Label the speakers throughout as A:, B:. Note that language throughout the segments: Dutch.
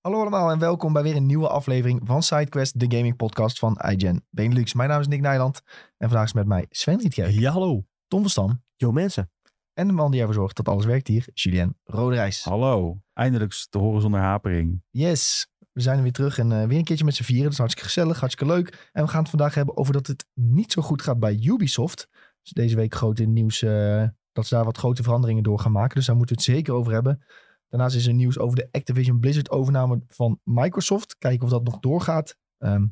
A: Hallo allemaal en welkom bij weer een nieuwe aflevering van SideQuest, de gaming podcast van iGen Benelux. Mijn naam is Nick Nijland en vandaag is met mij Sven Rietkerk,
B: Ja, hallo.
A: Tom van Stam
C: Yo mensen,
A: en de man die ervoor zorgt dat alles werkt hier, Julien Roderijs.
B: Hallo. Eindelijk te horen zonder hapering.
A: Yes, we zijn er weer terug en eh, weer een keertje met z'n vieren. Dat is hartstikke gezellig, hartstikke leuk. En we gaan het vandaag hebben over dat het niet zo goed gaat bij Ubisoft. Dus deze week groot in het nieuws eh, dat ze daar wat grote veranderingen door gaan maken. Dus daar moeten we het zeker over hebben. Daarnaast is er nieuws over de Activision Blizzard overname van Microsoft. Kijken of dat nog doorgaat. Ehm er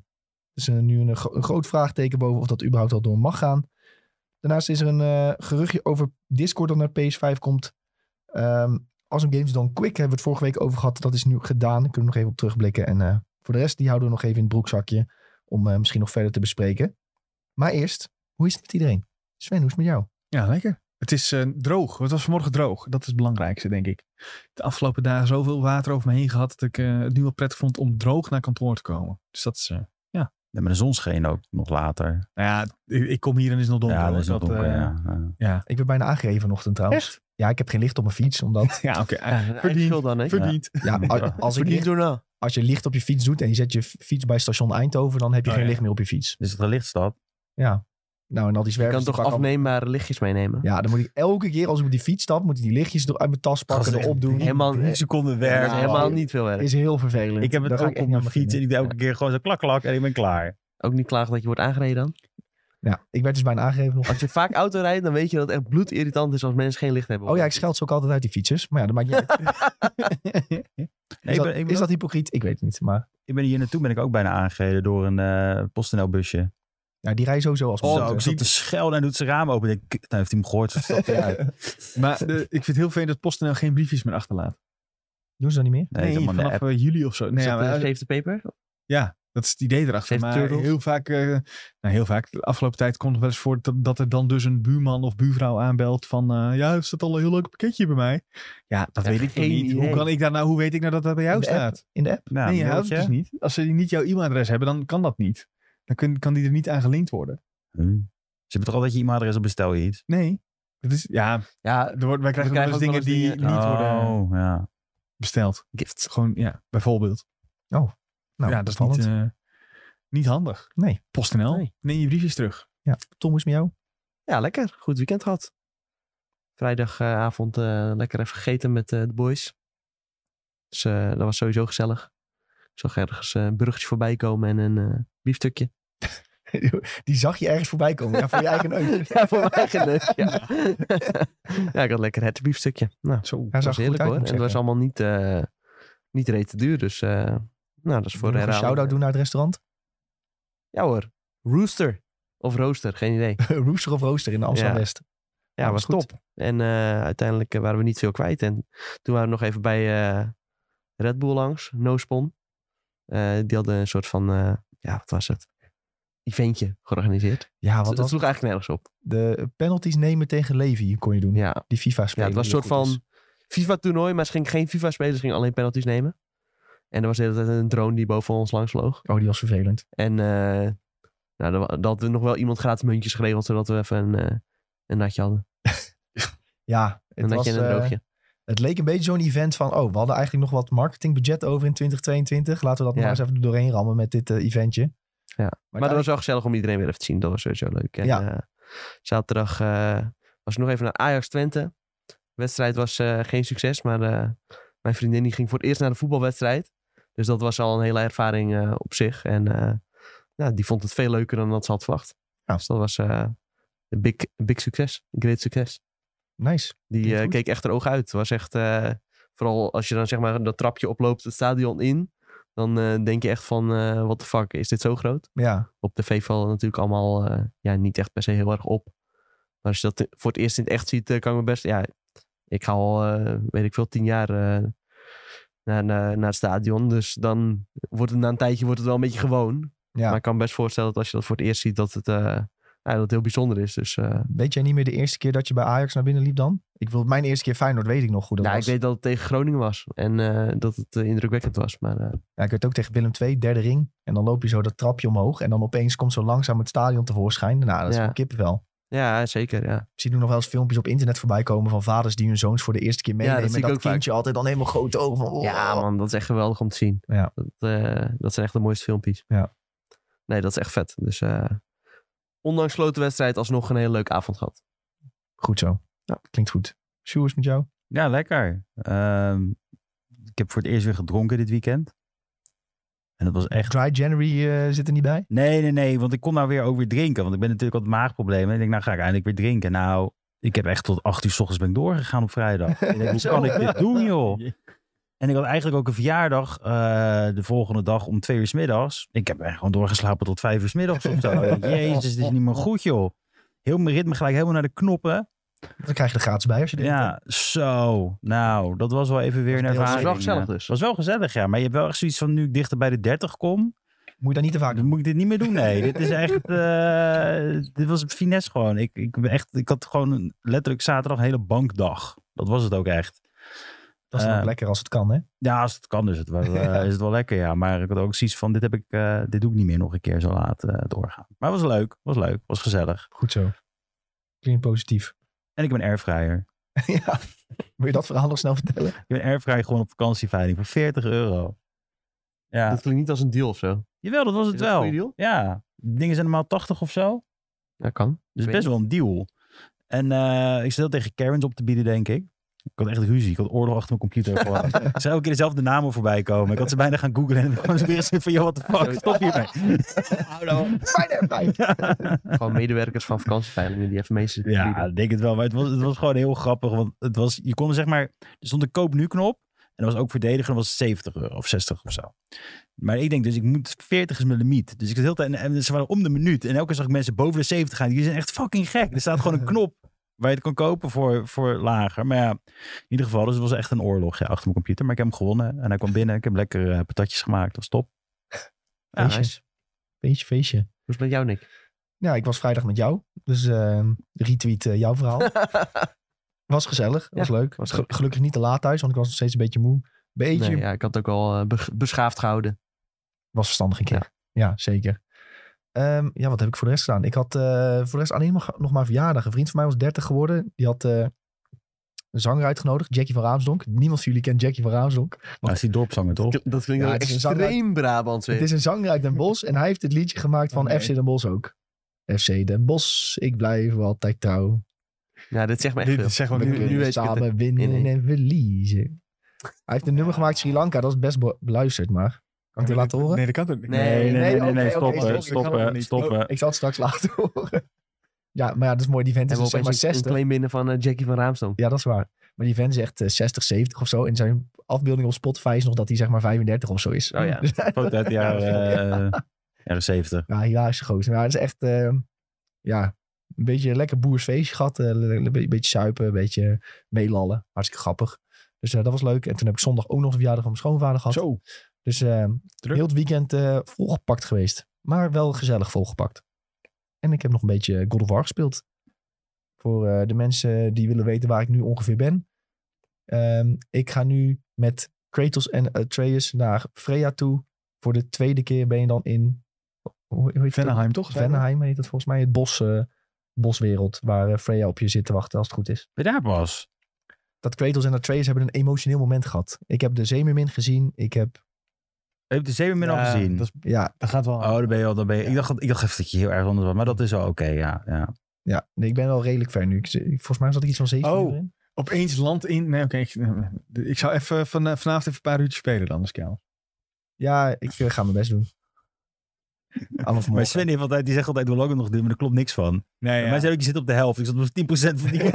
A: is eh, nu een, gro- een groot vraagteken boven of dat überhaupt al door mag gaan. Daarnaast is er een eh, geruchtje over Discord dat naar PS5 komt. Ehm als een Games Done Quick hebben we het vorige week over gehad. Dat is nu gedaan. Daar kunnen we nog even op terugblikken. En eh, voor de rest, die houden we nog even in het broekzakje. Om eh, misschien nog verder te bespreken. Maar eerst, hoe is het met iedereen? Sven, hoe is het met jou?
C: Ja, lekker. Het is eh, droog. Het was vanmorgen droog. Dat is het belangrijkste, denk ik. De afgelopen dagen zoveel water over me heen gehad dat ik eh, het nu wel prettig vond om droog naar kantoor te komen. Dus dat is. eh,
B: Ja, maar de zon scheen ook nog later.
C: nou ja, ik, ik kom hier en het is nog donker.
B: ja, dat
C: hoor.
B: is nog donker.
C: eh,
B: ja. ja.
A: Ik ben bijna aangegeven vanochtend trouwens.
C: Echt?
A: Ja, ik heb geen licht op mijn fiets. Omdat
C: Ja, oké. eh,
D: Ja,
C: Verdiend.
D: Verdiend. dan, hè?
C: Verdiend.
A: ja, a- als, ik
D: Verdiend
A: licht,
D: door na.
A: als je licht op je fiets doet en je zet je fiets bij station Eindhoven. Dan heb je
C: Oh,
A: geen
C: ja.
A: licht meer op je fiets.
B: Is het een lichtstad?
A: Ja. Nou, en al die
D: Je
A: zwervers.
D: kan
A: die
D: toch
A: pakken allemaal-
D: afneembare lichtjes meenemen?
A: Ja, dan moet ik elke keer als ik op die fiets stap, moet ik die lichtjes er uit mijn tas pakken,
B: Gast,
A: erop doen.
D: Helemaal,
B: Drie seconden
D: dat
B: werk.
D: is
A: nou,
D: helemaal
A: wauw.
D: niet veel werk.
A: Is heel vervelend.
B: Ik heb het
A: Daar ga
B: ook
A: echt
B: op
A: niet
B: mijn
A: aan
B: fiets en
A: beginnen.
B: ik doe elke keer gewoon zo klak klak en ik ben klaar.
D: Ook niet klagen dat je wordt aangereden dan.
A: Ja, ik werd dus bijna aangegeven nog.
D: Als je vaak auto rijdt, dan weet je dat het echt bloedirritant is als mensen geen licht hebben.
A: Oh ja, ik scheld ze ook altijd uit die fietsers. Maar ja, dat maakt niet uit.
B: Nee,
A: is,
B: ik,
A: dat,
B: ben, ik, ben
A: is dat hypocriet? Ik weet het niet. Maar
B: ik ben hier naartoe ben ik ook bijna aangereden door een eh PostNL busje.
A: ja, die rijden sowieso als dus
B: Oh,
A: motor.
B: ik zat te schelden en doet zijn raam open. Ik denk, "Kut, nou heeft hij hem gehoord. dus stapt hij uit."
C: Maar eh, ik vind het heel fijn dat PostNL geen briefjes meer achterlaat.
A: Doen ze dat niet meer?
B: Nee, helemaal
C: vanaf
B: de app.
C: eh, juli of zo. Nee,
D: Nee,
C: ja, maar-
D: Save the paper?
C: Dat is het idee erachter.
D: Save
C: Maar
D: turtles.
C: heel vaak, eh, nou heel vaak, de afgelopen tijd komt het wel eens voor dat, dat er dan dus een buurman of buurvrouw aanbelt van, eh, ja, er staat al een heel leuk pakketje bij mij. Ja, dat
D: Ja,
C: weet ik toch
D: geen
C: niet. Hoe
D: idee.
C: kan ik daar nou, hoe weet ik nou dat dat bij jou
A: In de app?
C: staat?
A: In de app?
B: Ja,
C: nee, je houdt
B: mailtje.
C: het dus niet. Als ze die niet jouw e-mailadres hebben, dan kan dat niet. Dan kun, kan die er niet aan gelinkt worden.
B: Hm. Ze hebben toch altijd je e-mailadres op bestel je iets?
C: Nee. Dat is, ja,
D: Ja,
C: er wordt, wij krijgen,
D: krijgen
C: wel
D: ook
C: eens dingen
D: wel eens
C: die
D: dingen-
C: niet worden
B: Oh, ja.
C: besteld.
D: gifts.
C: Gewoon, ja, bijvoorbeeld.
A: Nou,
C: ja, dat is niet,
A: opvallend.
C: eh, niet handig.
D: eh,
A: Nee.
C: PostNL,
D: Nee.
C: neem je briefjes terug.
A: Ja. Tom, hoe is het met jou?
D: Ja, lekker. Goed weekend gehad. Vrijdagavond eh, lekker even gegeten met eh, de boys. Dus eh, dat was sowieso gezellig. Ik zag ergens eh, een burgertje voorbij komen en een eh, biefstukje.
A: Die zag je ergens voorbij komen. Ja, voor je eigen neus.
D: Ja, voor mij geneus, ja. ja, ik had lekker het biefstukje. Nou,
C: Zo.
A: Hij
D: Dat
A: zag
D: was
A: er goed
D: heerlijk
A: uit,
D: hoor.
A: moet
D: En
A: ik
D: het was
A: zeggen.
D: allemaal niet, eh niet reet te duur. Dus eh, nou, dat is
A: Doe
D: voor
A: nog een
D: herhaling.
A: shout-out doen naar het restaurant.
D: Ja hoor. Rooster. Of rooster, geen idee.
A: Rooster of Rooster in Amsterdam-West.
D: Ja,
A: dat
D: was
A: goed.
D: top. En eh, uiteindelijk eh, waren we niet veel kwijt. En toen waren we nog even bij eh, Red Bull langs. No Spon. Eh, die hadden een soort van, eh, ja wat was het? Eventje georganiseerd.
A: Ja,
D: Dat,
A: want
D: dat
A: dat,
D: sloeg eigenlijk nergens op.
A: de penalties nemen tegen Levi kon je doen.
D: Ja,
A: Die FIFA spelen.
D: Ja, het was een
A: die
D: soort
A: goed is.
D: van FIFA-toernooi, maar ze gingen geen FIFA spelen, ze gingen alleen penalties nemen. En er was de hele tijd een drone die boven ons langs vloog.
A: Oh, die was vervelend.
D: En eh nou, dat, dat hadden we nog wel iemand gratis muntjes geregeld, zodat we even een, eh, een natje hadden.
A: Ja,
D: Een
A: het, was,
D: natje en een
A: eh,
D: droogje.
A: het leek een beetje zo'n event van... Oh, we hadden eigenlijk nog wat marketingbudget over in 2022. Laten we dat
D: Ja.
A: maar eens even er doorheen rammen met dit eh, eventje.
D: Ja.
A: Maar,
D: Maar dat
A: daar-
D: was wel gezellig om iedereen weer even te zien. Dat was sowieso leuk. En,
A: Ja.
D: eh, zaterdag eh, was ik nog even naar Ajax Twente. De wedstrijd was eh, geen succes, maar eh, mijn vriendin die ging voor het eerst naar de voetbalwedstrijd. Dus dat was al een hele ervaring eh, op zich. En eh, nou, die vond het veel leuker dan dat ze had verwacht.
A: Ja.
D: Dus dat was eh, een big, big succes. Een great succes.
A: Nice.
D: Die
A: Klinkt
D: eh,
A: goed.
D: keek echt er oog uit. Het was echt, eh, vooral als je dan zeg maar dat trapje oploopt het stadion in. Dan eh, denk je echt van, eh what the fuck, is dit zo groot?
A: Ja.
D: op tv vallen natuurlijk allemaal eh, ja, niet echt per se heel erg op. Maar als je dat voor het eerst in het echt ziet, eh, kan ik me best... Ja, ik ga al, eh, weet ik veel, tien jaar eh, naar, naar, naar het stadion. Dus dan wordt het na een tijdje wordt het wel een beetje gewoon.
A: Ja.
D: Maar ik kan me best voorstellen dat als je dat voor het eerst ziet, dat het, eh, ja, dat het heel bijzonder is. Dus eh,
A: Weet jij niet meer de eerste keer dat je bij Ajax naar binnen liep dan? Ik wil mijn eerste keer Feyenoord weet ik nog goed. Dat
D: nou, ik
A: was.
D: weet dat het tegen Groningen was. En eh, dat het eh, indrukwekkend was. Maar eh,
A: Ja, ik weet ook tegen Willem II, derde ring. En dan loop je zo dat trapje omhoog. En dan opeens komt zo langzaam het stadion tevoorschijn. Nou, dat is
D: Ja.
A: wel kippenvel.
D: Ja, zeker. Ja.
A: Ik zie nu nog wel eens filmpjes op internet voorbij komen van vaders die hun zoons voor de eerste keer meenemen.
D: dat zie
A: en
D: ik
A: dat
D: ook vaak.
A: kindje altijd dan helemaal groot ogen. van, oh.
D: ja, man, dat is echt geweldig om te zien.
A: Ja.
D: Dat, eh, dat zijn echt de mooiste filmpjes.
A: Ja.
D: Nee, dat is echt vet. Dus eh, ondanks sloten wedstrijd alsnog een hele leuke avond gehad.
A: Goed zo. Klinkt goed. Sjoerd, met jou?
B: Ja, lekker. Ehm, ik heb voor het eerst weer gedronken dit weekend. En dat was echt...
A: Dry January eh, zit er niet bij?
B: Nee, nee, nee. Want ik kon nou weer ook weer drinken. Want ik ben natuurlijk wat maagproblemen. Ik denk, nou ga ik eindelijk weer drinken. Nou, ik heb echt tot 8 uur s ochtends ben ik doorgegaan op vrijdag. Ik denk, hoe
A: Zo.
B: kan ik dit doen, joh? En ik had eigenlijk ook een verjaardag eh, de volgende dag om twee uur 's middags. Ik heb echt gewoon doorgeslapen tot vijf uur 's middags of zo.
A: Eh,
B: Jezus,
A: oh,
B: dit is niet meer goed, joh. Heel mijn ritme gelijk helemaal naar de knoppen.
A: Dan krijg je er gratis bij als je dit
B: Ja, zo. Nou, dat was wel even weer een
A: Was het heel
B: ervaring.
A: gezellig?
D: Wel gezellig dus.
B: was wel gezellig, ja. Maar je hebt wel echt zoiets van, nu ik dichter bij de 30 kom,
A: Moet je dat niet te vaak
B: dan
A: doen.
B: moet ik dit niet meer doen. Nee, dit is echt, eh, dit was een finesse gewoon. Ik, ik, ben echt, ik had gewoon een- letterlijk zaterdag een hele bankdag. Dat was het ook echt.
A: Dat is dan ook
B: Eh,
A: lekker als het kan, hè?
B: Ja, als het kan dus het wel, eh,
A: Ja.
B: is het wel lekker, ja. Maar ik had ook zoiets van, dit, heb ik, eh, dit doe ik niet meer nog een keer zo laat eh, doorgaan. Maar het was leuk, was leuk, was gezellig.
A: Goed zo. Klinkt positief.
B: En ik ben airfryer.
A: ja. Wil je dat verhaal nog snel vertellen?
B: Ik ben airfryer gewoon op vakantieveiling voor 40 euro. Ja.
D: Dat klinkt niet als een deal of zo.
B: Jawel, dat was het
D: Is dat
B: wel.
D: een goede deal?
B: Ja, dingen zijn normaal 80 of zo.
D: Dat kan.
B: Dus
D: Ik
B: best wel een deal. En eh, ik zat dat tegen Karens op te bieden, denk ik. Ik had echt ruzie. Ik had oorlog achter mijn computer. gewoon. ik zou elke keer dezelfde namen voorbij komen. Ik had ze bijna gaan googlen. En dan kwam ze weer eens van, joh, what the fuck, stop hiermee.
A: Hou dan.
D: weet- Gewoon medewerkers van vakantieveilingen die even mee zitten.
B: Ja, ik denk het wel. Maar het was, het was gewoon heel grappig. Want het was, je kon er zeg maar, er stond een koop nu knop. En dat was ook verdedigen. Dat was 70 euro of 60 of zo. Maar ik denk dus, ik moet 40 is mijn limiet. Dus ik zat heel tijd, en- en ze waren om de minuut. En elke keer zag ik mensen boven de 70 gaan. Die zijn echt fucking gek. Er staat gewoon een knop waar je het kan kopen voor, voor lager. Maar ja, in ieder geval, dus het was echt een oorlog ja, achter mijn computer. Maar ik heb hem gewonnen. En hij kwam binnen. Ik heb lekker eh, patatjes gemaakt. Dat was top. Ja,
A: Feestje.
B: nice.
A: Feestje, feestje.
D: Hoe is het met jou, Nick?
A: Ja, ik was vrijdag met jou. Dus ehm, retweet eh, jouw verhaal. was gezellig. Was leuk.
D: was
A: Gel- Gelukkig niet te laat thuis, want ik was nog steeds een beetje moe. Beetje.
D: Nee, ja, ik had het ook al eh, be- beschaafd gehouden.
A: Was verstandig een keer. Ja, zeker. Ehm, ja, wat heb ik voor de rest gedaan? Ik had eh, voor de rest alleen nog, nog maar verjaardag. Een vriend van mij was 30 geworden. Die had eh, een zanger uitgenodigd, Jackie van Raamsdonk. Niemand van jullie kent Jackie van Raamsdonk.
B: Maar Ah, is die dorpzanger toch?
D: Dat klinkt
A: Ja, het is een zanger-
D: Brabants
A: Het is een zanger uit Den Bosch en hij heeft het liedje gemaakt van
C: Oh, nee.
A: FC Den Bosch ook. FC Den Bosch, ik blijf altijd trouw.
D: Ja, dit zegt me echt
C: Dit
D: veel.
C: is zeg maar
A: We
D: Oh, nu- nu
A: kunnen
D: weet ik
A: samen
D: het.
A: winnen
D: Nee, nee.
A: en verliezen. Hij heeft een nummer gemaakt Sri Lanka, dat is best be- beluisterd, maar kan ik dit laten horen?
C: Nee, dat kan toch niet?
D: Nee,
A: nee, nee, nee,
B: stoppen,
A: oké,
B: stoppen, stoppen.
A: Ik zal het straks laten horen. Ja, maar ja, dat is mooi. Die vent is
D: Hebben
A: dus
D: we
A: zeg maar
D: opeens een, een
A: 60.
D: claim binnen van eh, Jackie van Raamsdam.
A: Ja, dat is waar. Maar die vent zegt eh, 60, 70 of zo. En zijn afbeelding op Spotify is nog dat hij zeg maar 35 of zo is.
D: Oh ja.
A: Dus
B: Foto uit de jaren, eh, jaren 70.
A: Ja, hilarische gozer. Maar het is echt, eh, ja, een beetje een lekker boersfeestje gehad. Eh, Een be- beetje suipen, een beetje meelallen. Hartstikke grappig. Dus eh, dat was leuk. En toen heb ik zondag ook nog een verjaardag van mijn schoonvader gehad.
C: Zo.
A: Dus eh,
C: Druk.
A: heel het weekend eh, volgepakt geweest. Maar wel gezellig volgepakt. En ik heb nog een beetje God of War gespeeld. Voor eh, de mensen die willen weten waar ik nu ongeveer ben. Ehm, ik ga nu met Kratos en Atreus naar Freya toe. Voor de tweede keer ben je dan in... Hoe, hoe heet het?
C: Venneheim toch?
A: Venheim heet het volgens mij. Het bos, eh, boswereld waar eh, Freya op je zit te wachten als het goed is.
B: Ben je daar pas?
A: Dat Kratos en Atreus hebben een emotioneel moment gehad. Ik heb de Zeemermin gezien. Ik heb...
B: Heb je de Zeemermin al
C: Ja,
B: gezien?
C: Dat, is-
A: Ja,
C: dat gaat wel.
B: Oh, dan ben je al. Dan ben je, ik, dacht, dat- ik dacht even dat je heel erg anders was, maar dat is wel oké, ja, ja.
A: ja. Nee, ik ben wel redelijk ver nu. Ik, ik- volgens mij zat ik iets van 17
C: Oh.
A: uur in.
C: Opeens land in. Nee, oké. ik, ik zou even van, eh, vanavond even een paar uurtjes spelen dan, Skel.
A: Ja, ik eh, ga mijn best doen. Allemaal
B: Maar
A: vanmorgen.
B: Sven heeft altijd, die zegt altijd hoe lang het nog duurt, maar er klopt niks van.
C: Nee,
B: Maar Mij zei ook, je zit op de helft. Ik zat op 10% van die.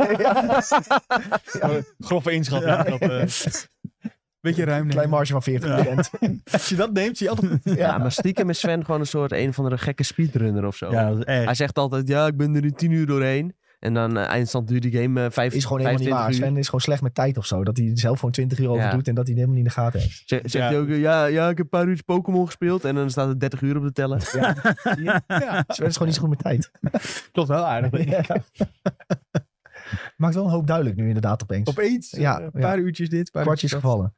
C: Grove inschatting.
B: Ja.
C: Dat, eh, beetje ruim
A: Klein
C: nemen.
A: marge van 40
C: Als je dat neemt, zie je altijd...
A: Ja.
D: Ja, maar stiekem is Sven gewoon een soort een van de gekke speedrunner of zo.
B: Ja, dat is
D: Hij
B: echt.
D: zegt altijd, ja, ik ben er in tien uur doorheen. En dan eh, eindstand duurt die game eh vijf,
A: Is gewoon helemaal niet
D: 25
A: waar.
D: uur.
A: Sven is gewoon slecht met tijd of zo. Dat hij zelf gewoon 20 uur over
D: Ja.
A: doet en dat hij het helemaal niet in de gaten heeft.
D: Zeg- Zegt
C: Ja.
D: hij ook, eh, ja, ja, ik heb een paar uurtjes Pokémon gespeeld. En dan staat er 30 uur op de teller.
C: Ja,
A: Sven is gewoon niet zo goed met tijd.
C: klopt wel aardig.
A: Ja. Maakt wel een hoop duidelijk nu inderdaad opeens.
C: Opeens,
A: Ja,
C: ja, een paar uurtjes dit, een paar
A: kwartjes
C: uurtjes dat.
A: gevallen.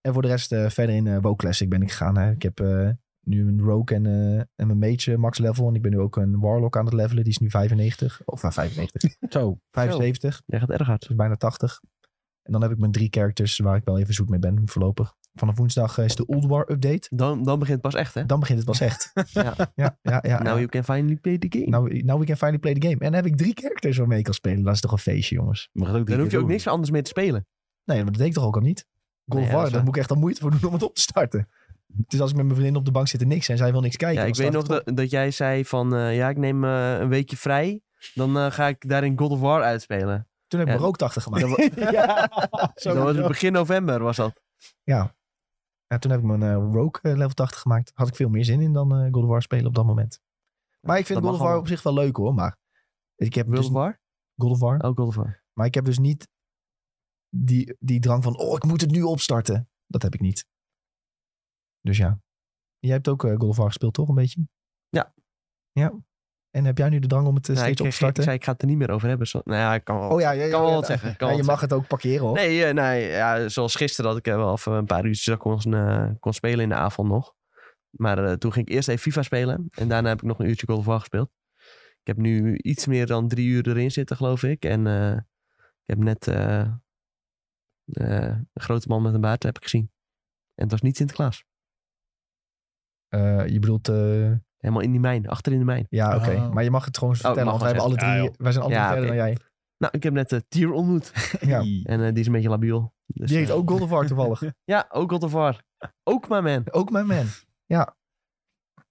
A: En voor de rest eh, verder in eh WoW Classic ben ik gegaan. Hè. Ik heb eh, nu een rogue en, eh, en mijn mage max level. En ik ben nu ook een warlock aan het levelen. Die is nu 95. Of nou, 95.
B: Zo.
A: 75.
D: Jij gaat erg hard.
A: Dus bijna 80. En dan heb ik mijn drie characters waar ik wel even zoet mee ben voorlopig. Vanaf woensdag eh, is de Old War update.
D: Dan, dan begint het pas echt, hè?
A: Dan begint het pas echt.
D: Ja. Nou,
A: ja, ja, ja.
D: Now you can finally play the game.
A: Nou, nou we can finally play the game. En dan heb ik drie characters waarmee ik kan spelen. Dat is toch een feestje, jongens.
B: Maar dat ook drie
D: dan hoef je
B: keer
D: ook
B: doen.
D: niks anders meer te spelen.
A: Nee, maar dat deed ik toch ook al niet? God of
D: Nee, Nou ja,
A: War,
D: dat is
A: daar
D: waar.
A: moet ik echt al moeite voor doen om het op te starten. Het is als ik met mijn vriendin op de bank zit en niks en zij wil niks kijken.
D: ja, ik
A: dan
D: weet nog
A: start het
D: dat, dat jij zei van... eh, ja, ik neem eh, een weekje vrij. Dan eh, ga ik daarin God of War uitspelen.
A: op. Toen heb ik mijn
D: Ja.
A: rooktachten gemaakt.
D: Dan, wa-
A: Zo-
D: dan was het begin november, was dat.
A: Ja, toen heb ik mijn eh, Rogue eh, level 80 gemaakt. Had ik veel meer zin in dan eh, God of War spelen op dat moment. Maar ik vind
D: dat
A: God of
D: mag
A: War
D: allemaal.
A: op zich wel leuk hoor. Maar ik heb
D: World
A: dus
D: of War?
A: God of War.
D: Oh, God of War.
A: Maar ik heb dus niet die, die drang van, oh, ik moet het nu opstarten. Dat heb ik niet. Dus ja. Jij hebt ook eh God of War gespeeld, toch? Een beetje?
D: Ja.
A: Ja. En heb jij nu de drang om het eh,
D: Ja, Nou, ik,
A: steeds op
D: ik,
A: te starten?
D: ik zei, ik ga het er niet meer over hebben. Zo, nou ja, ik kan wel,
A: oh ja, ja, ja,
D: kan wel
A: ja.
D: wat zeggen. Kan
A: Ja,
D: wel
A: je
D: wat
A: mag het ook parkeren hoor.
D: Nee, eh, nee ja, zoals gisteren had ik eh, wel even een paar uurtjes dat ik kon, eh, kon spelen in de avond nog. Maar eh, toen ging ik eerst even FIFA spelen. En daarna heb ik nog een uurtje God of War gespeeld. Ik heb nu iets meer dan drie uur erin zitten, geloof ik. En eh, ik heb net eh, eh, een grote man met een baard heb ik gezien. En het was niet Sinterklaas.
A: Eh, je bedoelt, eh,
D: Helemaal in die mijn, achter in de mijn.
A: ja, oké.
C: Oh.
A: Maar je mag het gewoon vertellen,
D: mag
A: want wij,
D: wel
A: hebben alle
B: zeggen.
A: drie,
B: Ja,
A: wij zijn alle drie
D: Ja,
A: verder
D: oké.
A: dan jij.
D: Nou, ik heb net eh, Tyr ontmoet.
A: Ja.
D: En eh, die is een beetje labiel. Dus,
A: Die heet
D: eh,
A: ook God of War toevallig.
D: Ja, ook God of War. Ook maar man.
A: ook mijn man.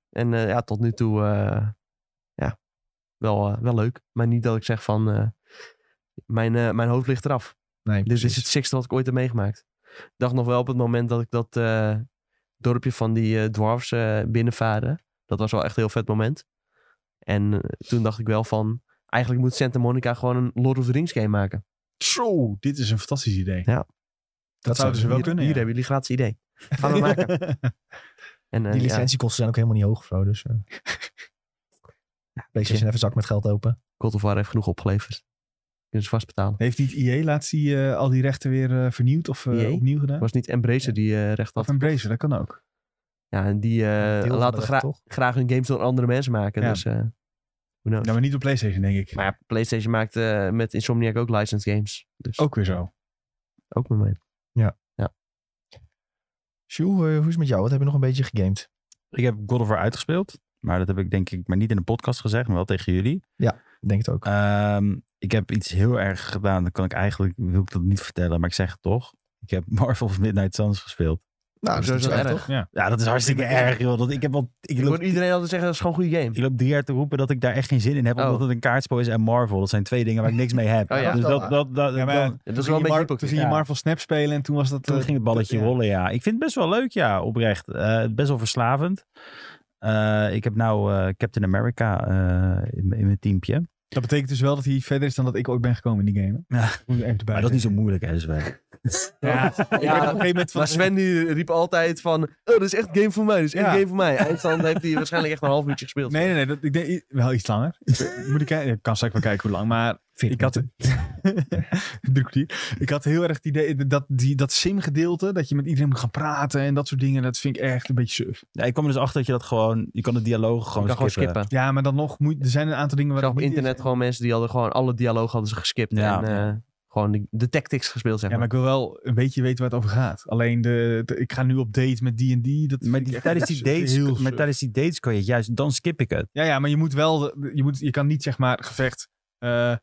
D: En eh, ja, tot nu toe, eh, ja, wel, eh, wel leuk. Maar niet dat ik zeg van, eh, mijn, eh, mijn hoofd ligt eraf. Dus
A: Nee,
D: Dit is het sixte wat ik ooit heb meegemaakt. Ik dacht nog wel op het moment dat ik dat eh, dorpje van die eh, dwarfs eh binnenvaarde. Dat was wel echt een heel vet moment. En eh, toen dacht ik wel van, eigenlijk moet Santa Monica gewoon een Lord of the Rings game maken.
C: Zo, dit is een fantastisch idee.
D: Ja.
C: Dat zouden ze wel
D: hier,
C: kunnen.
D: Hier
C: ja.
D: hebben jullie gratis idee. Gaan we maken. En, eh,
A: Die
D: ja.
A: licentiekosten zijn ook helemaal niet hoog of zo. Dus, eh. PlayStation even een zak met geld open.
D: God of War heeft genoeg opgeleverd. Kunnen ze vast betalen.
C: Heeft niet EA laatst die, eh, al die rechten weer eh, vernieuwd of eh,
D: EA?
C: opnieuw gedaan?
D: Het was niet Embracer die eh, recht had.
C: Of Embracer, dat kan ook.
D: Ja, en die eh,
A: Deel van de
D: laten
A: recht,
D: gra-
A: toch?
D: graag hun games door andere mensen maken.
C: Ja.
D: Dus, eh who knows.
C: Nou, maar niet op PlayStation, denk ik.
D: Maar ja, PlayStation maakt eh, met Insomniac ook licensed games. Dus ook,
C: Ook weer zo.
D: met mij.
A: Sjoe, eh, hoe is het met jou? Wat heb je nog een beetje gegamed?
B: Ik heb God of War uitgespeeld. Maar dat heb ik denk ik maar niet in de podcast gezegd, maar wel tegen jullie.
A: Ik Denk het ook.
B: Ehm, ik heb iets heel erg gedaan. Dan kan ik eigenlijk, wil ik dat niet vertellen, maar ik zeg het toch. Ik heb Marvel's Midnight Suns gespeeld.
A: nou, dat
D: zo
A: niet
D: is dat
A: slecht,
D: erg.
A: toch?
B: Ja, dat is hartstikke erg, joh. Dat, ik, heb al, ik,
D: Ik
B: loop,
D: hoor iedereen altijd zeggen, dat is gewoon een goede game.
B: ik loop drie jaar te roepen dat ik daar echt geen zin in heb,
D: Oh.
B: omdat het een kaartspel is en Marvel. Dat zijn twee dingen waar ik niks mee heb.
D: Oh, ja.
B: Dus dat, dat, dat,
C: Ja, maar
B: dan-
D: Ja, dat is wel een beetje
C: Toen
D: hypocriet.
C: ging je
B: Ja.
C: Marvel Snap spelen en toen was dat...
B: Toen
C: eh,
B: ging het balletje
C: ja.
B: rollen, ja. Ik vind het best wel leuk, ja, oprecht. Eh, best wel verslavend. Eh, ik heb nou eh, Captain America eh, in, mijn- in mijn teampje.
C: Dat betekent dus wel dat hij verder is dan dat ik ooit ben gekomen in die game. hè?
B: Ja.
C: Moet ik even erbij
B: Maar dat is niet zo moeilijk, hè, Sven.
D: Ja.
C: zeggen. Ik werd op een gegeven moment van...
D: Maar Sven die riep altijd van, oh, dat is echt game voor mij, dat is echt
C: Ja.
D: game voor mij. Eindstand heeft hij waarschijnlijk echt een half uurtje gespeeld.
C: Nee, nee, nee. Dat, ik denk, i- wel iets langer. Moet ik kijken? Ik kan straks wel kijken hoe lang. Maar ik had... Drie kwartier. Ik had heel erg het idee dat die, dat sim-gedeelte, dat je met iedereen moet gaan praten en dat soort dingen, dat vind ik echt een beetje surf.
B: Ja, ik kwam er dus achter dat je dat gewoon... Je kan de dialogen
D: je
B: gewoon
D: kan gewoon
B: skippen.
D: skippen.
C: Ja, maar dan nog, moet, er zijn een aantal dingen
D: Ik
C: waar
D: zag
C: het
D: op
C: niet is.
D: internet gewoon mensen die hadden gewoon alle dialoog hadden ze geskipt.
B: Ja.
D: En eh, gewoon de, de tactics gespeeld, zeg
C: Ja, maar ik wil wel een beetje weten waar het over gaat. Alleen, de, de- ik ga nu op date met die en die. dat
B: Maar
C: vind ik
B: die-
C: echt
B: tijdens die,
C: heel surf.
B: dates, maar tijdens die dates kan je het juist... Dan skip ik het.
C: Ja, ja, maar je moet wel. de- Je, moet, je kan niet zeg maar gevecht. eh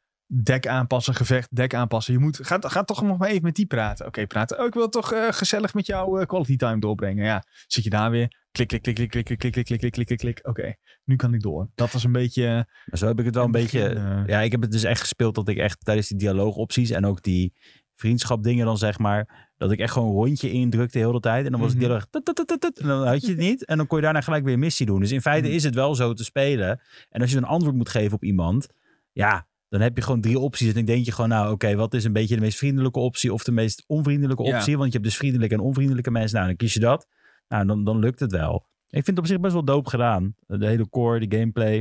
C: dek aanpassen, gevecht, dek aanpassen. Je moet. Ga, ga toch nog maar even met die praten. Oké, praten. Oh, ik wil toch eh, gezellig met jou eh, quality time doorbrengen. Ja, zit je daar weer. Klik, klik, klik, klik, klik, klik, klik, klik, klik, klik, klik, klik, klik. Oké, nu kan ik door. Dat was een beetje. eh,
B: Maar zo heb ik het wel een beetje...
C: begin, eh,
B: Ja, ik heb het dus echt gespeeld dat ik echt tijdens die dialoogopties en ook die vriendschap dingen dan zeg maar, dat ik echt gewoon een rondje indrukte de hele tijd. En dan was het
C: Mhm.
B: heel erg... tut, tut, tut, tut, tut, en dan had je het niet. En dan kon je daarna gelijk weer een missie doen. Dus in feite
C: Mhm.
B: is het wel zo te spelen. En als je een antwoord moet geven op iemand, ja, dan heb je gewoon drie opties. En dan denk je gewoon, nou oké, wat is een beetje de meest vriendelijke optie of de meest onvriendelijke
C: Ja.
B: optie? Want je hebt dus vriendelijke en onvriendelijke mensen. Nou, dan kies je dat. Nou, dan, dan lukt het wel. Ik vind het op zich best wel doop gedaan. De hele core, de gameplay.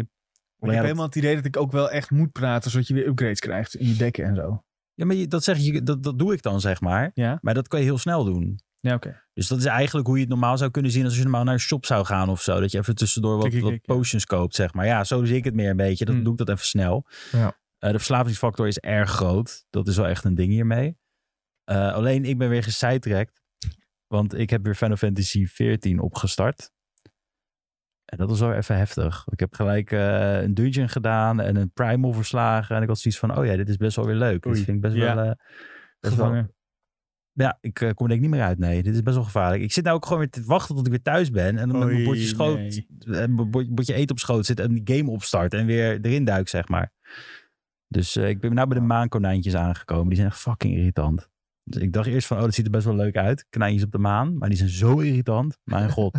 C: maar ik heb helemaal het idee dat ik ook wel echt moet praten, zodat je weer upgrades krijgt in je dekken en zo.
B: Ja, maar je- dat, zeg je, dat, dat doe ik dan, zeg maar.
C: Ja.
B: Maar dat kan je heel snel doen.
C: Ja, oké.
B: Dus dat is eigenlijk hoe je het normaal zou kunnen zien als je normaal naar een shop zou gaan of zo. Dat je even tussendoor wat,
C: Klik, klik,
B: wat
C: klik, ja.
B: potions koopt, zeg maar. Ja, zo zie ik het meer een beetje. Dan
C: Hmm.
B: doe ik dat even snel.
A: Ja.
B: Eh, de verslavingsfactor is erg groot. Dat is wel echt een ding hiermee. Eh, alleen ik ben weer gesidetracked. Want ik heb weer Final Fantasy XIV opgestart. En dat was wel even heftig. Ik heb gelijk eh, een dungeon gedaan en een primal verslagen. En ik had zoiets van, oh ja, dit is best wel weer leuk.
C: Oei.
B: Dit vind ik best
C: Ja.
B: wel... eh, best wel-
C: Gevangen.
B: ja, ik eh, kom er denk ik niet meer uit. Nee, dit is best wel gevaarlijk. Ik zit nou ook gewoon weer te wachten tot ik weer thuis ben. En dan met mijn
C: Oei,
B: bordje, schoot,
C: nee.
B: eh, mijn bord- bordje eten op schoot zit en die game opstart. En weer erin duik, zeg maar. Dus eh, ik ben nou bij de maankonijntjes aangekomen. Die zijn echt fucking irritant. Dus ik dacht eerst van, oh, dat ziet er best wel leuk uit. Konijntjes op de maan. Maar die zijn zo irritant. Mijn god.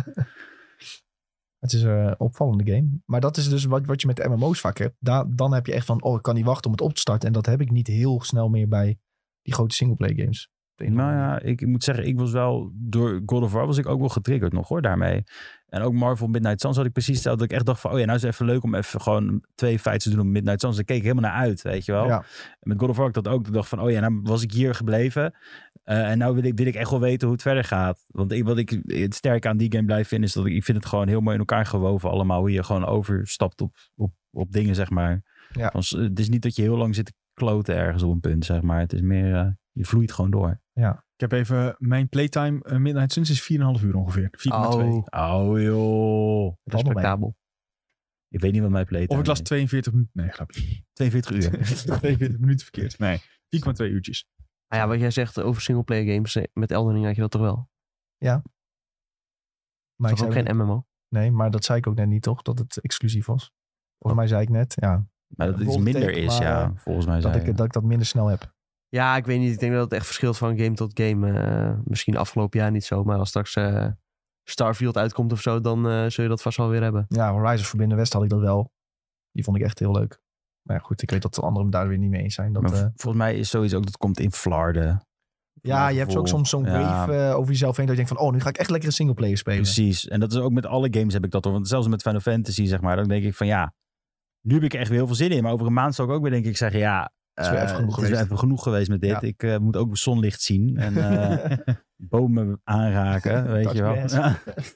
A: Het is eh, een opvallende game. Maar dat is dus wat, wat je met de MMO's vaak hebt. Da- dan heb je echt van, oh, ik kan niet wachten om het op te starten. En dat heb ik niet heel snel meer bij die grote singleplay games. Op de een of
B: nou
A: andere manier.
B: ja, ik, ik moet zeggen, ik was wel door God of War was ik ook wel getriggerd nog hoor daarmee. En ook Marvel Midnight Suns had ik precies hetzelfde. Dat ik echt dacht van, oh ja, nou is het even leuk om even gewoon twee fights te doen op Midnight Suns. Daar keek ik helemaal naar uit, weet je wel.
A: Ja.
B: En met God of War had ik dat ook. Ik dacht van, oh ja, nou was ik hier gebleven. Eh, en nou wil ik, wil ik echt wel weten hoe het verder gaat. Want ik, wat ik het sterke aan die game blijf vinden is dat ik, ik vind het gewoon heel mooi in elkaar gewoven allemaal. Hoe je gewoon overstapt op, op, op dingen, zeg maar.
A: Ja.
B: Want het is niet dat je heel lang zit te kloten ergens op een punt, zeg maar. Het is meer, eh, je vloeit gewoon door.
C: Ik heb even mijn playtime eh, Midnight Suns is 4,5 uur ongeveer. 4,2.
D: Oh,
B: Oh joh.
A: Valt nog mee.
D: respectabel.
B: Ik weet niet wat mijn playtime
C: Of ik las
B: is.
C: 42 minuten. Nee, grapje.
B: 42 uur.
C: 42 minuten verkeerd. Nee, 4,2 uurtjes.
D: Maar Ah ja, wat jij zegt over singleplayer games, eh, met Elden Ring had je dat toch wel?
A: Maar ik
D: Toch
A: zei
D: ook
A: ook net-
D: geen MMO?
A: Nee, maar dat zei ik ook net niet, toch? Dat het exclusief was. Volgens mij zei ik net, ja,
B: Maar dat het iets
A: Volgende
B: minder
A: teken,
B: is,
A: maar, eh,
B: ja. Volgens mij
A: dat,
B: zijn.
A: ik, dat ik dat minder snel heb.
D: Ja, ik weet niet. Ik denk dat het echt verschilt van game tot game. Eh, misschien afgelopen jaar niet zo, maar als straks eh, Starfield uitkomt of zo, dan eh, zul je dat vast wel weer hebben.
A: Ja, Horizon Forbidden West had ik dat wel. Die vond ik echt heel leuk. Maar ja, goed, ik weet dat de anderen het daar weer niet mee eens zijn. Dat,
B: Maar
A: eh,
B: v- volgens mij is sowieso ook, dat komt in Flarden.
A: ja, je hebt
B: gevoel.
A: ook soms zo'n
B: Ja.
A: wave eh, over jezelf heen dat je denkt van, oh, nu ga ik echt lekker een singleplayer spelen.
B: Precies. En dat is ook met alle games heb ik dat hoor. Want zelfs met Final Fantasy, zeg maar. Dan denk ik van ja, nu heb ik er echt weer heel veel zin in. Maar over een maand zou ik ook weer denk ik zeggen ja.
A: is weer
B: eh,
A: even genoeg
B: het is weer
A: geweest.
B: even genoeg geweest met dit.
A: Ja.
B: Ik eh, moet ook zonlicht zien en eh, bomen aanraken, weet je wel.
A: Touch grass.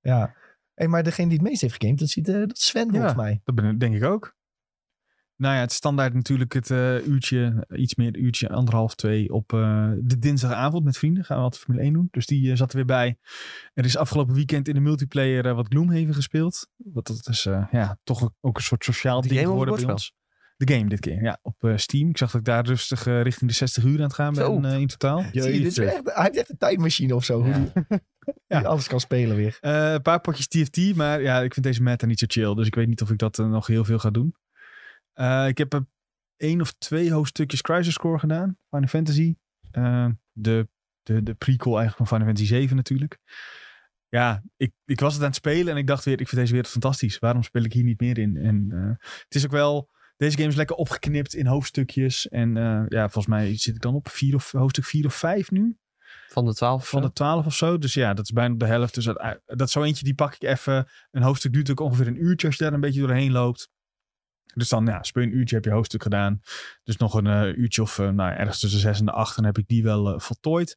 A: Ja. Hey, maar degene die het meest heeft gegamed, dat, ziet, eh, dat is Sven volgens mij.
C: Dat ben- denk ik ook. Nou ja, het standaard natuurlijk het eh, uurtje, iets meer uurtje, anderhalf, twee op eh, de dinsdagavond met vrienden. Gaan we altijd Formule 1 doen. Dus die eh, zat er weer bij. Er is afgelopen weekend in de multiplayer eh, wat Gloomhaven gespeeld. Want dat is eh, ja, toch ook een soort sociaal
D: Die
C: ding
D: game of
C: geworden
D: het
C: bij ons. De game dit keer, ja, op eh, Steam. Ik zag dat ik daar rustig eh, richting de 60 uur aan het gaan
D: Zo.
C: ben eh, in totaal.
A: Zie je, dit is echt, hij heeft echt een tijdmachine of zo. Hoe die,
C: Ja.
A: die alles kan spelen weer.
C: Eh, een paar potjes TFT, maar ja, ik vind deze meta niet zo chill. Dus ik weet niet of ik dat eh, nog heel veel ga doen. Eh, ik heb eh, één of twee hoofdstukjes Crisis Core gedaan. Final Fantasy. Eh, de, de, de prequel eigenlijk van Final Fantasy 7 natuurlijk. Ja, ik, ik was het aan het spelen en ik dacht weer, ik vind deze wereld fantastisch. Waarom speel ik hier niet meer in? En eh, het is ook wel, deze game is lekker opgeknipt in hoofdstukjes. En eh, ja, volgens mij zit ik dan op vier of, hoofdstuk 4 of 5 nu
D: Van de twaalf.
C: van de 12 of zo. Dus ja, dat is bijna op de helft. Dus dat, dat is zo eentje, die pak ik even. Een hoofdstuk duurt ook ongeveer een uurtje als je daar een beetje doorheen loopt. Dus dan ja, speel je een uurtje, heb je hoofdstuk gedaan. Dus nog een eh, uurtje of eh, nou, ergens tussen 6 en de 8, dan heb ik die wel eh, voltooid.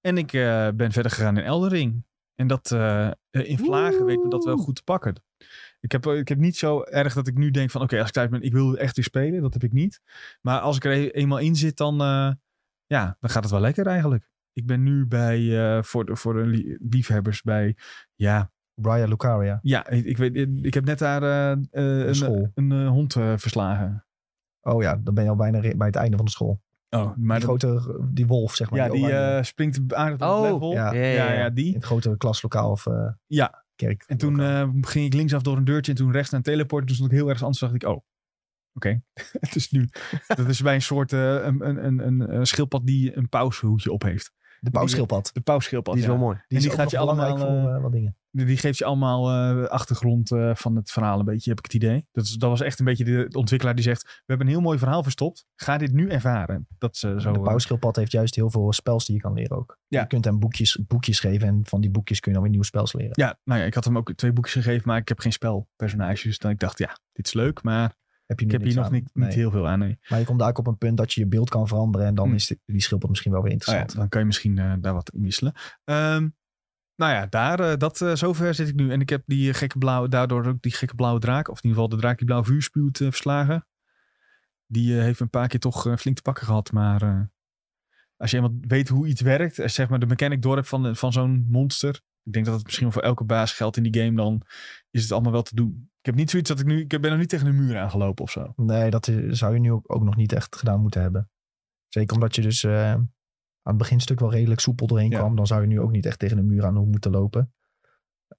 C: En ik eh, ben verder gegaan in Eldering. En dat eh, eh, in vlagen weet me dat wel goed te pakken. Ik heb, eh, ik heb niet zo erg dat ik nu denk van oké, als ik thuis ben, ik wil echt weer spelen. Dat heb ik niet. Maar als ik er e- eenmaal in zit, dan, eh, ja, dan gaat het wel lekker eigenlijk. Ik ben nu bij, eh, voor, de, voor de lie- liefhebbers bij, ja,
A: Brian Lucaria.
C: ja ik, ik weet, ik heb net daar eh, eh, een,
A: school.
C: een eh, hond eh, verslagen.
A: Oh ja, dan ben je al bijna re- bij het einde van de school.
C: Oh,
A: Maar
C: maar
A: die
C: dat-
A: grote, die wolf zeg maar.
C: ja, die
A: oranje.
C: eh, springt aardig op het
D: Oh,
C: level.
A: ja.
D: Ja, ja,
C: ja,
D: ja.
C: ja, die.
A: in het grote klaslokaal of eh,
C: Ja.
A: kerk.
C: En toen eh, ging ik linksaf door een deurtje en toen rechts naar een teleport. En toen stond ik heel erg anders. dacht ik, oh, oké. het is nu. dat is bij een soort eh, een, een, een, een, een schildpad die een paushoedje op heeft.
A: de pauwschildpad.
C: De pausschildpad.
D: Die is
C: ja.
D: wel mooi.
A: Die,
C: die
A: is ook
C: gaat
A: gaat
C: je
A: je belangrijk
C: allemaal,
A: voor eh, wat dingen.
C: Die die geeft je allemaal eh, achtergrond eh, van het verhaal een beetje, heb ik het idee. Dat, is, dat was echt een beetje de ontwikkelaar die zegt... we hebben een heel mooi verhaal verstopt. Ga dit nu ervaren. Dat ze zo...
A: de
C: eh,
A: pauwschildpad heeft juist heel veel spels die je kan leren ook.
C: Ja.
A: Je kunt hem boekjes, boekjes geven en van die boekjes kun je dan weer nieuwe spels leren.
C: ja, nou ja, ik had hem ook twee boekjes gegeven... maar ik heb geen spelpersonages. Dus dan ik dacht, ja, dit is leuk, maar...
A: heb je,
C: Ik
A: nu
C: heb
A: niks
C: hier nog
A: aan.
C: niet, niet
A: Nee. Oh
C: heel veel aan. Nee.
A: Maar je komt daar ook op een punt dat je je beeld kan veranderen. En dan
C: Hmm.
A: is die, die schildpad misschien wel weer
C: Nou ja,
A: interessant.
C: dan kan je misschien eh, daar wat in wisselen. Ehm, nou ja, daar, eh, dat, eh, zover zit ik nu. En ik heb die eh, gekke blauwe, daardoor ook die gekke blauwe draak. Of in ieder geval de draak die blauw vuur spuwt eh, verslagen. Die eh, heeft een paar keer toch eh, flink te pakken gehad. Maar eh, als je eenmaal weet hoe iets werkt. eh, zeg maar de mechanic door hebt van, de- van zo'n monster. Ik denk dat het misschien wel voor elke baas geldt in die game. Dan is het allemaal wel te doen. Ik heb niet zoiets dat ik nu... Ik ben nog niet tegen een muur aangelopen of zo.
A: Nee, dat is- zou je nu ook, ook nog niet echt gedaan moeten hebben. Zeker omdat je dus eh, aan het beginstuk wel redelijk soepel doorheen
C: Ja.
A: kwam. Dan zou je nu ook niet echt tegen een muur aan hoe moeten lopen.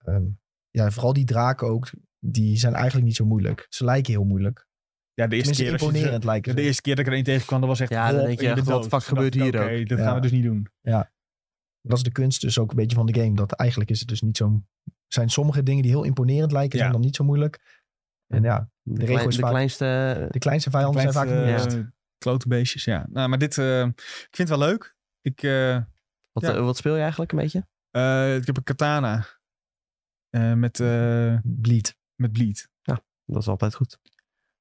A: Ehm, ja, vooral die draken ook. Die zijn eigenlijk niet zo moeilijk. Ze lijken heel moeilijk.
C: Ja, de eerste
A: Tenminste,
C: keer... als je-
A: imponerend lijken
C: De
A: ze.
C: eerste keer dat ik er één tegenkwam, dat was echt...
D: Ja, dan
C: hop,
D: denk je
C: in de
D: echt, wat
C: dood.
D: fuck
C: Toen dacht
D: gebeurt
C: ik,
D: hier
C: Oké, dat
A: Ja.
C: gaan we dus niet doen.
A: Dat is de kunst dus ook een beetje van de game. Dat eigenlijk is het dus niet zo... Zijn sommige dingen die heel imponerend lijken,
C: Ja.
A: zijn dan niet zo moeilijk. En ja,
D: De,
A: regel
D: klein-
A: is
D: de
A: vaak-
D: kleinste...
A: de kleinste vijanden zijn vaak...
C: Kleinste,
A: het
D: niet
A: moeilijkst.
C: eh, Klote beestjes, ja. Nou, maar dit, eh, ik vind het wel leuk. Ik, eh,
D: Wat,
C: Ja.
D: eh, wat speel je eigenlijk een beetje?
C: eh, ik heb een katana. Eh, met, eh,
A: Bleed.
C: met bleed.
D: Dat is altijd goed.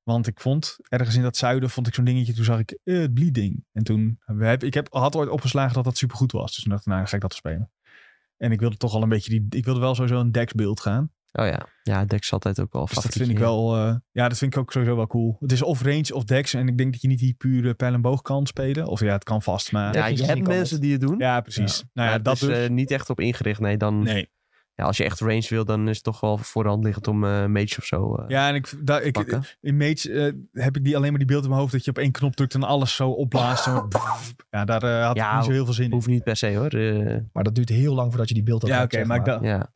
C: Want ik vond, ergens in dat zuiden vond ik zo'n dingetje. Toen zag ik eh, het bleeding. En toen, heb, ik heb, had ooit opgeslagen dat dat supergoed was. Dus toen dacht ik, nou dan ga ik dat spelen. En ik wilde toch al een beetje die, ik wilde wel sowieso een dex beeld gaan.
D: Oh ja. Ja, Dex is altijd ook wel
C: Dus dat
D: favorietje,
C: vind ik
D: ja.
C: wel, eh, ja, dat vind ik ook sowieso wel cool. Het is of range of dex. En ik denk dat je niet die pure pijl en boog kan spelen. Of ja, het kan vast, maar...
D: Ja,
A: Technisch
D: je
A: gezien
D: hebt
A: kan
D: mensen
A: het.
D: die het doen.
C: Ja, precies. Nou ja,
D: maar het
C: dat
D: is
C: dus.
D: eh, niet echt op ingericht. Nee, dan,
C: nee.
D: ja, als je echt range wil, dan is het toch wel voor de hand liggend om eh mage of zo eh,
C: Ja, en ik, daar,
D: te
C: ik,
D: pakken.
C: in Mage eh, heb ik die, alleen maar die beeld in mijn hoofd dat je op één knop drukt en alles zo opblaast. Zo, ja, daar eh, had ik
D: Oh. Ja,
C: niet zo heel veel zin in.
D: Hoeft niet per se hoor. Eh,
A: Maar dat duurt heel lang voordat je die beeld had.
C: Ja, oké,
A: hebt, zeg
C: maar ik dacht-
D: ja.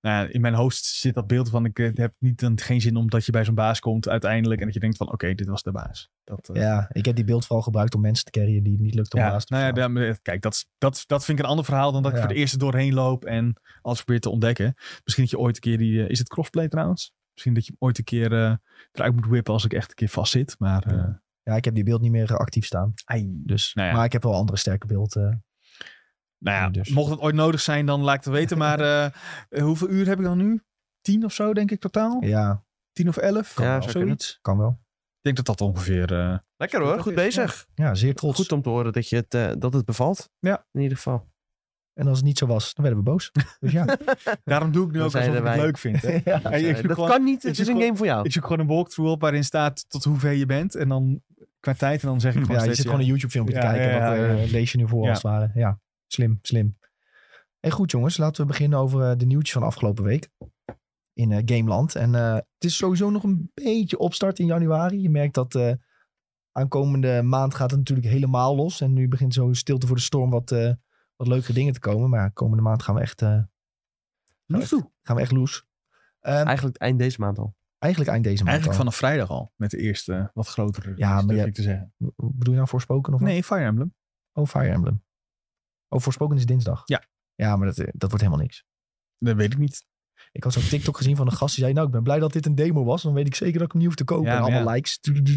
C: Nou, ja, in mijn hoofd zit dat beeld van ik eh, heb niet, dan, geen zin omdat je bij zo'n baas komt uiteindelijk en dat je denkt van oké, dit was de baas. Dat, eh,
A: Ja, ik heb die beeld vooral gebruikt om mensen te carryen die het niet lukt om
C: ja,
A: naast te
C: nou ja,
A: verslaan.
C: daar- maar, eh, kijk, dat, is- dat, dat vind ik een ander verhaal dan dat ik
A: Ja.
C: voor de eerste doorheen loop en alles probeer te ontdekken. Misschien dat je ooit een keer die, eh, is het crossplay trouwens? Misschien dat je hem ooit een keer eh, eruit moet whippen als ik echt een keer vast zit, maar... eh,
A: Ja. Ja, ik heb die beeld niet meer eh, actief staan.
C: ai.
A: Dus,
C: Nou ja.
A: Maar ik heb wel andere sterke beeld. eh.
C: Nou ja,
A: Ja, dus.
C: mocht het ooit nodig zijn, dan laat ik het weten. Maar eh, hoeveel uur heb ik dan nu? Tien of zo, denk ik totaal.
A: ja,
C: Tien of elf,
D: Ja,
C: ja,
D: zou
C: zoiets.
A: kan wel.
C: Ik denk dat dat ongeveer... eh,
D: Lekker hoor, goed bezig.
A: Ja, zeer trots.
D: Goed om te horen dat, je het, eh, dat het bevalt.
C: Ja.
D: In ieder geval.
A: En als het niet zo was, dan werden we boos. Dus ja.
C: daarom doe ik nu
D: Dan
C: ook
D: zijn
C: alsof ik
D: er
C: het
D: wij.
C: leuk vind. Hè?
A: Ja.
C: Hey, ik,
D: Eh,
C: zoek
D: dat
C: gewoon,
D: kan niet,
C: ik
D: het
C: zoek
D: is een
C: wel-
D: game voor jou.
C: ik zoek gewoon een walkthrough op waarin staat tot hoe ver je bent. En dan qua tijd. En dan zeg ik gewoon
A: Hm, ja, je
C: steeds,
A: zit gewoon een YouTube filmpje te
C: Ja,
A: kijken.
C: ja, ja,
A: dat eh, lees je nu voor
C: Ja.
A: als het ware. Ja, slim, slim. En goed jongens, laten we beginnen over eh, de nieuwtjes van afgelopen week. In eh, Gameland. En eh, het is sowieso nog een beetje opstart in januari. Je merkt dat eh, aankomende maand gaat het natuurlijk helemaal los. En nu begint zo stilte voor de storm wat, eh, wat leukere dingen te komen. Maar ja, komende maand gaan we echt... eh, gaan we
D: Loes
A: echt-
D: toe.
A: Gaan we echt loes. Ehm,
D: Eigenlijk eind deze maand al.
A: eigenlijk eind deze maand
C: Eigenlijk
A: al.
C: vanaf vrijdag al. Met de eerste eh, wat grotere release,
A: Ja, maar
C: durf
A: je-
C: ik te zeggen.
A: Bedoel je nou voorspoken of wat?
C: Nee, Fire Emblem.
A: Oh, Fire Emblem. Oh, Forspoken is dinsdag.
C: Ja.
A: Ja, maar dat, eh, dat wordt helemaal niks.
C: Dat weet ik niet.
A: Ik had zo'n TikTok gezien van een gast die zei... Nou, ik ben blij dat dit een demo was. Dan weet ik zeker dat ik hem niet hoef te kopen.
C: Ja,
A: en
C: maar
A: allemaal likes. Du- du- du-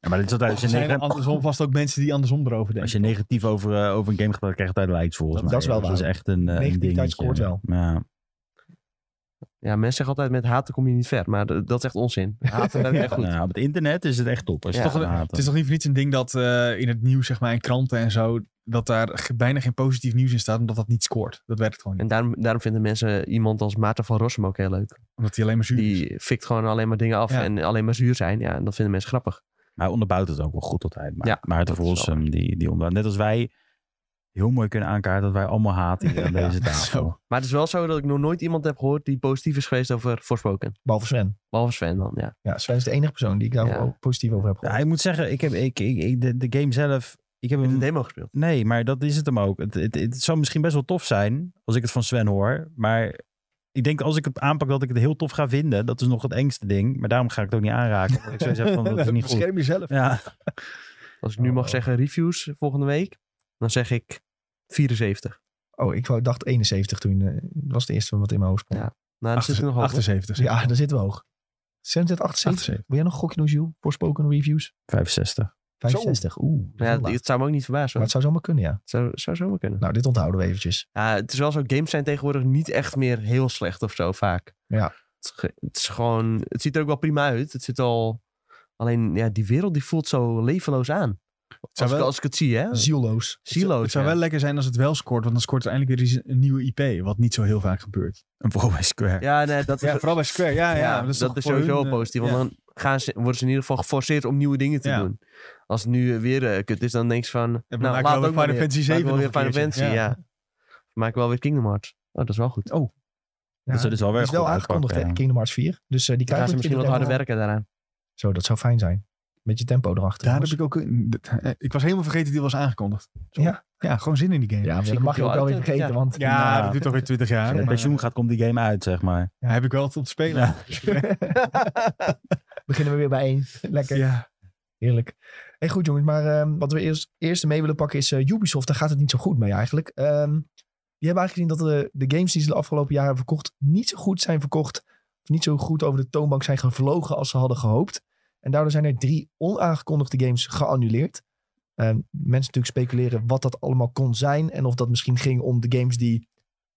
B: Ja, maar dit is altijd, als,
C: Er
B: je
C: zijn
B: negatief,
C: andersom vast ook mensen die andersom erover
B: als
C: denken.
B: je negatief over, eh, over een game gebruikt, krijg je altijd likes volgens
A: Dat-
B: mij.
A: dat is wel
B: Dat is
A: waar.
B: echt een, eh, een
A: Negativiteit
B: dingetje.
A: scoort wel.
B: Ja.
D: Ja, mensen zeggen altijd met haten kom je niet ver. Maar d- dat is echt onzin. Haten werkt echt goed.
B: Nou, op het internet is het echt top. Als je
D: Ja.
B: het gaat
C: Toch een-
B: haten.
C: Het is toch niet voor niets een ding dat eh, in het nieuws, zeg maar, in kranten en zo, dat daar ge- bijna geen positief nieuws in staat, omdat dat niet scoort. Dat werkt gewoon niet.
D: En daarom, daarom vinden mensen iemand als Maarten van Rossum ook heel leuk.
C: Omdat hij alleen maar zuur is.
D: Die fikt gewoon alleen maar dingen af
C: Ja.
D: en alleen maar zuur zijn. Ja, en dat vinden mensen grappig.
B: Maar hij onderbouwt het ook wel goed altijd. Maar,
D: Ja,
B: maar
D: dat
B: de
D: is wel
B: Volsum, die, die onderbouwt. Net als wij heel mooi kunnen aankaarten dat wij allemaal haten hier aan deze tafel.
C: Zo.
D: Maar het is wel zo dat ik nog nooit iemand heb gehoord die positief is geweest over Forspoken.
A: Behalve Sven.
D: Behalve Sven dan, ja.
A: Ja, Sven is de enige persoon die ik daar
D: Ja.
A: ook positief over heb
B: Ja,
A: gehoord.
B: ik moet zeggen, ik heb, ik, ik, ik- de, de game zelf... Ik heb
D: Heb je
B: hem
D: de demo gespeeld?
B: Nee, maar dat is het hem ook. Het, het, het zou misschien best wel tof zijn als ik het van Sven hoor. Maar ik denk als ik het aanpak dat ik het heel tof ga vinden. Dat is nog het engste ding. Maar daarom ga ik het ook niet aanraken. Omdat ik zo zeg van, dat is niet goed.
C: Bescherm jezelf.
B: Ja,
D: Als ik nu
A: Oh.
D: mag zeggen reviews volgende week, dan zeg ik 74.
A: Oh, ik wou- dacht 71 toen. eh, Dat was het eerste wat in mijn hoofd sprong. Dus
D: Ja. Nou, dan
C: Achter-
D: zit er nog hoog, hoor.
C: 78.
A: Ja, daar zitten we hoog. Sven zit 78.
C: 78.
A: Wil jij nog een gokje doen, Jules? Voorspoken reviews?
B: 65.
A: 65. Oeh, dat is heel
D: Ja,
A: laag.
D: het- het zou me ook niet verbazen.
A: Maar
D: hoor.
A: het zou zomaar kunnen, ja.
D: Het zou, zou zomaar kunnen.
A: Nou, dit onthouden we eventjes.
D: Ja, het is wel zo, games zijn tegenwoordig niet echt meer heel slecht of zo vaak.
A: Ja.
D: Het, is ge- het is gewoon, het ziet er ook wel prima uit. Het zit al Alleen ja, die wereld die voelt zo levenloos aan. Als,
C: wel-
D: ik, als ik het zie, hè?
A: Zieloos.
D: Silo's.
C: Het zou
D: ja.
C: wel lekker zijn als het wel scoort, want dan scoort er eindelijk weer eens een nieuwe IP, wat niet zo heel vaak gebeurt.
B: Een vooral bij Square.
D: Ja, nee, dat is,
C: Ja, vooral bij Square. Ah, Ja, ja,
D: ja, dat,
C: toch
D: is
C: voor
D: sowieso
C: hun,
D: wel
C: eh,
D: positief. Want
C: ja.
D: dan gaan ze, worden ze in ieder geval geforceerd om nieuwe dingen te
C: Ja.
D: doen. Als het nu eh, weer eh, kut is, dan denk je van...
C: we
D: nou,
C: maken
D: laat
C: wel weer
D: ook maar
C: Final
D: weer.
C: Fantasy
D: Maak
C: 7
D: wel weer
C: nog een
D: Final Fantasy, ja.
C: keertje, ja.
D: Maak wel weer Kingdom Hearts. Oh, dat is wel goed.
C: Oh,
A: Ja,
B: Dat zou dus wel
A: die
B: weer
A: is wel
B: goed
A: aangekondigd, hè?
B: uitpakken,
A: Kingdom Hearts 4. Dus eh, die
D: Dan gaan
A: krijgen
D: ze misschien wat harder werken daaraan.
A: Zo, dat zou fijn zijn. Beetje tempo erachter.
C: Daar heb
A: jongens.
C: ik ook... eh, Ik was helemaal vergeten dat die was aangekondigd. Zo.
A: Ja.
C: Ja, gewoon zin in die game.
A: Ja, maar
D: Misschien
A: dat mag je
D: komt
A: ook wel
D: die wel
A: weer
D: uit,
A: vergeten,
D: ja.
A: want...
C: Ja,
B: Nou.
C: dat duurt toch weer 20 jaar.
B: Als je
C: maar-
B: met pensioen gaat, komt die game uit, zeg maar.
C: Ja, heb ik wel tot spelen.
B: Ja.
A: beginnen we weer bij één. Lekker.
C: Ja.
A: Heerlijk. Hey, goed jongens, maar ehm, wat we eerst, eerst mee willen pakken is eh, Ubisoft. Daar gaat het niet zo goed mee eigenlijk. Ehm, die hebben eigenlijk gezien dat de, de games die ze de afgelopen jaren hebben verkocht... niet zo goed zijn verkocht. Of niet zo goed over de toonbank zijn gevlogen als ze hadden gehoopt. En daardoor zijn er drie onaangekondigde games geannuleerd. Ehm, mensen natuurlijk speculeren wat dat allemaal kon zijn. En of dat misschien ging om de games die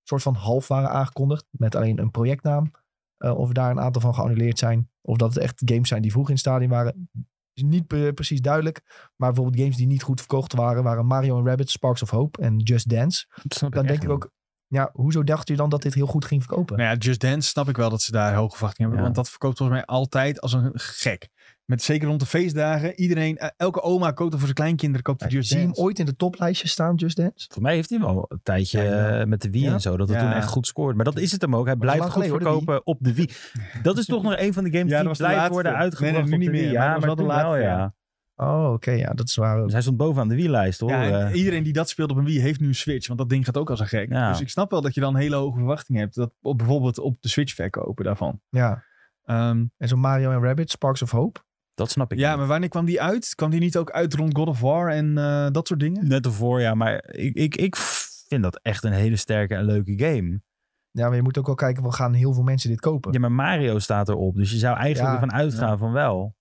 A: soort van half waren aangekondigd. Met alleen een projectnaam. Eh, of daar een aantal van geannuleerd zijn. Of dat het echt games zijn die vroeg in het stadion waren is niet pre- precies duidelijk. Maar bijvoorbeeld games die niet goed verkocht waren, waren Mario en Rabbit, Sparks of Hope en Just Dance. Dan denk ik ook, ja, hoezo dacht je dan dat dit heel goed ging verkopen?
C: Nou ja, Just Dance snap ik wel dat ze daar hoge verwachtingen hebben.
B: Ja.
C: Want dat verkoopt volgens mij altijd als een gek. Met zeker rond de feestdagen. Iedereen, eh, elke oma koopt er voor zijn kleinkinderen koopt er Just
A: Zie je hem
C: Dance.
A: ooit in de toplijstje staan, Just Dance?
B: Voor mij heeft hij wel een tijdje
C: Ja, ja.
B: eh, met de Wii
C: Ja?
B: en zo, dat het
C: Ja.
B: toen echt goed scoort. Maar dat is het hem ook. Hij
A: dat is
B: blijft goed
A: lang geleden, hoor, de
B: verkopen op de Wii. Dat is toch nog een van de games
C: Ja, dat
B: die
C: was de
B: blijft
C: laatste.
B: worden
C: Nee, nee,
B: uitgebracht
C: nu
B: op
C: niet
B: de Wii.
C: meer, maar
B: Ja,
C: dat
B: maar
C: was wel
B: toen
C: de
B: wel,
C: laatste,
B: ja.
A: Oh, oké, ja, dat is waar. ook.
B: Dus hij stond bovenaan de Wii-lijst, hoor.
C: Ja, en
B: Eh,
C: iedereen die dat speelt op een Wii heeft nu een Switch. Want dat ding gaat ook als een gek.
B: Ja.
C: Dus ik snap wel dat je dan hele hoge verwachtingen hebt. Dat op, bijvoorbeeld op de Switch verkopen daarvan.
A: Ja,
C: Ehm,
A: en zo Mario en Rabbit, Sparks of Hope.
B: Dat snap ik
C: ja,
B: niet.
C: maar wanneer kwam die uit? Kwam die niet ook uit rond God of War en eh, dat soort dingen?
B: Net ervoor, ja. Maar ik, ik, ik vind dat echt een hele sterke en leuke game.
A: Ja, maar je moet ook wel kijken, we gaan heel veel mensen dit kopen.
B: Ja, maar Mario staat erop. Dus je zou eigenlijk
A: Ja.
B: ervan uitgaan van wel.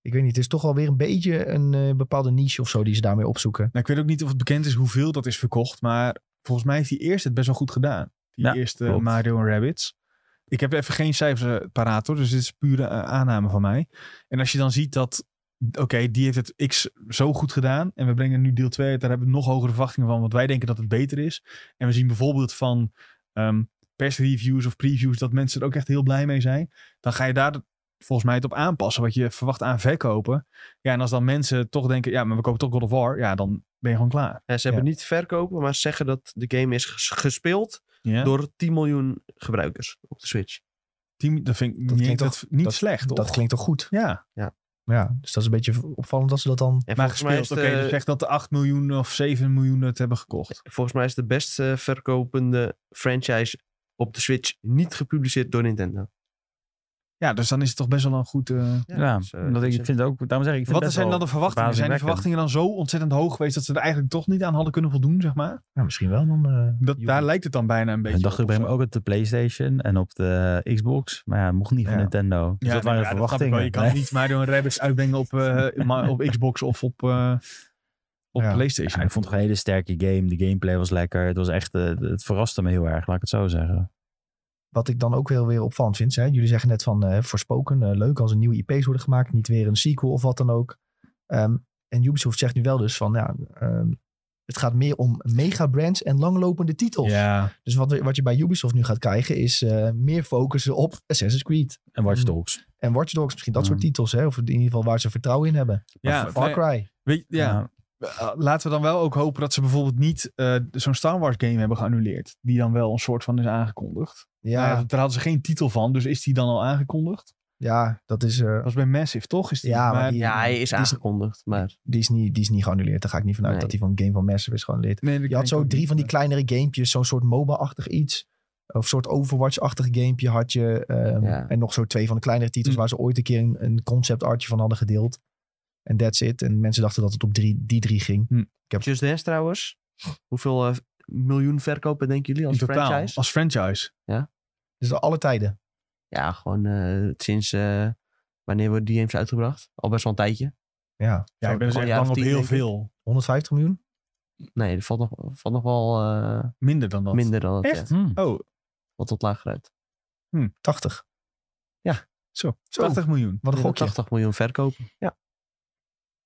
A: Ik weet niet, het is toch alweer een beetje een eh, bepaalde niche of zo die ze daarmee opzoeken.
C: Nou, ik weet ook niet of het bekend is hoeveel dat is verkocht. Maar volgens mij heeft die eerste het best wel goed gedaan. Die
B: Ja,
C: eerste
B: klopt.
C: Mario en Rabbids. Ik heb even geen cijfers eh, paraat hoor. Dus dit is pure eh, aanname van mij. En als je dan ziet dat... Oké, die heeft het X zo goed gedaan. En we brengen nu deel 2 uit. Daar hebben we nog hogere verwachtingen van. Want wij denken dat het beter is. En we zien bijvoorbeeld van ehm persreviews of previews... dat mensen er ook echt heel blij mee zijn. Dan ga je daar volgens mij het op aanpassen. Wat je verwacht aan verkopen. Ja, en als dan mensen toch denken... Ja, maar we kopen toch God of War. Ja, dan ben je gewoon klaar.
D: Ja, ze hebben niet verkopen, maar ze zeggen dat de game is ges- gespeeld
C: Ja.
D: door 10 miljoen gebruikers op de Switch.
C: Team, dat vind ik
A: Dat
C: niet,
A: klinkt
C: dat, niet
A: dat-
C: slecht.
A: Dat
C: toch?
A: klinkt toch goed?
C: Ja,
A: Ja, dus dat is een beetje opvallend dat ze dat dan...
D: En
C: maar
D: volgens mij,
C: gespeeld.
D: is
C: Oké,
D: de,
C: dus echt dat de 8 miljoen of 7 miljoen het hebben gekocht.
D: volgens mij is de best eh, verkopende franchise op de Switch niet gepubliceerd door Nintendo.
C: Ja, dus dan is het toch best wel een goed... eh,
B: Ja, dus,
D: dus,
B: dat ik, ik vind het ook... Daarom zeg ik, ik vind
C: Wat
B: het best
C: zijn
B: wel
C: dan de verwachtingen? Zijn de
B: verbazingwekkend.
C: verwachtingen dan zo ontzettend hoog geweest dat ze er eigenlijk toch niet aan hadden kunnen voldoen, zeg maar?
A: Nou, misschien wel dan... eh,
C: Dat,
A: Joepie.
C: daar lijkt het dan bijna een beetje
B: Ik dacht
C: op
B: ik bij hem
C: of zo.
B: ook op de PlayStation en op de eh, Xbox. Maar ja, het mocht niet van
A: Ja.
B: Nintendo. Dus
C: Ja,
B: dat
C: nee,
B: waren de
C: ja, dat snap ik
B: verwachtingen.
C: wel. Je kan
B: Nee.
C: niet Mario en Rabbids uitbrengen op, eh, ma- op Xbox of op, eh, op
A: Ja.
C: Playstation.
B: Ja, ik vond het gewoon een hele sterke game. De gameplay was lekker. Het, was echt, eh, het verraste me heel erg, laat ik het zo zeggen.
A: Wat ik dan ook heel weer opvallend vind. Hè? Jullie zeggen net van eh voorspoken, eh, leuk als er nieuwe IP's worden gemaakt. Niet weer een sequel of wat dan ook. Ehm, en Ubisoft zegt nu wel dus van, ja, ehm, het gaat meer om megabrands en langlopende titels.
C: Ja,
A: Dus wat, we- wat je bij Ubisoft nu gaat krijgen is eh, meer focussen op Assassin's Creed.
B: En Watch
A: Mm.
B: Dogs.
A: En Watch Dogs, misschien dat
B: Ja.
A: soort titels. Hè? Of in ieder geval waar ze vertrouwen in hebben.
C: Mm. ja,
A: Far Cry.
C: weet, ja. Eh, laten we dan wel ook hopen dat ze bijvoorbeeld niet eh, zo'n Star Wars game hebben geannuleerd. Die dan wel een soort van is aangekondigd. Nou
A: Ja,
C: Ja. daar hadden ze geen titel van, dus is die dan al aangekondigd?
A: ja dat is... eh,
C: Dat was bij Massive, toch? Is die,
A: ja, maar die,
D: Ja, hij is
A: die is,
D: aangekondigd, maar...
A: die, is niet, die is niet geannuleerd. Daar ga ik niet vanuit
D: Nee.
A: dat die van Game van Massive is geannuleerd.
C: nee, dat
A: Je had
C: denk ik
A: zo
C: ook
A: drie
C: niet.
A: van die kleinere gamepjes, zo'n soort MOBA-achtig iets. Of soort Overwatch-achtig gamepje had je. ehm,
D: Ja.
A: En nog zo twee van de kleinere titels
C: Hm.
A: waar ze ooit een keer een, een concept artje van hadden gedeeld. En that's it. En mensen dachten dat het op drie, die drie ging.
D: Just Dance trouwens. Hoeveel eh, miljoen verkopen denken jullie
C: In
D: als
C: totaal,
D: franchise?
C: als franchise.
A: Dus door alle tijden.
D: Ja, gewoon eh, sinds... eh, wanneer worden die games uitgebracht? Al best wel een tijdje.
A: Ja,
C: Ja,
A: Zo-
C: ik ben dus
D: een
C: echt
D: jaar
C: bang
D: of
C: op
D: tien,
C: heel
D: oh denk ik.
C: veel.
A: 150 miljoen.
D: Nee, dat valt nog, valt nog wel eh,
C: Minder dan dat. Oh,
D: minder dan dat.
C: Echt?
D: ja.
B: Hmm.
C: Oh,
D: Wat tot lager uit.
A: 80.
D: Ja.
C: Zo,
A: Zo.
C: 80 miljoen.
A: Wat een gokje. Oké,
D: 80 miljoen verkopen. Ja.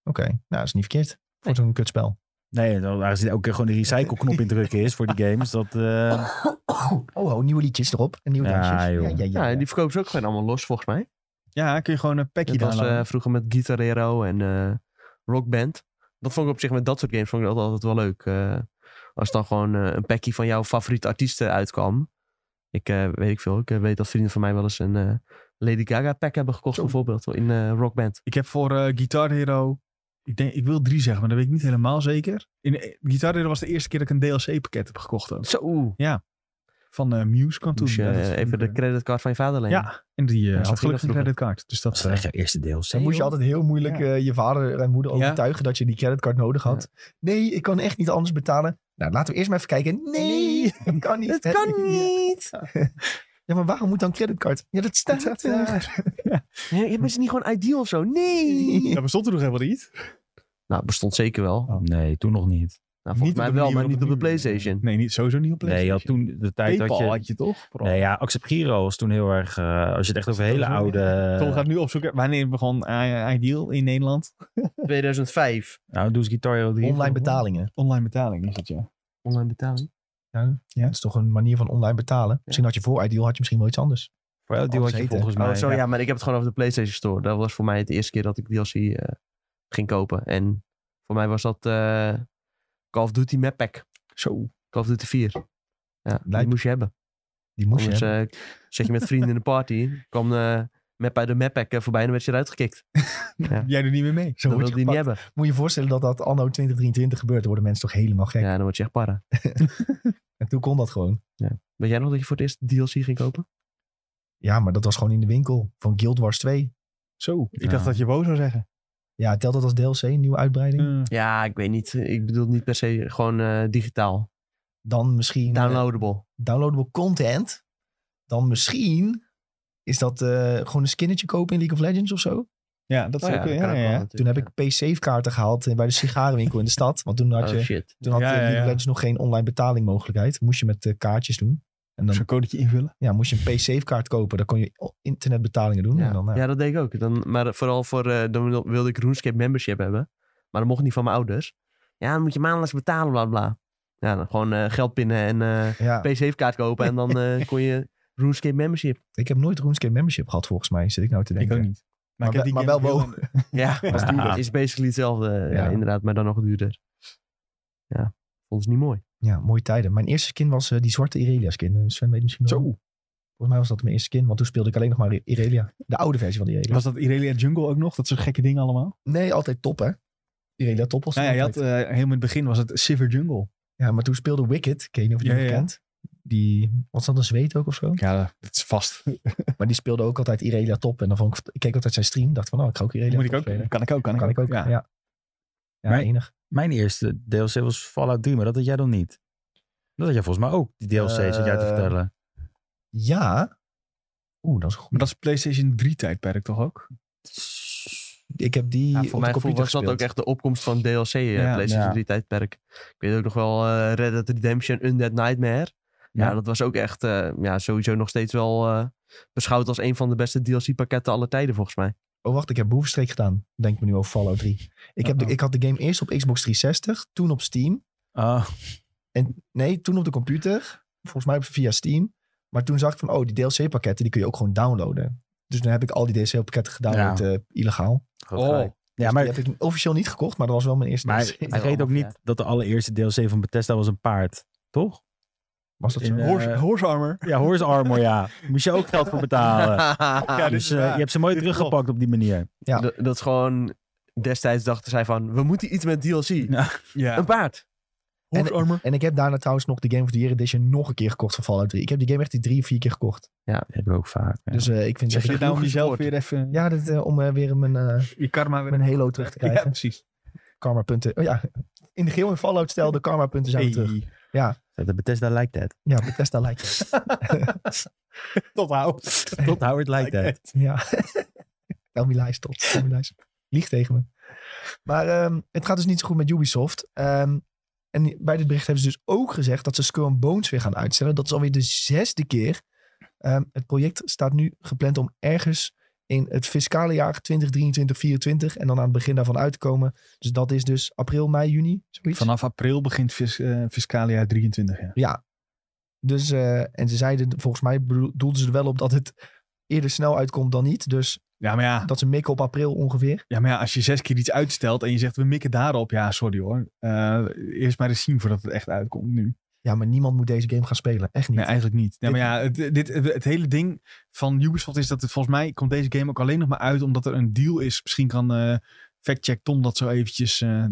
A: nou, dat is niet verkeerd. Voor
D: Nee.
A: zo'n kutspel.
B: Nee, dan- aangezien elke keer gewoon de recycle-knop in drukken is voor die games. Dat, eh,
A: Oh, oh, nieuwe liedjes erop. En nieuwe
B: Ja,
A: dansjes.
B: joh.
A: Ja, ja, ja,
D: Ja, en
A: ja.
D: die verkopen ze ook gewoon allemaal los, volgens mij.
C: Ja, kun je gewoon een packje
D: Dat was
C: downloaden.
D: eh, vroeger met Guitar Hero en eh, Rock Band. Dat vond ik op zich met dat soort games vond ik dat altijd wel leuk. Eh, als dan gewoon eh, een packje van jouw favoriete artiesten uitkwam. Ik eh, weet ik veel. Ik eh, weet dat vrienden van mij wel eens een eh, Lady Gaga pack hebben gekocht,
C: Zo.
D: bijvoorbeeld, in eh Rock Band.
C: Ik heb voor eh, Guitar Hero... Ik, denk, ik wil drie zeggen, maar dat weet ik niet helemaal zeker. In, eh, Guitar Hero was de eerste keer dat ik een DLC-pakket heb gekocht ook.
D: Zo.
C: Van eh, Muse kwam toen.
D: Moest je
C: Ja, dat
D: eh,
C: vond ik,
D: even de
C: eh,
D: creditcard van je vader lenen.
C: Ja, en die eh,
D: Ja,
C: had
D: had
C: gelukkig
D: ik
C: een
D: dat vroeger.
C: creditcard. Dus dat...
B: was echt jouw eerste deel.
A: Dan moest je altijd heel moeilijk
C: Ja.
A: eh, je vader en moeder
C: Ja.
A: overtuigen dat je die creditcard nodig had. Nee, ik kan echt niet anders betalen. Nou, laten we eerst maar even kijken. Nee, dat kan niet.
D: Dat kan
A: Ja.
D: niet.
A: Ja, maar waarom moet dan creditcard? Ja, dat staat
C: Dat staat
A: er.
D: Je je bent niet gewoon ideal of zo. Nee.
C: bestond er nog helemaal niet.
D: Nou, bestond zeker wel. Nou,
B: Nee, toen nog niet.
D: volgens
C: op
D: mij
C: de
D: wel,
C: manier
D: maar niet op de
C: nu, eh,
D: PlayStation.
C: Nee, niet, sowieso niet op
B: Nee, je had
C: PlayStation.
B: toen de tijd dat
C: Paypal had
B: je...
C: je toch? vooral?
B: Nee, ja, Accept Giro was toen heel erg... eh, als je het echt over
C: Dat
B: hele
C: was wel-
B: oude...
C: Tom gaat nu opzoeken. Wanneer begon I- Ideal in Nederland?
D: 2005.
B: Nou, doe eens Guitar Hero 3.
A: Online betalingen.
C: Online betaling is het, ja.
D: Online betaling.
A: Ja, dat is toch een manier van online betalen. Misschien had je voor Ideal had je misschien wel iets anders.
B: Voor elk deel had je
A: Alles
B: volgens mij...
D: Oh, zo, ja. maar ik heb het gewoon over de PlayStation Store. Dat was voor mij de eerste keer dat ik DLC eh, ging kopen. En voor mij was dat eh, Call of Duty Map Pack.
A: Zo.
D: Call of Duty 4. Ja,
A: Lijp.
D: die moest je hebben.
A: Die moest
D: Anders
A: je hebben.
D: eh, zat je met vrienden in de party, kwam de map uit de Map Pack eh, voorbij en dan werd je eruit gekikt. Ja.
C: Jij doet niet meer mee.
A: Zo
D: eh, Dat
A: word je
D: wilde je niet
A: gepakt.
D: hebben.
A: Moet je je voorstellen dat dat anno 2023 gebeurt. Dan worden mensen toch helemaal gek.
D: Ja, dan word je echt para.
A: En toen kon dat gewoon.
D: Weet jij nog dat je voor het eerst DLC ging kopen?
A: Ja, maar dat was gewoon in de winkel. Van Guild Wars 2.
C: Zo, ik
B: Ja.
C: dacht dat je boos zou zeggen.
A: Ja, telt dat als DLC, nieuwe uitbreiding?
D: Ja, ik weet niet. Ik bedoel niet per se gewoon eh, digitaal.
A: Dan misschien... eh,
D: Downloadable.
A: downloadable content, dan misschien is dat eh, gewoon een skinnetje kopen in League of Legends of zo.
C: Ja, dat zou
D: Oh
C: kunnen.
D: kan
C: Ja,
D: ook
C: ja,
D: wel
C: ja.
D: natuurlijk,
A: Toen heb
D: ja.
A: ik P-Safe kaarten gehaald eh, bij de sigarenwinkel in de stad. Want toen had, je,
D: Oh shit.
A: toen had
C: Ja,
A: eh,
C: ja,
A: League of
C: ja.
A: Legends nog geen online betalingmogelijkheid. Moest je met eh, kaartjes doen. En dan
C: Zo'n codetje invullen.
A: ja, moest je een P-Safe kaart kopen. Dan kon je internetbetalingen doen.
D: Ja,
A: En dan, nou,
D: ja, dat deed ik ook. Dan, maar vooral voor, eh, dan wil- wilde ik RuneScape membership hebben. Maar dat mocht niet van mijn ouders. Ja, dan moet je maandelijks betalen, bla bla. Ja, dan gewoon eh, geld pinnen en eh
A: ja.
D: pc kaart kopen. En dan eh, kon je RuneScape membership.
A: Ik heb nooit RuneScape membership gehad volgens mij, zit ik nou te denken.
C: Ik ook niet.
A: Maar
C: ik heb
A: we-
C: die
A: maar
C: game
A: wel
C: heel-
D: Ja,
B: was duurder.
D: het is basically hetzelfde. eh,
A: Ja.
D: Ja. inderdaad, maar dan nog duurder. Ja, vond ze niet mooi.
A: Ja, mooie tijden. Mijn eerste skin was eh, die zwarte Irelia skin. Eh, Sven weet misschien wel.
C: Zo,
A: Volgens mij was dat mijn eerste skin, want toen speelde ik alleen nog maar Irelia. De oude versie van die Irelia.
C: was dat Irelia Jungle ook nog? Dat soort gekke dingen allemaal?
A: Nee, altijd top, hè? Irelia top was
C: Nou ja,
A: het
C: je had,
A: altijd.
C: eh, helemaal in het begin was het Silver Jungle.
A: Ja, maar toen speelde Wicked, ken je niet of je
C: Ja,
A: die
C: ja.
A: kent? Die, was dat een zweet ook of zo?
C: Ja, dat is vast.
A: Maar die speelde ook altijd Irelia top. En dan vond ik, ik keek altijd zijn stream, dacht van, oh, ik ga ook Irelia
C: Moet ik
A: top
C: ook?
A: spelen.
C: Kan ik ook, kan,
A: Kan ik ook, ja.
C: Ja.
A: Ja,
B: Maar-
A: enig.
B: Mijn eerste DLC was Fallout 3, maar dat had jij dan niet. Dat had jij volgens mij ook, die DLC, zit jij te
A: Eh,
B: vertellen.
A: Ja. Oeh, dat is goed.
C: Maar dat is PlayStation 3 tijdperk toch ook?
A: Ik heb die
D: Ja,
A: op de
D: voor mij
A: computer
D: was dat
A: gespeeld.
D: ook echt de opkomst van DLC, eh,
C: Ja.
D: PlayStation
B: Ja.
D: 3 tijdperk. Ik weet ook nog wel eh, Red Dead Redemption, Undead Nightmare. Ja,
B: Ja.
D: dat was ook echt, eh, ja, sowieso nog steeds wel eh, beschouwd als een van de beste DLC-pakketten aller tijden, volgens mij.
A: Oh, wacht, ik heb Boevenstreek gedaan. Denk me nu over Fallout 3. Ik,
D: Oh.
A: heb de,
C: Uh-oh.
A: ik had de game eerst op Xbox 360, toen op Steam.
B: Oh,
A: En nee, toen op de computer. Volgens mij via Steam. Maar toen zag ik van, oh, die DLC-pakketten, die kun je ook gewoon downloaden. Dus dan heb ik al die DLC-pakketten gedownload, eh, illegaal. Dus
B: groot gelijk. ja, maar,
A: Oh. Die heb ik officieel niet gekocht, maar dat was wel mijn eerste
B: maar
A: DLC.
B: vergeet ook niet dat de allereerste DLC van Bethesda was een paard, toch?
A: Was dat zo?
B: in, eh,
C: Horse, horse Armor.
B: Ja, Horse Armor, ja. Moest je ook geld voor betalen.
C: Ja, dit
B: dus
C: is
B: eh,
C: waar.
B: je hebt ze mooi
C: Dit
B: teruggepakt op die manier.
A: Ja.
D: Dat, dat is gewoon, destijds dachten zij van, we moeten iets met DLC.
C: Ja,
D: Een paard.
C: Horse Armor.
A: En ik heb daarna trouwens nog de Game of the Year Edition nog een keer gekocht van Fallout 3. Ik heb die game echt die drie, vier keer gekocht.
B: heb ik ook vaak. ja.
A: Dus eh, ik vind
C: Zeg
A: het
C: je dit
A: echt...
C: nou om
D: genoeg
C: jezelf
D: gescoord.
C: weer even
A: Ja, dit, eh, om eh, weer mijn, eh,
C: je karma weer
A: mijn Halo terug te
C: Ja,
A: krijgen.
C: precies.
A: Karma-punten. Oh ja, in de geel en Fallout stijl, de karma-punten zijn weer eh, terug.
C: Hey.
B: De Bethesda lijkt het.
A: Ja, Bethesda lijkt het.
C: Tot nou.
B: Tot Howard lijkt het.
A: ja. Tell me lies, tot. Tell me lies. Lieg tegen me. Maar ehm, het gaat dus niet zo goed met Ubisoft. Ehm, en bij dit bericht hebben ze dus ook gezegd dat ze Skull and Bones weer gaan uitstellen. Dat is alweer de zesde keer. Ehm, het project staat nu gepland om ergens in het fiscale jaar 2023-2024 en dan aan het begin daarvan uit te komen. Dus dat is dus april, mei, juni, zoiets.
C: Vanaf april begint fis, eh, fiscale jaar 23. Ja.
A: Ja. Dus, eh, en ze zeiden, volgens mij bedoelden ze er wel op dat het eerder snel uitkomt dan niet. Dus
C: Ja, maar ja,
A: dat ze mikken op april ongeveer.
C: ja, maar ja, als je zes keer iets uitstelt en je zegt we mikken daarop. Ja, sorry hoor. Eh, eerst maar eens zien voordat het echt uitkomt nu.
A: Ja, maar niemand moet deze game gaan spelen. Echt niet.
C: Nee, eigenlijk niet. Nee,
A: Dit-
C: maar ja, het, dit, het hele ding van Ubisoft is dat het volgens mij komt deze game ook alleen nog maar uit omdat er een deal is. Misschien kan eh factcheck Tom dat zo eventjes eh,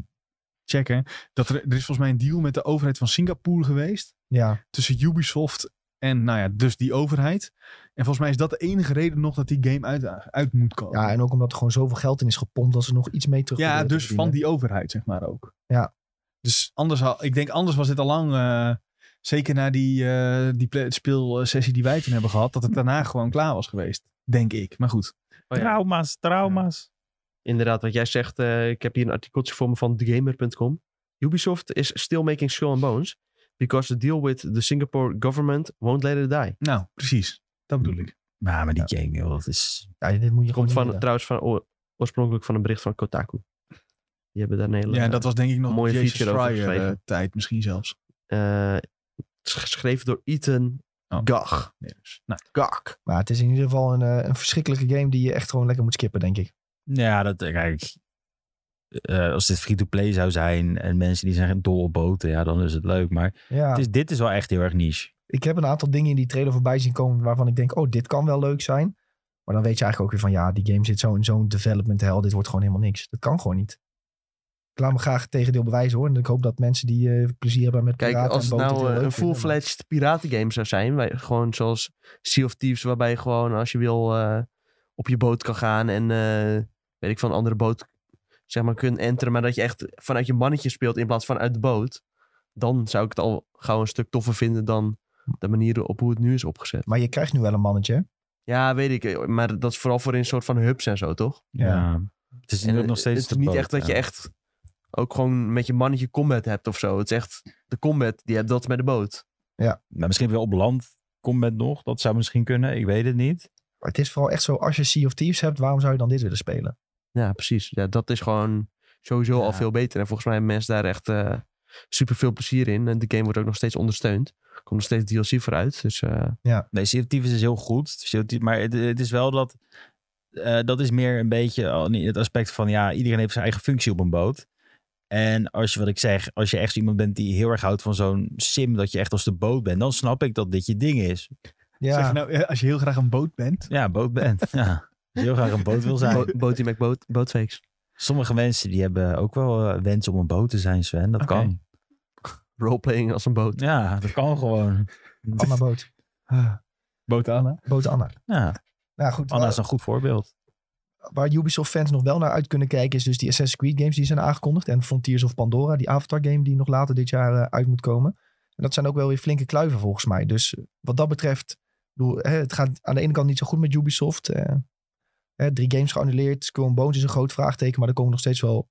C: checken. Dat er, er is volgens mij een deal met de overheid van Singapore geweest.
A: Ja,
C: tussen Ubisoft en nou ja, dus die overheid. En volgens mij is dat de enige reden nog dat die game uit, uit moet komen.
A: ja, en ook omdat er gewoon zoveel geld in is gepompt dat ze nog iets mee terug
C: Ja,
A: proberen te
C: dus van
A: verdienen.
C: die overheid, zeg maar ook.
A: Ja.
C: Dus anders, had- ik denk anders was dit al lang, eh, zeker na die, eh, die ple- speelsessie die wij toen hebben gehad, dat het daarna gewoon klaar was geweest. Denk ik. Maar goed.
D: Oh ja,
B: Trauma's, trauma's.
D: Inderdaad, wat jij zegt. eh, ik heb hier een artikeltje voor me van TheGamer.com. Ubisoft is still making skull and bones. Because the deal with the Singapore government won't let it die.
C: Nou, precies. Dat bedoel ik.
B: Maar, maar die game, joh, dat is...
A: Ja, dit moet je
D: Komt
A: gewoon
D: van,
A: niet
D: trouwens van, oor- oorspronkelijk van een bericht van Kotaku. Die hebben daar een hele...
C: Ja, dat was denk ik nog
D: mooie
C: mooie Jason
D: feature over
C: Schreier eh,
D: geschreven.
C: tijd misschien zelfs.
D: eh, is geschreven door Ethan
C: Oh.
D: Gag.
C: Nee, dus, nou,
D: Gag.
A: doen. Maar het is in ieder geval een, eh, een verschrikkelijke game die je echt gewoon lekker moet skippen, denk ik.
B: Ja, dat kijk. eh, als dit free-to-play zou zijn en mensen die zijn dol op boten, ja, dan is het leuk. Maar
A: Ja,
B: het is, dit is wel echt heel erg niche.
A: ik heb een aantal dingen in die trailer voorbij zien komen waarvan ik denk, oh, dit kan wel leuk zijn. Maar dan weet je eigenlijk ook weer van, ja, die game zit zo in zo'n development hell. Dit wordt gewoon helemaal niks. Dat kan gewoon niet. Ik laat me graag het tegendeel bewijzen hoor. En ik hoop dat mensen die eh, plezier hebben met
D: Kijk,
A: piraten en
D: als het
A: boten het
D: nou
A: heel
D: eh, een
A: leuk vinden, maar-
D: full-fledged piratengame zou zijn, wij, gewoon zoals Sea of Thieves, waarbij je gewoon als je wil eh, op je boot kan gaan en eh, weet ik van een andere boot zeg maar kunt enteren, maar dat je echt vanuit je mannetje speelt in plaats van uit de boot, dan zou ik het al gauw een stuk toffer vinden dan de manier op hoe het nu is opgezet.
A: Maar je krijgt nu wel een mannetje. hè?
D: Ja, weet ik, eh, maar dat is vooral voor in soort van hubs en zo, toch?
A: Ja.
B: Het is
D: En
B: ook nog steeds
D: het is niet echt dat je echt ook gewoon met je mannetje combat hebt of zo. Het is echt de combat die je hebt, dat is met de boot.
B: Nou, misschien wel op land combat nog. Dat zou misschien kunnen. Ik weet het niet.
A: Maar het is vooral echt zo, als je Sea of Thieves hebt, waarom zou je dan dit willen spelen?
D: Ja, precies. Ja, dat is gewoon sowieso al
B: Ja.
D: veel beter. En volgens mij hebben mensen daar echt super veel plezier in. En de game wordt ook nog steeds ondersteund. Er komt nog steeds DLC vooruit. Dus eh,
B: Nee, Sea of Thieves is heel goed. Sea of Thieves- Maar het, het is wel dat... eh, dat is meer een beetje al- niet het aspect van... Ja, iedereen heeft zijn eigen functie op een boot. En als je, wat ik zeg, als je echt zo iemand bent die heel erg houdt van zo'n sim... dat je echt als de boot bent, dan snap ik dat dit je ding is.
C: Zeg je
A: Ja,
C: nou, eh, als je heel graag een boot bent,
B: Ja, boot bent. ja. Als je heel graag een boot wil zijn.
D: bo- Boaty McBoat, Boatfakes.
B: Sommige mensen die hebben ook wel eh, wens om een boot te zijn, Sven. Dat
C: Oké.
B: kan.
D: Roleplaying als een boot.
B: Ja, dat kan gewoon.
A: Anna Boot.
C: boot Anna.
A: Boot Anna.
B: Ja,
A: Nou goed,
B: Anna
A: waar-
B: is een goed voorbeeld.
A: waar Ubisoft fans nog wel naar uit kunnen kijken is dus die Assassin's Creed games die zijn aangekondigd. En Frontiers of Pandora, die Avatar game die nog later dit jaar eh, uit moet komen. En dat zijn ook wel weer flinke kluiven volgens mij. Dus eh, wat dat betreft, ik bedoel, hè, het gaat aan de ene kant niet zo goed met Ubisoft. eh, hè, drie games geannuleerd, Skull and Bones is een groot vraagteken. Maar er komen nog steeds wel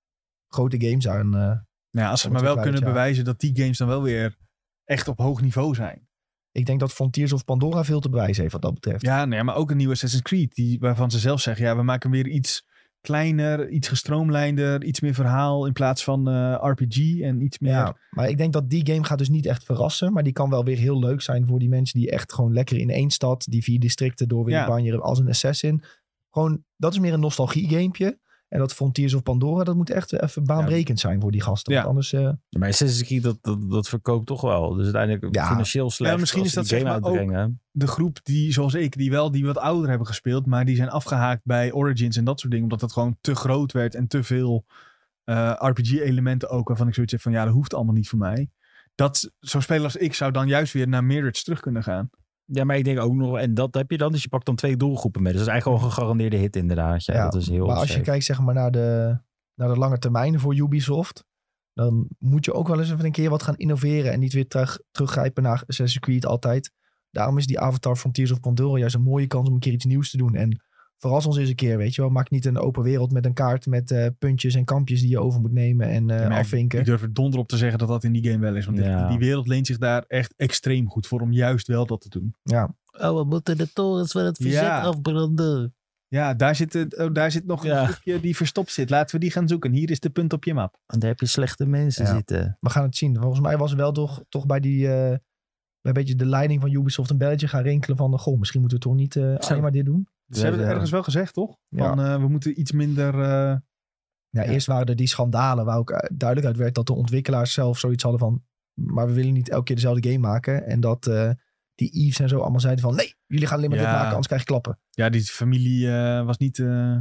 A: grote games aan. eh.
C: Nou ja, als ze
A: Komt
C: maar
A: ook
C: wel
A: uit,
C: kunnen
A: ja.
C: bewijzen dat die games dan wel weer echt op hoog niveau zijn.
A: ik denk dat Frontiers of Pandora veel te bewijzen heeft wat dat betreft.
C: Ja, nee, maar ook een nieuwe Assassin's Creed, die, waarvan ze zelf zeggen, ja, we maken weer iets kleiner, iets gestroomlijnder, iets meer verhaal in plaats van eh, RPG en iets meer...
A: Ja, maar ik denk dat die game gaat dus niet echt verrassen. Maar die kan wel weer heel leuk zijn voor die mensen die echt gewoon lekker in één stad, die vier districten door willen
C: Ja.
A: banjeren als een assassin. Gewoon, dat is meer een nostalgie-gamepje. En dat Frontiers of Pandora, dat moet echt even baanbrekend zijn voor die gasten.
C: Ja.
A: Want anders, eh,
B: Maar Assassin's Creed, dat, dat, dat verkoopt toch wel. Dus uiteindelijk
A: Ja.
B: financieel slecht.
C: Ja, misschien
B: als
C: is dat
B: ze die
C: zeg
B: game
C: maar ook-
B: uitbrengen.
C: De groep die, zoals ik, die wel die wat ouder hebben gespeeld, maar die zijn afgehaakt bij Origins en dat soort dingen, omdat dat gewoon te groot werd en te veel eh, RPG-elementen ook, waarvan ik zoiets heb van, ja, dat hoeft allemaal niet voor mij. Dat zo'n speler als ik zou dan juist weer naar Mirage terug kunnen gaan.
B: Ja, maar ik denk ook nog... En dat heb je dan. Dus je pakt dan twee doelgroepen mee. Dus dat is eigenlijk gewoon een gegarandeerde hit inderdaad. Ja,
A: Ja,
B: dat is heel
A: maar als je
B: safe.
A: kijkt zeg maar, naar, de, naar de lange termijn voor Ubisoft, dan moet je ook wel eens even een keer wat gaan innoveren en niet weer terug, teruggrijpen naar Assassin's Creed altijd. Daarom is die Avatar Frontiers of Pandora juist een mooie kans om een keer iets nieuws te doen. En verras ons eens een keer, weet je wel. Maak niet een open wereld met een kaart met eh, puntjes en kampjes die je over moet nemen en eh,
C: Ja, maar ik-
A: afvinken.
C: Ik durf er donder op te zeggen dat dat in die game wel is. Want
B: Ja.
C: die, die wereld leent zich daar echt extreem goed voor om juist wel dat te doen.
B: Oh, we moeten de torens van het
C: verzet Ja.
B: afbranden.
C: Ja, daar zit, eh, oh, daar zit nog
B: Ja.
C: een stukje die verstopt zit. Laten we die gaan zoeken. Hier is de punt op je map.
B: Want daar heb je slechte mensen
A: Ja.
B: zitten.
A: We gaan het zien. Volgens mij was er wel toch, toch bij die... eh, bij een beetje de leiding van Ubisoft een belletje gaan rinkelen van... Goh, misschien moeten we toch niet eh
B: Zo.
A: alleen maar dit doen.
C: Ze hebben het
B: ja.
C: ergens wel gezegd, toch?
A: Ja.
C: Van, eh, we moeten iets minder... eh,
A: Ja,
C: Ja.
A: Eerst waren er die schandalen waar ook eh, duidelijk uit werd dat de ontwikkelaars zelf zoiets hadden van... maar we willen niet elke keer dezelfde game maken. En dat eh, die Eves en zo allemaal zeiden van... nee, jullie gaan alleen maar dit
C: Ja.
A: maken, anders krijg je klappen.
C: ja, die familie eh, was niet... eh,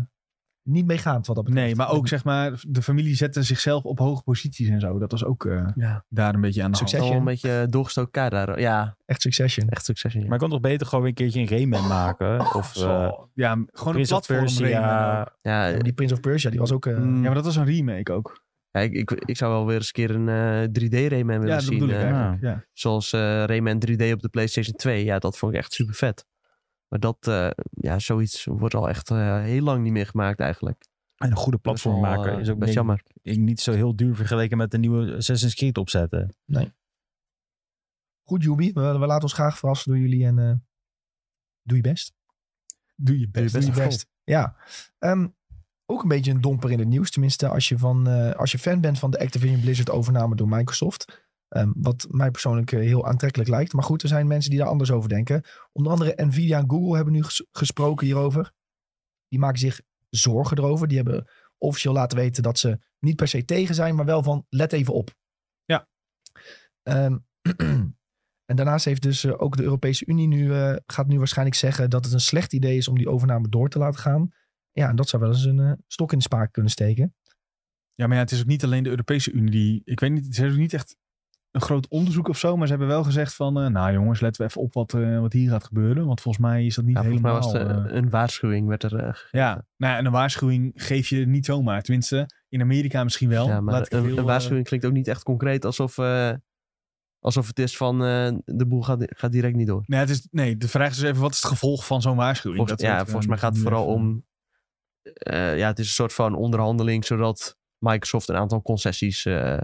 A: Niet meegaand wat dat betreft.
C: Nee, maar ook zeg maar, de familie zette zichzelf op hoge posities en zo. Dat was ook eh,
D: Ja.
C: daar een beetje aan de hand.
A: Succes.
D: Al een beetje doorgestoken kaart daar. Ja,
A: Echt
C: Eh,
A: Succession.
D: echt Succession. Ja.
B: Maar ik kan toch beter gewoon weer een keertje een Rayman maken? Of eh
C: Zo. ja, gewoon een
B: Prince of
C: platform.
B: Persia.
C: remake.
D: ja,
A: Ja, maar die Prince of Persia, die was ook... eh,
B: Mm.
C: Ja, maar dat was een remake ook.
D: ja, ik, ik, ik zou wel weer eens een keer een eh 3D-Rayman willen
C: Ja, dat
D: zien.
C: bedoel ik
D: eh,
C: eigenlijk. Ja.
D: Zoals eh, Rayman 3D op de PlayStation 2. Ja, dat vond ik echt super vet. Maar dat, eh, ja, zoiets wordt al echt eh, heel lang niet meer gemaakt eigenlijk.
B: En een goede platform
D: Best wel,
B: maken
D: eh,
B: is ook
D: best
B: denk
D: jammer.
B: ik niet zo heel duur vergeleken met de nieuwe Assassin's Creed opzetten.
A: Goed, Ubi. We, we laten ons graag verrassen door jullie en... eh, doe je best.
C: Doe je best.
A: Doe je best. Ja. Ehm, ook een beetje een domper in het nieuws. Tenminste, als je, van, eh, als je fan bent van de Activision Blizzard overname door Microsoft. Ehm, wat mij persoonlijk eh, heel aantrekkelijk lijkt. Maar goed, er zijn mensen die daar anders over denken. Onder andere Nvidia en Google hebben nu ges- gesproken hierover. Die maken zich zorgen erover. Die hebben officieel laten weten dat ze niet per se tegen zijn, maar wel van let even op.
C: Ja.
A: Ehm, en daarnaast heeft dus eh, ook de Europese Unie nu, eh, gaat nu waarschijnlijk zeggen dat het een slecht idee is om die overname door te laten gaan. Ja, en dat zou wel eens een eh, stok in de spaak kunnen steken.
C: Ja, maar ja, het is ook niet alleen de Europese Unie die... Ik weet niet, ze hebben ook niet echt een groot onderzoek of zo. Maar ze hebben wel gezegd van... eh, nou jongens, letten we even op wat, eh, wat hier gaat gebeuren. Want volgens mij is dat niet
D: Ja, volgens mij
C: helemaal...
D: was het eh,
C: eh,
D: een waarschuwing. Werd er, eh, ge-
C: ja, nou ja, en een waarschuwing geef je niet zomaar. Tenminste, in Amerika misschien wel.
D: ja, maar
C: Laat ik
D: een,
C: heel,
D: een
C: eh,
D: waarschuwing klinkt ook niet echt concreet alsof, eh, alsof het is van eh, de boel gaat, gaat direct niet door.
C: Nee, nou het is, nee, de vraag is dus even, wat is het gevolg van zo'n waarschuwing? eh,
D: Volgens, ja, volgens mij gaat het vooral om. eh, ja, het is een soort van onderhandeling zodat Microsoft een aantal concessies eh,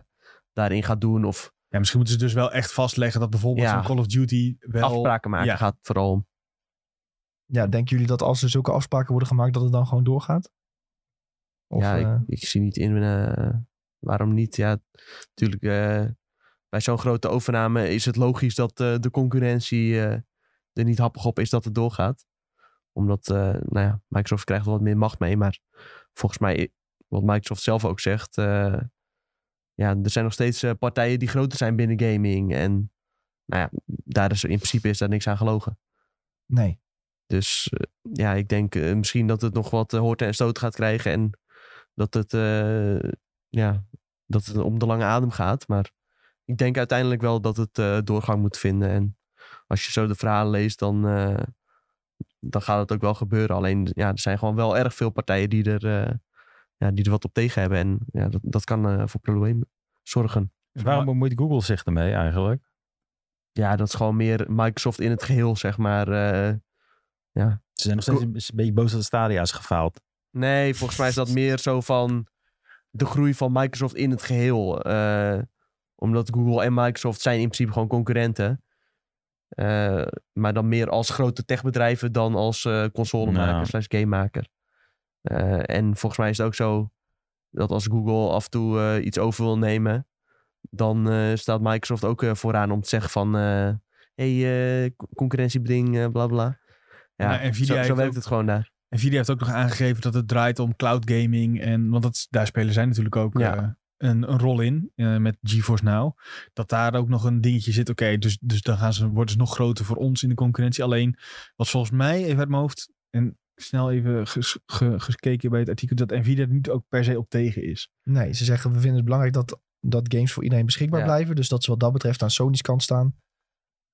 D: daarin gaat doen of
C: Ja, misschien moeten ze dus wel echt vastleggen dat bijvoorbeeld
D: Ja.
C: zo'n Call of Duty wel...
D: afspraken maken.
C: ja.
D: Gaat het vooral om.
A: Ja, denken jullie dat als er zulke afspraken worden gemaakt, dat het dan gewoon doorgaat? Of,
D: ja,
A: eh,
D: ik, ik zie niet in eh, waarom niet. Ja, natuurlijk. eh, bij zo'n grote overname is het logisch dat eh, de concurrentie eh, er niet happig op is dat het doorgaat. Omdat, eh, nou ja, Microsoft krijgt wel wat meer macht mee. Maar volgens mij, wat Microsoft zelf ook zegt. eh, ja, er zijn nog steeds eh, partijen die groter zijn binnen gaming. En nou ja, daar is, in principe is daar niks aan gelogen.
A: nee.
D: Dus eh, ja, ik denk eh, misschien dat het nog wat hoort horten en stoot gaat krijgen. En dat het, eh, ja, dat het om de lange adem gaat. Maar ik denk uiteindelijk wel dat het eh, doorgang moet vinden. En als je zo de verhalen leest, dan, eh, dan gaat het ook wel gebeuren. Alleen ja, er zijn gewoon wel erg veel partijen die er, eh, ja, die er wat op tegen hebben. En ja, dat, dat kan eh, voor problemen zorgen.
B: Dus waarom bemoeit Google zich ermee eigenlijk?
D: Ja, dat is gewoon meer Microsoft in het geheel, zeg maar. eh,
B: Ze zijn nog steeds een een beetje boos dat de Stadia is gefaald.
D: Nee, volgens mij is dat meer zo van de groei van Microsoft in het geheel. Eh, omdat Google en Microsoft zijn in principe gewoon concurrenten. Eh, maar dan meer als grote techbedrijven dan als eh, consolemaker
B: Nou.
D: slash gamemaker. Eh, en volgens mij is het ook zo dat als Google af en toe eh, iets over wil nemen, dan eh, staat Microsoft ook eh, vooraan om te zeggen van hé, hey, eh, co- concurrentiebeding, eh, bla bla. Ja,
C: Maar Nou, Nvidia
D: zo,
C: heeft
D: zo werkt
C: ook-
D: het gewoon daar.
C: Nvidia heeft ook nog aangegeven dat het draait om cloud gaming. En, want dat, is- daar spelen zij natuurlijk ook
D: Ja.
C: eh, een, een rol in eh, met GeForce Now. Dat daar ook nog een dingetje zit. Oké, dus, dus dan gaan ze, worden ze nog groter voor ons in de concurrentie. Alleen, wat volgens mij even uit mijn hoofd... En snel even ges- ge- gekeken bij het artikel... dat Nvidia er niet ook per se op tegen is.
A: Nee, ze zeggen we vinden het belangrijk dat, dat games voor iedereen beschikbaar
D: Ja.
A: blijven. Dus dat ze wat dat betreft aan Sony's kant staan.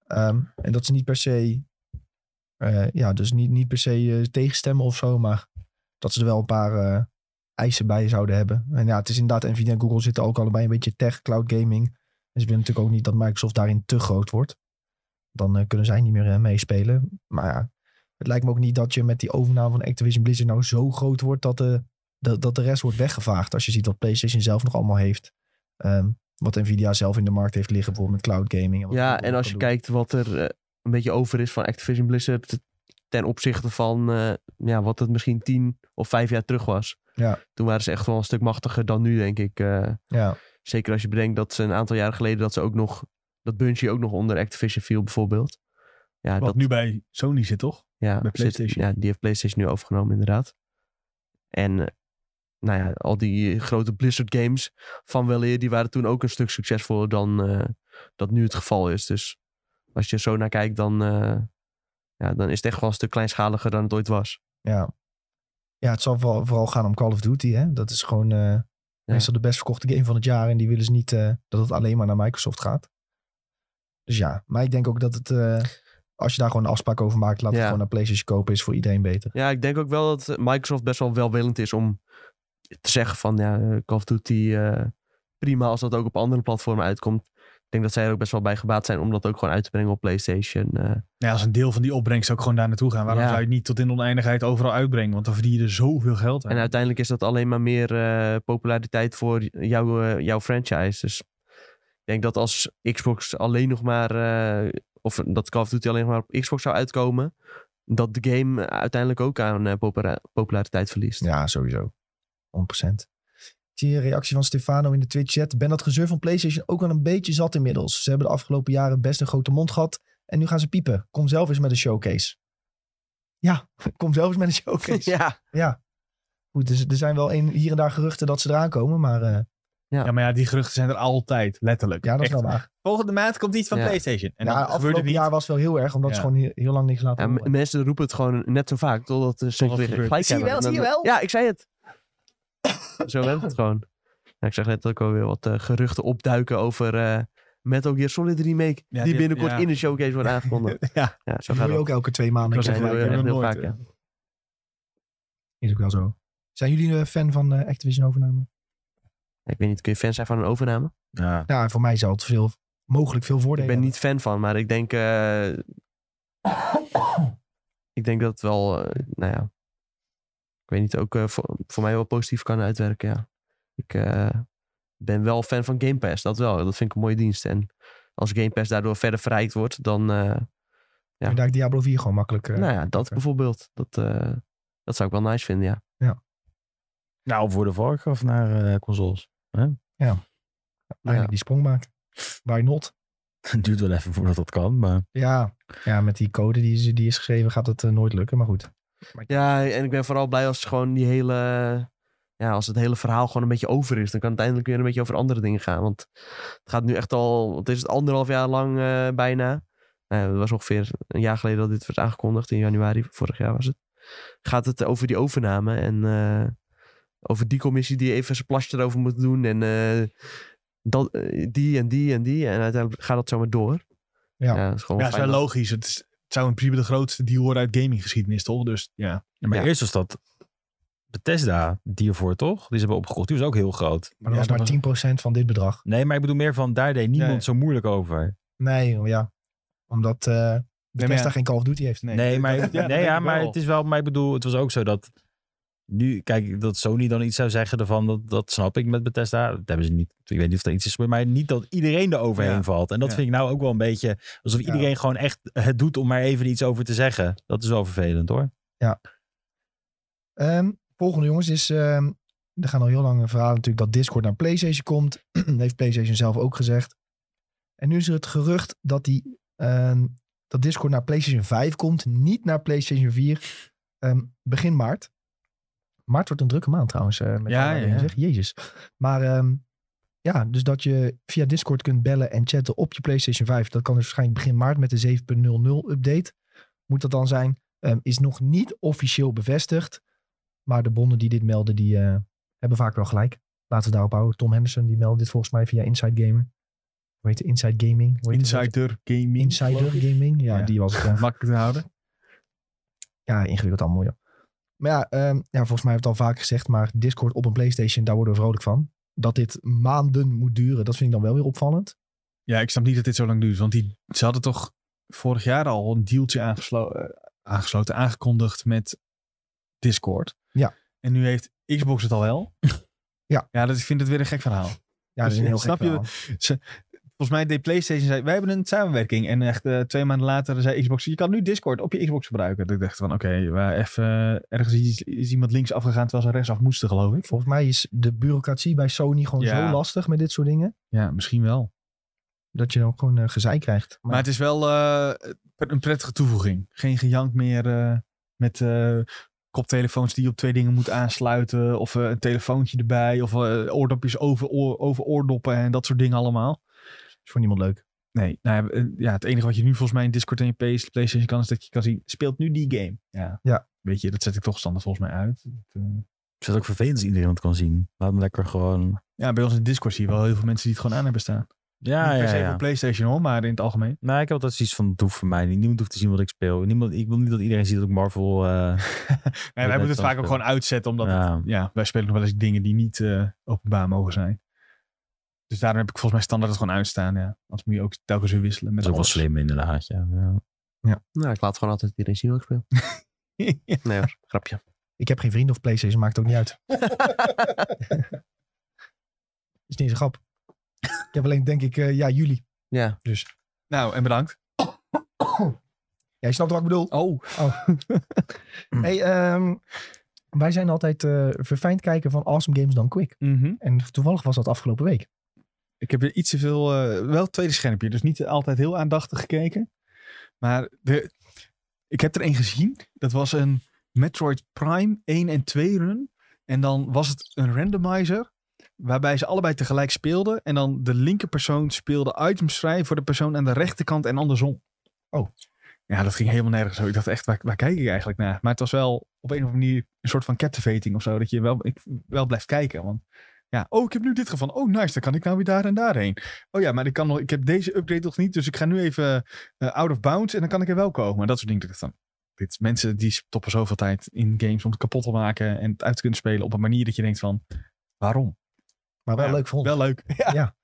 A: Ehm, en dat ze niet per se, eh, ja, dus niet, niet per se eh, tegenstemmen of zo. Maar dat ze er wel een paar eh, eisen bij zouden hebben. En ja, het is inderdaad, Nvidia en Google zitten ook allebei een beetje tech, cloud gaming. En ze willen natuurlijk ook niet dat Microsoft daarin te groot wordt. Dan eh, kunnen zij niet meer eh, meespelen. Maar ja, het lijkt me ook niet dat je met die overname van Activision Blizzard nou zo groot wordt dat de dat, dat de rest wordt weggevaagd. Als je ziet wat PlayStation zelf nog allemaal heeft. Ehm, wat Nvidia zelf in de markt heeft liggen, bijvoorbeeld met cloud gaming. wat
D: Ja,
A: Google
D: en als
A: kan
D: je
A: doen.
D: kijkt wat er eh, een beetje over is van Activision Blizzard. ten opzichte van eh, ja, wat het misschien tien of vijf jaar terug was.
A: Ja.
D: Toen waren ze echt wel een stuk machtiger dan nu, denk ik. eh.
A: Ja,
D: zeker als je bedenkt dat ze een aantal jaren geleden dat ze ook nog dat Bungie ook nog onder Activision viel bijvoorbeeld. Ja,
C: Wat
D: dat,
C: nu bij Sony zit, toch?
D: ja,
C: bij
D: zit-
C: PlayStation.
D: ja, die heeft PlayStation nu overgenomen inderdaad. En eh, nou ja, al die grote Blizzard games van weleer, die waren toen ook een stuk succesvoller dan eh, dat nu het geval is. Dus als je er zo naar kijkt, dan, eh, ja, dan is het echt wel een stuk kleinschaliger dan het ooit was.
A: ja. Ja, het zal vooral, vooral gaan om Call of Duty. Hè? Dat is gewoon eh, meestal de best verkochte game van het jaar. En die willen ze niet eh, dat het alleen maar naar Microsoft gaat. Dus ja, maar ik denk ook dat het... eh, als je daar gewoon een afspraak over maakt, laat
D: Ja.
A: het gewoon naar PlayStation kopen. Is voor iedereen beter.
D: Ja, ik denk ook wel dat Microsoft best wel welwillend is om te zeggen van ja, eh, Call of Duty eh, prima als dat ook op andere platformen uitkomt. Ik denk dat zij er ook best wel bij gebaat zijn om dat ook gewoon uit te brengen op PlayStation. eh.
C: Nou, ja, als een deel van die opbrengst ook gewoon daar naartoe gaan. Waarom
D: Ja.
C: zou je het niet tot in oneindigheid overal uitbrengen? Want dan verdien je er zoveel geld aan.
D: en uiteindelijk is dat alleen maar meer eh, populariteit voor jouw, eh, jouw franchise. Dus ik denk dat als Xbox alleen nog maar, eh, of dat Call of Duty alleen nog maar op Xbox zou uitkomen, dat de game uiteindelijk ook aan eh, popula- populariteit verliest.
A: Ja, sowieso. 100%. Ik zie een reactie van Stefano in de Twitch-chat. Ben dat gezeur van PlayStation ook wel een beetje zat inmiddels. Ze hebben de afgelopen jaren best een grote mond gehad. En nu gaan ze piepen. Kom zelf eens met een showcase. Ja, kom zelf eens met een showcase.
D: ja.
A: Goed, dus er zijn wel een, hier en daar geruchten dat ze eraan komen. Maar eh,
C: Ja, maar ja, die geruchten zijn er altijd, letterlijk.
A: ja, dat is
C: Echt.
A: wel waar.
C: Volgende maand komt iets van
D: Ja.
C: PlayStation. En
A: ja,
C: dan gebeurt er
A: afgelopen
C: niet.
A: jaar was wel heel erg. Omdat
C: Ja.
A: ze gewoon heel, heel lang niks laten
D: Ja, m-
A: horen.
D: mensen roepen het gewoon net zo vaak, totdat ze
C: Totdat het
D: weer
C: gebeurt.
D: gelijk
A: Zie je
D: hebben.
A: wel,
D: En
A: zie je wel.
D: Ja, ik zei het. zo werkt het gewoon. Ja, ik zag net ook alweer wat eh, geruchten opduiken over eh Metal Gear Solid remake,
C: die
D: die
C: heb-
D: binnenkort
C: ja.
D: in de showcase wordt aangekondigd.
C: Ja.
D: ja, zo
A: dat
D: gaat
A: hoor je
D: het.
A: ook elke twee maanden.
C: Ik was
D: Ja,
C: echt
D: dat
C: gelijk,
D: hoor je
C: ik
D: echt
C: heb
D: heel
C: hem
D: vaak,
C: nooit,
D: ja.
A: Is ook wel zo. Zijn jullie een fan van eh, Activision-overname?
D: Ik weet niet, kun je fan zijn van een overname?
B: Ja.
A: Ja, voor mij zou het veel, mogelijk veel
D: Ik
A: voordelen
D: ben niet fan van, maar ik denk... eh, ik denk dat het wel, eh, nou ja... Ik weet niet, ook eh, voor, voor mij wel positief kan uitwerken, ja. Ik eh, ben wel fan van Game Pass, dat wel. Dat vind ik een mooie dienst. En als Game Pass daardoor verder verrijkt wordt, dan... eh, ja.
A: Kun je daar Diablo 4 gewoon makkelijk... eh,
D: nou ja, dat
A: oké.
D: bijvoorbeeld. Dat, eh, dat zou ik wel nice vinden, ja.
B: Nou, voor de Warcraft naar eh, consoles.
A: Eigenlijk die sprong maken. Why not?
B: Het duurt wel even voordat dat kan, maar...
A: Ja, ja met die code die, is- die is geschreven gaat het eh, nooit lukken. Maar goed.
D: Ja, en ik ben vooral blij als gewoon die hele... Ja, als het hele verhaal gewoon een beetje over is. Dan kan het eindelijk weer een beetje over andere dingen gaan. Want het gaat nu echt al... Wat is het? Anderhalf jaar lang eh, bijna. Nou, ja, het was ongeveer een jaar geleden dat dit werd aangekondigd. In januari, vorig jaar was het. Gaat het over die overname en... eh, over die commissie die even zijn plasje erover moet doen. En eh, dat, eh, die en die en die. En uiteindelijk gaat dat zomaar door.
A: Ja.
D: dat is gewoon
C: Ja, dat is
D: fijn
C: wel
D: dat-
C: logisch. Het, is- het zou in principe de grootste deal worden uit gaminggeschiedenis, toch? Dus ja.
B: Ja, maar
D: Ja.
B: eerst was dat Bethesda, die ervoor toch? Die ze hebben opgekocht. Die was ook heel groot.
A: Maar dat
C: Ja,
A: was maar 10% van dit bedrag.
B: Nee, maar ik bedoel meer van, daar deed niemand
C: Nee.
B: zo moeilijk over.
A: Nee, oh ja. Omdat eh Bethesda
C: ja.
A: geen Call of Duty heeft.
C: Nee,
B: Nee, maar,
C: dat
B: nee,
C: denk
B: ja,
C: ik
B: maar
C: wel.
B: het is wel, maar ik bedoel, het was ook zo dat nu, kijk, dat Sony dan iets zou zeggen ervan, dat, dat snap ik met Bethesda. Dat hebben ze niet, ik weet niet of dat iets is, maar niet dat iedereen er overheen
C: Ja.
B: valt. En dat
C: Ja.
B: vind ik nou ook wel een beetje alsof
A: Ja.
B: iedereen gewoon echt het doet om maar even iets over te zeggen. Dat is wel vervelend hoor.
A: Ehm, volgende jongens is... ehm, er gaan al heel lang verhalen natuurlijk dat Discord naar PlayStation komt. heeft PlayStation zelf ook gezegd. En nu is er het gerucht dat, die, ehm, dat Discord naar PlayStation 5 komt. Niet naar PlayStation 4. Ehm, begin maart. Maart wordt een drukke maand trouwens. eh, met
C: Ja,
A: allerlei
C: ja, ja.
A: dingen, Zeg. Jezus. Maar ehm, ja, dus dat je via Discord kunt bellen en chatten op je PlayStation 5. Dat kan dus waarschijnlijk begin maart met de 7.00 update. Moet dat dan zijn? Ehm, is nog niet officieel bevestigd. Maar de bonden die dit melden, die eh, hebben vaak wel gelijk. Laten we daarop houden. Tom Henderson die meldde dit volgens mij via Inside Gamer. Hoe heet het? Inside Gaming? Hoe heet het?
C: Insider gaming.
A: Insider
C: geloof ik.
A: Gaming. Ja,
C: Ja.
A: die was het. ja.
C: Makkelijk te houden.
A: Ja, ingewikkeld allemaal, joh. Maar ja, ehm, ja, volgens mij heb ik het al vaak gezegd, maar Discord op een PlayStation, daar worden we vrolijk van. Dat dit maanden moet duren, dat vind ik dan wel weer opvallend.
C: Ja, ik snap niet dat dit zo lang duurt. Want die, ze hadden toch vorig jaar al een dealtje aangeslo- eh, aangesloten, aangekondigd met Discord.
A: Ja.
C: En nu heeft Xbox het al wel.
A: Ja.
C: dat, ik vind het weer een gek verhaal.
A: Ja, dat is
C: Dus
A: een heel
C: snap
A: gek
C: je-
A: verhaal.
C: Volgens mij deed PlayStation, zei, wij hebben een samenwerking. En echt eh, twee maanden later zei Xbox, je kan nu Discord op je Xbox gebruiken. Dat ik dacht van, oké, waar even eh, ergens is, is iemand links afgegaan terwijl ze rechtsaf moesten, geloof ik.
A: Volgens mij is de bureaucratie bij Sony gewoon
C: Ja.
A: zo lastig met dit soort dingen.
C: Ja, misschien wel.
A: Dat je ook gewoon eh, gezeik krijgt.
C: Maar het is wel eh, een prettige toevoeging. Geen gejank meer eh, met eh, koptelefoons die je op twee dingen moet aansluiten. Of eh, een telefoontje erbij. Of eh, oordopjes over, oor- over oordoppen en dat soort dingen allemaal.
A: is voor niemand leuk.
C: Nee, nou ja, eh, ja, het enige wat je nu volgens mij in Discord en je PS, PlayStation kan, is dat je kan zien, speelt nu die game. Ja.
A: Ja.
C: Weet je, dat zet ik toch standaard volgens mij uit. Dat, eh,
B: Het is ook vervelend als iedereen het kan zien. Laat hem lekker gewoon...
C: Ja, bij ons in Discord zie je wel heel veel mensen die het gewoon aan hebben staan.
B: Ja,
C: Niet per
B: Ah, ja,
C: se
B: ja.
C: voor PlayStation hoor, maar in het algemeen.
B: Nou, ik heb altijd zoiets van, het hoeft voor mij niet. Niemand hoeft te zien wat ik speel. Niemand, ik wil niet dat iedereen ziet dat ik Marvel... eh,
C: Nee, wij
B: dat
C: moeten het
B: kan
C: vaak ook
B: spelen.
C: gewoon uitzetten, omdat
B: Ja.
C: het- ja, wij spelen nog wel eens dingen die niet eh, openbaar mogen zijn. Dus daarom heb ik volgens mij standaard het gewoon uitstaan. Ja. Anders moet je ook telkens weer wisselen met
B: dat is ook wel
C: alles.
B: slim inderdaad, ja. ja.
D: Nou, ik laat gewoon altijd iedereen zien wat ik speel. Nee hoor, grapje.
A: Ik heb geen vrienden of PlayStation, maakt ook niet uit. is niet eens een grap. Ik heb alleen, denk ik, eh, ja, jullie.
D: Ja,
A: Dus
C: nou, en bedankt.
A: jij snapt wat ik bedoel.
C: Oh,
A: Hey, ehm, wij zijn altijd eh, verfijnd kijken van Awesome Games dan Quick.
C: mhm.
A: En toevallig was dat afgelopen week.
C: Ik heb weer iets te veel, eh, wel het tweede schermpje, dus niet altijd heel aandachtig gekeken. Maar de, ik heb er een gezien. Dat was een Metroid Prime 1 en 2 run. En dan was het een randomizer, waarbij ze allebei tegelijk speelden. En dan de linker persoon speelde items vrij voor de persoon aan de rechterkant en andersom.
A: Oh.
C: Ja, dat ging helemaal nergens zo. Ik dacht echt, waar, waar kijk ik eigenlijk naar? Maar het was wel op een of andere manier een soort van captivating of zo. Dat je wel, ik, wel blijft kijken. Want ja, oh, ik heb nu dit geval. Oh, nice, dan kan ik nou weer daar en daarheen. Oh ja, maar ik, kan nog, ik heb deze upgrade nog niet, dus ik ga nu even eh, out of bounds en dan kan ik er wel komen. En dat soort dingen. Dat ik dacht dan, dit, mensen die stoppen zoveel tijd in games om het kapot te maken en het uit te kunnen spelen op een manier dat je denkt van, waarom?
A: Maar wel
C: Ja,
A: leuk voor ons.
C: Wel leuk. Ja,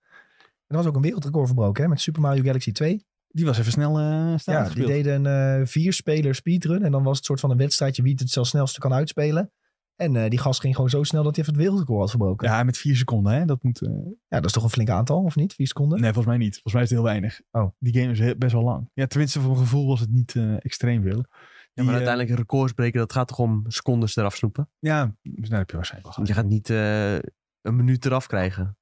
A: Er was ook een wereldrecord verbroken hè, met Super Mario Galaxy 2.
C: die was even snel eh
A: Ja,
C: staan
A: die deden een eh vier-speler speedrun. En dan was het soort van een wedstrijdje wie het het zelfs snelste kan uitspelen. En eh, die gast ging gewoon zo snel dat hij even het wereldrecord had verbroken. Ja.
C: Ja, met vier seconden, hè? Dat moet. eh,
A: dat is toch een flink aantal, of niet? Vier seconden?
C: nee, volgens mij niet. Volgens mij is het heel weinig.
A: Oh.
C: Die game is heel- best wel lang. Ja, tenminste, voor mijn gevoel was het niet eh, extreem veel.
D: ja
C: Die,
D: maar
C: eh,
D: uiteindelijk een record spreken, dat gaat toch om secondes eraf snoepen?
C: ja, dus daar heb je waarschijnlijk wel.
D: Want je
C: gelijk.
D: gaat niet eh, een minuut eraf krijgen.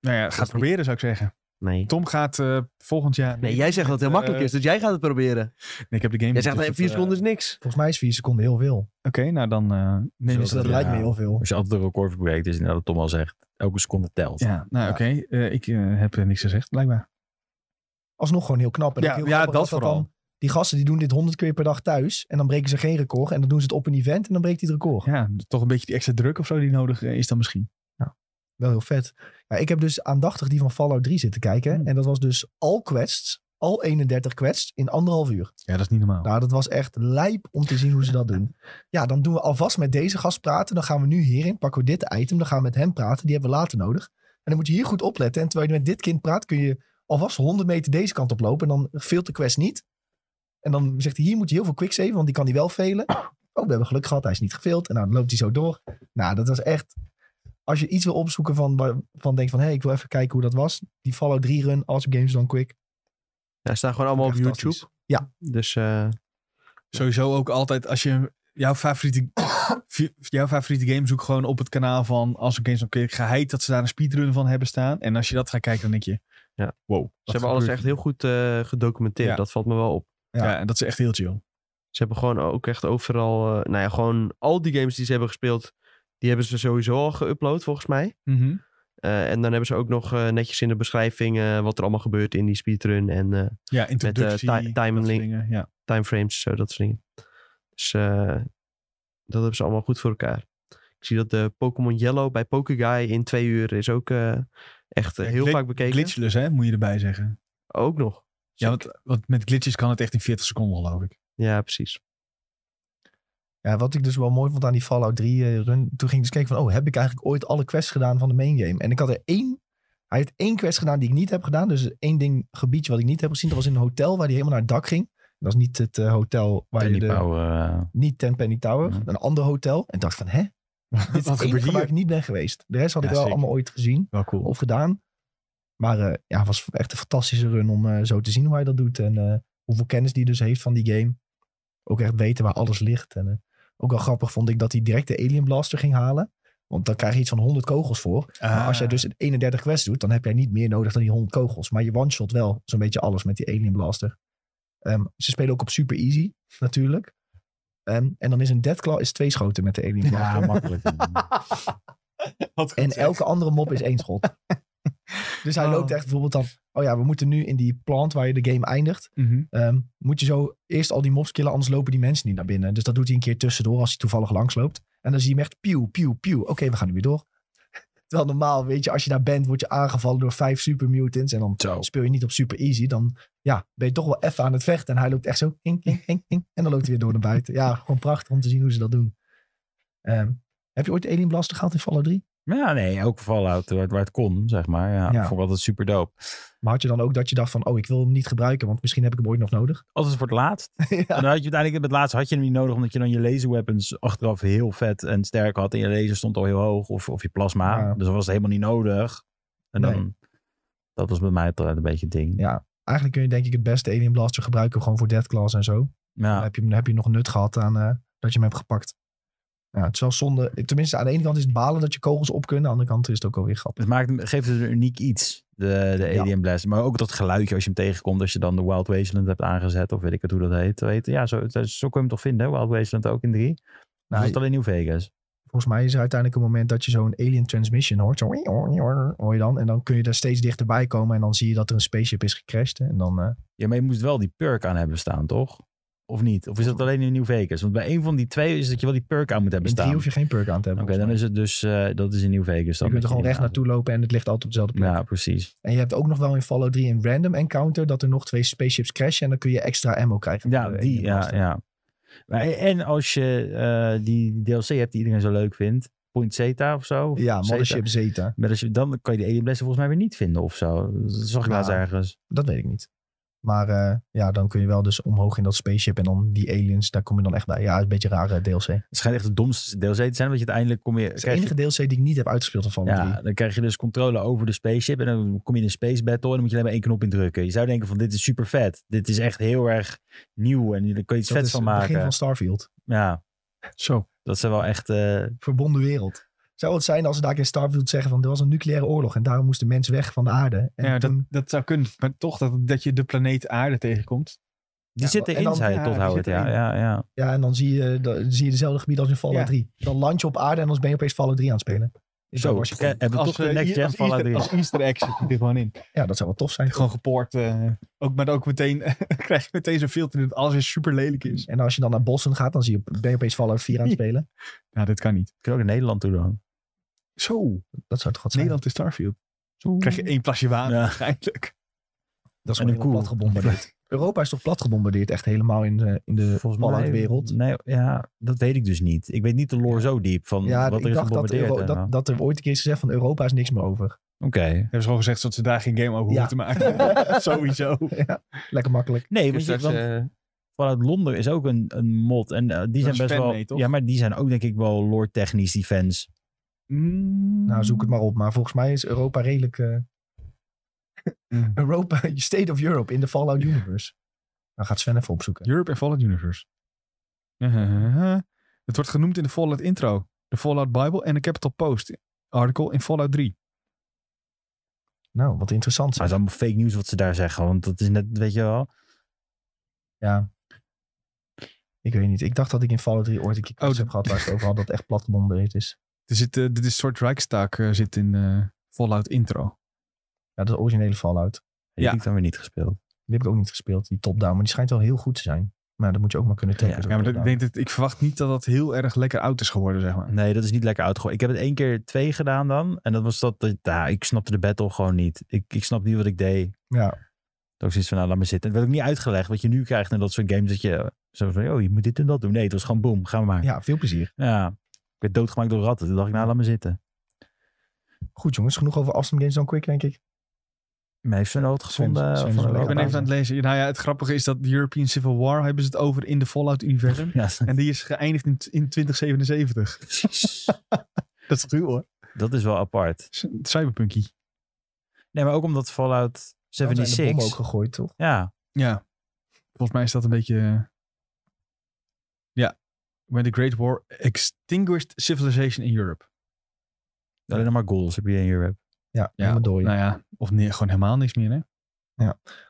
C: Nou ja, ga het
D: niet-
C: proberen, zou ik zeggen.
D: Nee.
C: Tom gaat eh, volgend jaar.
D: Nee, jij zegt dat het heel
C: Eh,
D: makkelijk is, dus jij gaat het proberen.
C: Nee, ik heb de game.
D: Jij
C: niet,
D: zegt,
C: dus
D: nee,
C: dat,
D: vier
C: eh,
D: seconden is niks.
A: Volgens mij is vier seconden heel veel.
C: Oké, nou dan eh neem
A: Dus
C: ik
A: dat
B: ja.
A: lijkt me heel veel.
B: Als je altijd een record verbreekt, is inderdaad wat Tom al zegt. Elke seconde telt.
C: Ja, nou
A: Ja.
C: oké. eh, ik eh, heb eh, niks gezegd, blijkbaar.
A: Alsnog gewoon heel knap. En
C: Ja,
A: ook heel
C: ja,
A: grappig
C: dat
A: dan-
C: vooral.
A: die gasten die doen dit honderd keer per dag thuis. En dan breken ze geen record. En dan doen ze het op een event en dan breekt hij het record.
C: Ja, toch een beetje die extra druk of zo die nodig eh, is dan misschien.
A: Wel heel vet. Ja, ik heb dus aandachtig die van Fallout 3 zitten kijken.
C: Hmm.
A: En dat was dus al quests, al 31 quests in anderhalf uur.
C: Ja, dat is niet normaal.
A: Nou, dat was echt lijp om te zien hoe ze dat doen. Ja, dan doen we alvast met deze gast praten. Dan gaan we nu hierin, pakken we dit item. Dan gaan we met hem praten. Die hebben we later nodig. En dan moet je hier goed opletten. En terwijl je met dit kind praat, kun je alvast 100 meter deze kant op lopen. En dan veelt de quest niet. En dan zegt hij, hier moet je heel veel quicksaven, want die kan hij wel velen. Oh, we hebben geluk gehad, hij is niet geveeld. En nou, dan loopt hij zo door. Nou, dat was echt... Als je iets wil opzoeken van, waar- van denk van, hé, hey, ik wil even kijken hoe dat was. Die Fallout 3 run, Awesome Games dan Quick.
D: Ja, ze staan gewoon allemaal op
A: Echt
D: YouTube.
A: fantastisch. Ja.
D: Dus eh,
C: Sowieso ook altijd als je jouw favoriete, vi- jouw favoriete game zoekt gewoon op het kanaal van als een games oké, geheid dat ze daar een speedrun van hebben staan. En als je dat gaat kijken, dan denk je,
D: Ja.
C: wow. wat
D: ze hebben alles
C: gebeurt
D: echt heel
C: hier?
D: goed eh, gedocumenteerd.
C: Ja.
D: Dat valt me wel op.
A: Ja.
C: Ja, en dat is echt heel chill.
D: Ze hebben gewoon ook echt overal... eh, nou ja, gewoon al die games die ze hebben gespeeld... die hebben ze sowieso al geüpload, volgens mij.
C: Mhm.
D: Eh, en dan hebben ze ook nog eh, netjes in de beschrijving... eh, wat er allemaal gebeurt in die speedrun en eh,
C: Ja, introductie,
D: ti- timing
C: dat soort
D: link.
C: dingen, Ja.
D: timeframes, zo dat soort dingen. Dus eh, dat hebben ze allemaal goed voor elkaar. Ik zie dat de Pokémon Yellow bij Pokéguy in twee uur is ook eh, echt eh,
C: Ja,
D: heel
C: glit-
D: vaak bekeken.
C: Glitchless, hè, moet je erbij zeggen.
D: Ook nog.
C: Ja, want, want met glitches kan het echt in 40 seconden, geloof ik.
D: Ja, precies.
A: Ja, wat ik dus wel mooi vond aan die Fallout 3 eh, run. Toen ging ik dus kijken van, oh, heb ik eigenlijk ooit alle quests gedaan van de main game? En ik had er één. Hij heeft één quest gedaan die ik niet heb gedaan. Dus één ding, gebiedje wat ik niet heb gezien. Dat was in een hotel waar hij helemaal naar het dak ging. Dat is niet het eh, hotel waar
B: En
A: je
B: die
A: de...
B: bouwen... eh,
A: Niet Tenpenny Tower.
B: Mhm.
A: Een ander hotel. En ik dacht van, hè? Dit is het enige waar ik niet ben geweest. De rest had
C: Ja,
A: ik wel
C: zeker.
A: allemaal ooit gezien
C: Wel cool.
A: of gedaan. Maar eh, ja, het was echt een fantastische run om eh, zo te zien hoe hij dat doet. En eh, hoeveel kennis die dus heeft van die game. Ook echt weten waar alles ligt. En eh, ook wel grappig vond ik dat hij direct de Alien Blaster ging halen. Want dan krijg je iets van 100 kogels voor.
C: Eh,
A: Maar als jij
C: Ah.
A: dus een 31 quest doet, dan heb jij niet meer nodig dan die 100 kogels. Maar je one-shot wel zo'n beetje alles met die Alien Blaster. Ehm, ze spelen ook op super easy, natuurlijk. Ehm, en dan is een Deathclaw is twee schoten met de Alien Blaster.
B: Ja, makkelijk.
C: Wat goed
A: En
C: zeg.
A: elke andere mop is één schot. dus hij
C: Oh.
A: loopt echt bijvoorbeeld dan... Oh ja, we moeten nu in die plant waar je de game eindigt...
C: Mhm.
A: ehm, moet je zo eerst al die mobs killen, anders lopen die mensen niet naar binnen. Dus dat doet hij een keer tussendoor als hij toevallig langsloopt. En dan zie je hem echt pieuw, pieuw, pieuw. Oké, we gaan nu weer door. Terwijl normaal, weet je, als je daar bent, word je aangevallen door vijf super mutants. En dan
B: Zo.
A: speel je niet op super easy. Dan ja, ben je toch wel even aan het vechten. En hij loopt echt zo, hink, hink, hink, hink. En dan loopt hij weer door naar buiten. Ja, gewoon prachtig om te zien hoe ze dat doen. Ehm, heb je ooit Alien Blaster gehad in Fallout 3?
B: Ja, nee, ook Fallout, waar, het- waar het kon, zeg maar. Ja,
A: Ja.
B: Vond ik altijd super dope.
A: Maar had je dan ook dat je dacht van, oh, ik wil hem niet gebruiken, want misschien heb ik hem ooit nog nodig?
B: Altijd voor het laatst. En dan had je uiteindelijk met het laatst had je hem niet nodig, omdat je dan je laser weapons achteraf heel vet en sterk had. En je laser stond al heel hoog, of, of je plasma.
A: Ja.
B: Dus dan was het helemaal niet nodig. En dan, dat was bij mij toch een beetje het ding.
A: Ja. Eigenlijk kun je denk ik het beste Alien Blaster gebruiken gewoon voor Deathclaws en zo. Dan,
B: Ja.
A: heb je, hem- dan heb je nog nut gehad aan eh, dat je hem hebt gepakt. Ja, het is wel zonde. Tenminste, aan de ene kant is het balen dat je kogels op kunnen. Aan de andere kant is het ook alweer grappig.
B: Het maakt, hem- geeft het een uniek iets, de, de
A: Ja.
B: Alien Blast. Maar ook dat geluidje als je hem tegenkomt, als je dan de Wild Wasteland hebt aangezet, of weet ik het hoe dat heet. Weet, ja, zo, zo kun je hem toch vinden, hè? Wild Wasteland ook in drie. Nou,
A: Nou,
B: dat is alleen New Vegas.
A: Volgens mij is er uiteindelijk een moment dat je zo'n Alien Transmission hoort. Zo hoor je dan. En dan kun je daar steeds dichterbij komen. En dan zie je dat er een spaceship is gecrashed. En dan... eh,
B: Ja, maar je moest wel die perk aan hebben staan, toch? Of niet? Of is dat alleen in New Vegas? Want bij een van die twee is dat je wel die perk aan moet hebben
A: in drie
B: staan.
A: hoef je geen perk aan te
B: Oké,
A: hebben.
B: dan
A: volgens
B: is het dus, eh, dat is in New Vegas.
A: mij.
B: Dan
A: je kunt er
B: dat
A: gewoon recht
B: inderdaad-
A: naartoe lopen en het ligt altijd op dezelfde plek.
B: Ja, precies.
A: En je hebt ook nog wel in Fallout 3 een random encounter dat er nog twee spaceships crashen en dan kun je extra ammo krijgen.
B: Ja,
A: Voor de
B: die,
A: ene
B: ja,
A: master.
B: ja. Maar, e- en als je eh, die DLC hebt die iedereen zo leuk vindt, Point Zeta of zo. of
A: Ja,
B: Zeta.
A: Mothership Zeta.
B: Maar als je, dan kan je de Alien Blessing volgens mij weer niet vinden of zo. Dat zag ik
A: Nou,
B: laatst ergens.
A: Dat weet ik niet. Maar eh, ja, dan kun je wel dus omhoog in dat spaceship en dan die aliens, daar kom je dan echt bij. Ja, is een beetje een rare DLC. Het
B: Het schijnt echt de domste DLC te zijn, want je uiteindelijk kom je...
A: is de
B: krijg je-
A: enige DLC die ik niet heb uitgespeeld van Fallout
B: ja,
A: 3.
B: dan krijg je dus controle over de spaceship en dan kom je in een space battle en dan moet je alleen maar één knop indrukken. Je zou denken van dit is super vet. Dit is echt heel erg nieuw en daar kun je iets
A: Dat
B: vets
A: is
B: van
A: het begin
B: maken.
A: van Starfield.
B: Ja,
C: Zo.
B: dat zijn wel echt... eh,
A: Verbonden wereld. Zou het zijn als ze daar in Starfield zeggen van er was een nucleaire oorlog en daarom moest de mens weg van de aarde. En
C: Ja, dat,
A: toen-
C: dat zou kunnen. Maar toch dat, dat je de planeet aarde tegenkomt.
B: die
A: Ja,
B: zitten
A: en
B: in,
A: dan-
B: zei
C: ja,
B: tot
C: die
B: Howard.
C: zitten
B: Ja,
C: erin.
B: ja, ja.
A: ja, en dan zie je, dan zie je dezelfde gebied als in Fallout
C: Ja.
A: 3. Dan land je op aarde en dan ben je opeens Fallout 3 aan het spelen. Is
B: Zo,
A: dat als je
B: we hebben
C: Als,
B: toch de
C: eh,
B: next
C: i-
B: gen
C: als
B: Fallout
C: Easter,
B: 3.
C: als easter egg zit die er gewoon in.
A: Ja, dat zou wel tof zijn.
C: Gewoon gepoord. eh, ook, maar ook meteen krijg je meteen zo'n filter dat alles is super lelijk is.
A: En als je dan naar Boston gaat, dan zie je, ben je opeens Fallout 4 aan het spelen.
C: Nou, dit kan niet.
B: Kunnen we ook in Nederland toe dan.
C: Zo.
A: Dat zou toch wat zijn?
C: Nederland is Starfield. Krijg je één plasje water
B: Ja.
C: waarschijnlijk.
A: dat is
B: en
A: gewoon
B: een koe.
A: plat gebombardeerd. Europa is toch plat gebombardeerd echt helemaal in de, in de Fallout wereld?
B: Nee, ja, dat weet ik dus niet. Ik weet niet de lore zo diep van
A: Ja,
B: wat
A: ik
B: er is
A: dacht dat,
B: gebombardeerd.
A: Euro-
B: en nou.
A: dat,
B: wel.
A: dat er ooit een keer is gezegd van Europa is niks meer over.
B: Oké.
C: Hebben ze gewoon gezegd dat ze daar geen game over
A: Ja.
C: hoeven te maken. Sowieso.
A: Ja, lekker makkelijk.
B: Nee,
D: Dus
B: want, je,
D: straks,
B: want
D: eh,
B: vanuit Londen is ook een, een mod. En eh, die zijn
C: is
B: best wel...
C: fanmade, toch?
B: Ja, maar die zijn ook denk ik wel lore technisch, die fans.
A: Nou, zoek het maar op. Maar volgens mij is Europa redelijk... eh,
C: Mm.
A: Europa, State of Europe in de Fallout universe. Dan gaat Sven even opzoeken.
C: Europe en Fallout Universe. Hahaha. Het wordt genoemd in de Fallout intro, de Fallout Bible en de Capital Post article in Fallout 3.
A: Nou, wat interessant.
B: Maar het is allemaal fake nieuws wat ze daar zeggen. Want dat is net, weet je wel...
A: Ja. Ik weet niet. Ik dacht dat ik in Fallout 3 ooit een keer
C: Oh,
A: kans
C: dat-
A: heb gehad waar ze het over had dat het echt plat gebombardeerd is.
C: Er zit, eh, dit is een soort Rijkstaak eh, zit in eh, Fallout intro.
A: Ja, dat is de originele Fallout.
B: Die
C: Ja.
B: heb ik dan weer niet gespeeld.
A: Die heb ik ook niet gespeeld, die top-down. Maar die schijnt wel heel goed te zijn. Maar dat moet je ook maar kunnen trekken.
B: Ja,
A: zo'n
C: Ja, maar dat, ik,
A: top-down.
C: denk dat, ik verwacht niet dat dat heel erg lekker oud is geworden, zeg maar.
B: Nee, dat is niet lekker uitgegooid. Ik heb het één keer twee gedaan dan. En dat was dat... dat nou, ik snapte de battle gewoon niet. Ik, ik snap niet wat ik deed.
A: ja.
B: Dat was zoiets van, nou, laat maar zitten. Het werd ook niet uitgelegd wat je nu krijgt in dat soort games. Dat je zo van, oh, je moet dit en dat doen. Nee, het was gewoon boom, gaan we maar. Ja.
A: ja, veel plezier.
B: Ik werd doodgemaakt door ratten. Toen dacht ik, nou, laat maar zitten.
A: Goed jongens, genoeg over Awesome Games dan quick denk ik.
B: Maar heeft ze nou wat gevonden?
A: Sven is
B: van
A: wel
B: Europa?
C: Ik ben even aan het lezen. Nou ja, het grappige is dat de European Civil War hebben ze het over in de Fallout universum.
B: Ja,
C: En die is geëindigd in, in 2077.
B: precies.
C: Dat is ruw hoor.
B: dat is wel apart.
C: Cyberpunkie.
B: Nee, maar ook omdat Fallout
A: Dan zijn de bommen
B: 76...
A: ook gegooid, toch?
B: Ja,
C: Ja. Volgens mij is dat een beetje... eh, Ja. When the Great War extinguished civilization in Europe.
B: alleen nog maar goals heb je in Europe.
A: Ja, helemaal door.
C: Nou ja, of nee, gewoon helemaal niks meer, hè?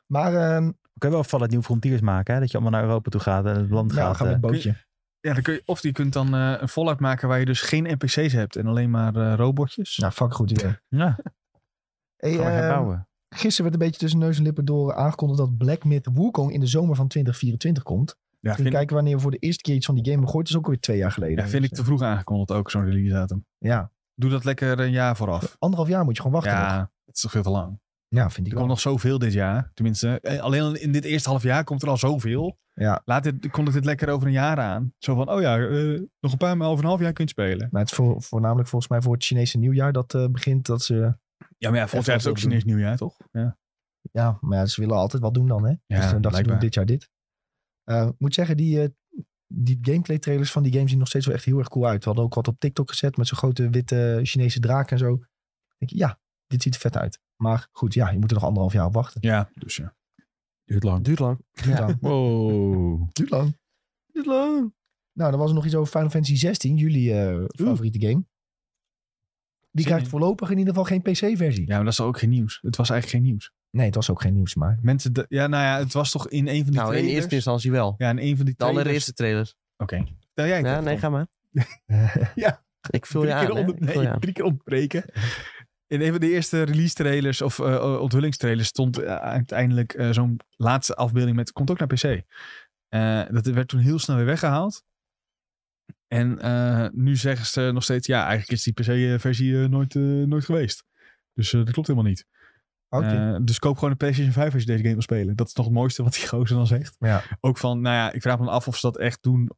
A: Maar ehm
B: We kunnen wel Fallout New Frontiers maken, hè? Dat je allemaal naar Europa toe gaat en het land
A: nou,
B: gaat.
A: gaan we
B: eh,
A: het bootje.
C: Ja, dan kun je, of je kunt dan eh, een Fallout maken waar je dus geen NPC's hebt en alleen maar eh, robotjes.
A: Nou, fuck, goed idee.
B: ja,
A: Hey,
B: gaan we
A: ehm,
B: herbouwen.
A: gisteren werd een beetje tussen neus en lippen door aangekondigd dat Black Myth Wukong in de zomer van 2024 komt.
C: ja,
A: Toen
C: vind,
A: kijken wanneer we voor de eerste keer iets van die game gegooid. Dat is ook alweer twee jaar geleden. Dus,
C: ja, vind ik te vroeg aangekondigd ook, zo'n release datum.
A: Ja,
C: Doe dat lekker een jaar vooraf.
A: anderhalf jaar moet je gewoon wachten. nog.
C: Ja, het is toch veel te lang.
A: ja vind ik
C: Er
A: wel.
C: komt nog zoveel dit jaar. Tenminste, eh, alleen al in dit eerste half jaar komt er al zoveel.
A: Ja.
C: Laat dit, kondig dit lekker over een jaar aan. Zo van, oh ja, eh, nog een paar maal over een half jaar kunt spelen.
A: Maar het is voor, voornamelijk volgens mij voor het Chinese nieuwjaar dat eh, begint. Dat ze,
C: Ja, maar ja,
A: Echt
C: volgens mij is het
A: wel
C: ook
A: veel
C: Chinees nieuwjaar, toch? Ja.
A: ja, maar ja, ze willen altijd wat doen dan, hè? dus dan dachten ze,
C: blijkbaar.
A: doen dit jaar dit. Eh, Ik moet zeggen, die, eh, die gameplay trailers van die games zien nog steeds wel echt heel erg cool uit. We hadden ook wat op TikTok gezet met zo'n grote witte eh, Chinese draak en zo. Dan denk je, ja, dit ziet er vet uit. Maar goed, ja, je moet er nog anderhalf jaar op wachten.
C: Ja, dus ja.
B: Duurt lang.
D: Duurt lang.
A: Duurt lang.
B: Wow.
A: Duurt lang.
D: Duurt lang.
A: Nou, dan was er nog iets over Final Fantasy 16, jullie eh, favoriete game. Die
C: in.
A: krijgt voorlopig in ieder geval geen PC-versie.
C: Ja, maar dat is ook geen nieuws. Het was eigenlijk geen nieuws.
A: Nee, het was ook geen nieuws, maar
C: Mensen, de- ja, nou ja, het was toch in een van die
D: Nou, in
C: trailers?
D: eerste instantie wel.
C: Ja, in een van die
D: De
C: trailers. Nou,
D: allereerste trailer.
C: Oké. Vertel jij het
D: Ja,
C: even
D: nee,
C: dan.
D: ga maar.
C: Ja.
D: Ik vul je
C: drie,
D: aan,
C: keer
D: hè.
C: onder,
D: Ik vul
C: nee,
D: je aan.
C: drie keer ontbreken. In een van de eerste release trailers of eh, onthullingstrailers stond eh, uiteindelijk eh, zo'n laatste afbeelding met komt ook naar PC. Eh, dat werd toen heel snel weer weggehaald. En eh, nu zeggen ze nog steeds, ja, eigenlijk is die PC-versie nooit, eh, nooit geweest. Dus eh, dat klopt helemaal niet.
A: Oh, oké.
C: Eh, dus koop gewoon een PlayStation 5 als je deze game wil spelen. Dat is nog het mooiste wat die gozer dan zegt.
A: Ja.
C: Ook van, nou ja, ik vraag me dan af of ze dat echt doen.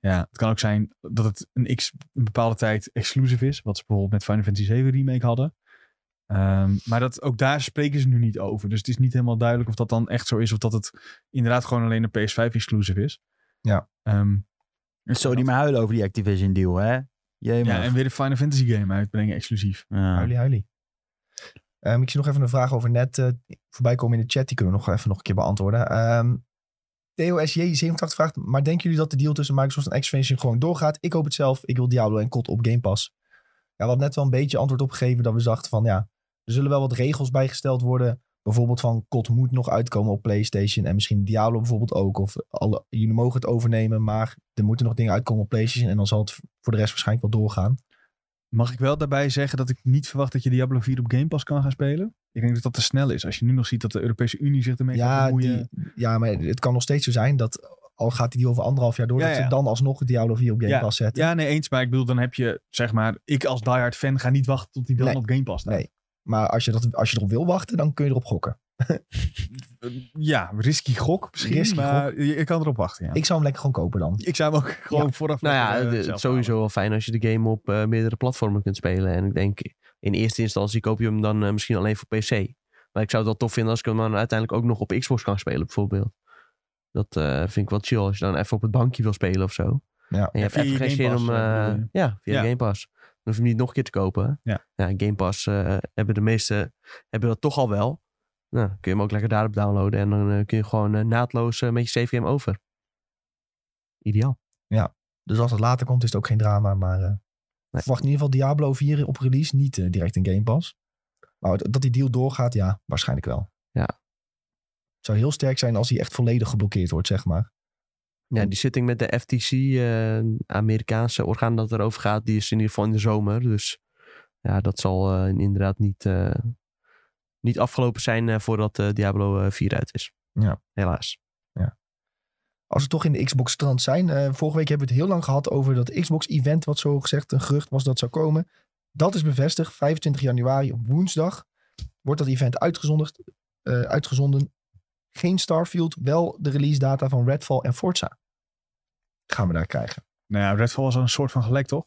C: Ja, het kan ook zijn dat het een, X, een bepaalde tijd exclusive is. Wat ze bijvoorbeeld met Final Fantasy 7 Remake hadden. Ehm, maar dat, ook daar spreken ze nu niet over. Dus het is niet helemaal duidelijk of dat dan echt zo is. Of dat het inderdaad gewoon alleen een PS5 exclusive is.
A: Ja.
C: Ehm,
B: Zo niet meer huilen over die Activision deal, hè? Jee,
C: ja, en
B: man.
C: weer een Final Fantasy game uitbrengen exclusief.
B: Ja,
A: Huilie, huilie. Ehm, ik zie nog even een vraag over net eh, voorbij komen in de chat. Die kunnen we nog even nog een keer beantwoorden. Ehm TOSJ87 vraagt, maar denken jullie dat de deal tussen Microsoft en Activision gewoon doorgaat? Ik hoop het zelf. Ik wil Diablo en COD op Game Pass. Ja, we hadden net wel een beetje antwoord opgegeven dat we dachten van ja, er zullen wel wat regels bijgesteld worden. Bijvoorbeeld van COD moet nog uitkomen op PlayStation en misschien Diablo bijvoorbeeld ook. Of alle, jullie mogen het overnemen, maar er moeten nog dingen uitkomen op PlayStation en dan zal het voor de rest waarschijnlijk wel doorgaan.
C: Mag ik wel daarbij zeggen dat ik niet verwacht dat je Diablo 4 op Game Pass kan gaan spelen? Ik denk dat dat te snel is. Als je nu nog ziet dat de Europese Unie zich ermee gaat
A: Ja,
C: bemoeien.
A: die- ja, maar het kan nog steeds zo zijn dat al gaat die over anderhalf jaar door,
C: Ja,
A: dat ze
C: ja.
A: dan alsnog Diablo 4 op Game Pass zetten.
C: Ja, nee, eens. Maar ik bedoel, dan heb je, zeg maar, ik als diehard fan ga niet wachten tot die dan
A: Nee.
C: op Game Pass staat.
A: Nee. Maar als je, dat, als je erop wil wachten, dan kun je erop gokken.
C: Ja, risky gok misschien,
A: Risky
C: maar je, je kan erop wachten, ja. Ik,
A: Ik zou hem lekker gewoon kopen dan.
C: zou hem ook gewoon vooraf...
D: Nou ja,
C: lekker,
D: het-
C: eh,
D: het
C: zelf
D: is sowieso wel fijn als je de game op eh, meerdere platformen kunt spelen. En ik denk, in eerste instantie koop je hem dan eh, misschien alleen voor PC. Maar ik zou het wel tof vinden als ik hem dan uiteindelijk ook nog op Xbox kan spelen, bijvoorbeeld. Dat eh, vind ik wel chill als je dan even op het bankje wil spelen of zo.
A: Ja.
D: En je hebt
C: via
D: even
C: je
D: geen
C: Game
D: zin
C: Pass,
D: om...
C: eh,
D: eh,
C: bedoel je?
D: ja, via
C: Ja.
D: de Game Pass. Dan hoef je hem niet nog een keer te kopen.
C: Ja.
D: Game Pass eh, hebben de meeste hebben dat toch al wel. Nou, kun je hem ook lekker daarop downloaden. En dan eh, kun je gewoon eh, naadloos eh, met je save game over. Ideaal.
A: Dus als het later komt, is het ook geen drama. Maar eh verwacht in ieder geval Diablo 4 op release niet eh, direct in Game Pass. Maar dat- dat die deal doorgaat, ja, waarschijnlijk wel.
D: Ja.
A: Het zou heel sterk zijn als die echt volledig geblokkeerd wordt, zeg maar.
D: Ja, die zitting met de FTC, eh, Amerikaanse orgaan dat erover gaat, die is in ieder geval in de zomer. Dus ja, dat zal eh, inderdaad niet, eh, niet afgelopen zijn eh, voordat eh, Diablo eh, 4 uit is.
A: Ja.
D: Helaas.
A: Als we toch in de Xbox-trant zijn. eh, vorige week hebben we het heel lang gehad over dat Xbox-event, wat zo gezegd een gerucht was dat zou komen. Dat is bevestigd. 25 januari op woensdag wordt dat event uitgezonderd, eh, uitgezonden. Geen Starfield, wel de release data van Redfall en Forza. Gaan we daar krijgen.
C: Nou ja, Redfall was al een soort van gelijk, toch?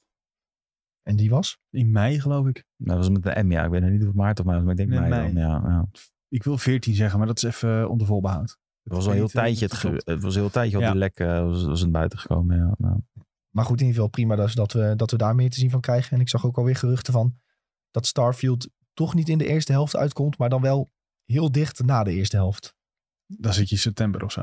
A: En die was?
C: In mei, geloof ik.
B: Nou, dat was met de M, ja. Ik weet nog niet of het maart of maart, maar ik denk
C: Nee,
B: mei
C: mei.
B: dan. Ja, ja.
C: Ik wil 14 zeggen, maar dat is even eh, onder voorbehoud.
B: Het was al een heel tijdje, het, ge- het was een heel tijdje al
C: Ja.
B: die lek eh, was, was het buiten gekomen. Ja, Nou,
A: Maar goed, in ieder geval prima dus dat, we, dat we daar meer te zien van krijgen. En ik zag ook alweer geruchten van dat Starfield toch niet in de eerste helft uitkomt, maar dan wel heel dicht na de eerste helft.
C: Dan zit je september of zo.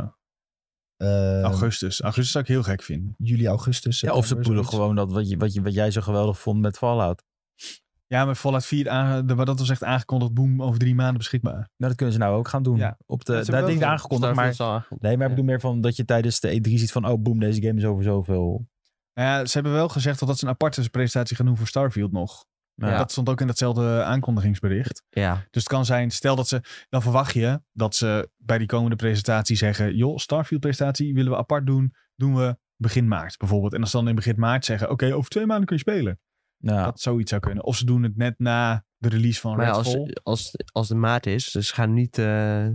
A: Eh,
C: Nou, Augustus. Augustus zou ik heel gek vinden.
A: Juli, augustus.
B: Ja, of ze
A: september,
B: poelen
A: zoiets.
B: gewoon dat wat, je, wat, je, wat jij zo geweldig vond met Fallout.
C: Ja, maar Fallout 4, aan, de, waar dat was echt aangekondigd, boom, over drie maanden beschikbaar.
B: Nou, dat kunnen ze nou ook gaan doen.
C: Ja.
B: Op de,
C: Dat
B: dat
C: is wel
B: ding
C: zo.
B: aangekondigd,
D: Starfield
B: maar...
D: is al aangekondigd.
B: Nee, maar ik
D: Ja.
B: bedoel meer van dat je tijdens de E3 ziet van... Oh, boem, deze game is over zoveel.
C: Nou ja, ze hebben wel gezegd dat, dat ze een aparte presentatie gaan doen voor Starfield nog.
B: Ja.
C: Dat stond ook in datzelfde aankondigingsbericht.
D: Ja,
C: Dus het kan zijn, stel dat ze, dan verwacht je dat ze bij die komende presentatie zeggen, joh, Starfield-presentatie willen we apart doen, doen we begin maart bijvoorbeeld. En als ze dan in begin maart zeggen, oké, over twee maanden kun je spelen.
B: Ja.
C: Dat zoiets zou kunnen. Of ze doen het net na de release van
D: maar ja,
C: Redfall.
D: als, als, als de maat is, dus ze gaan niet eh,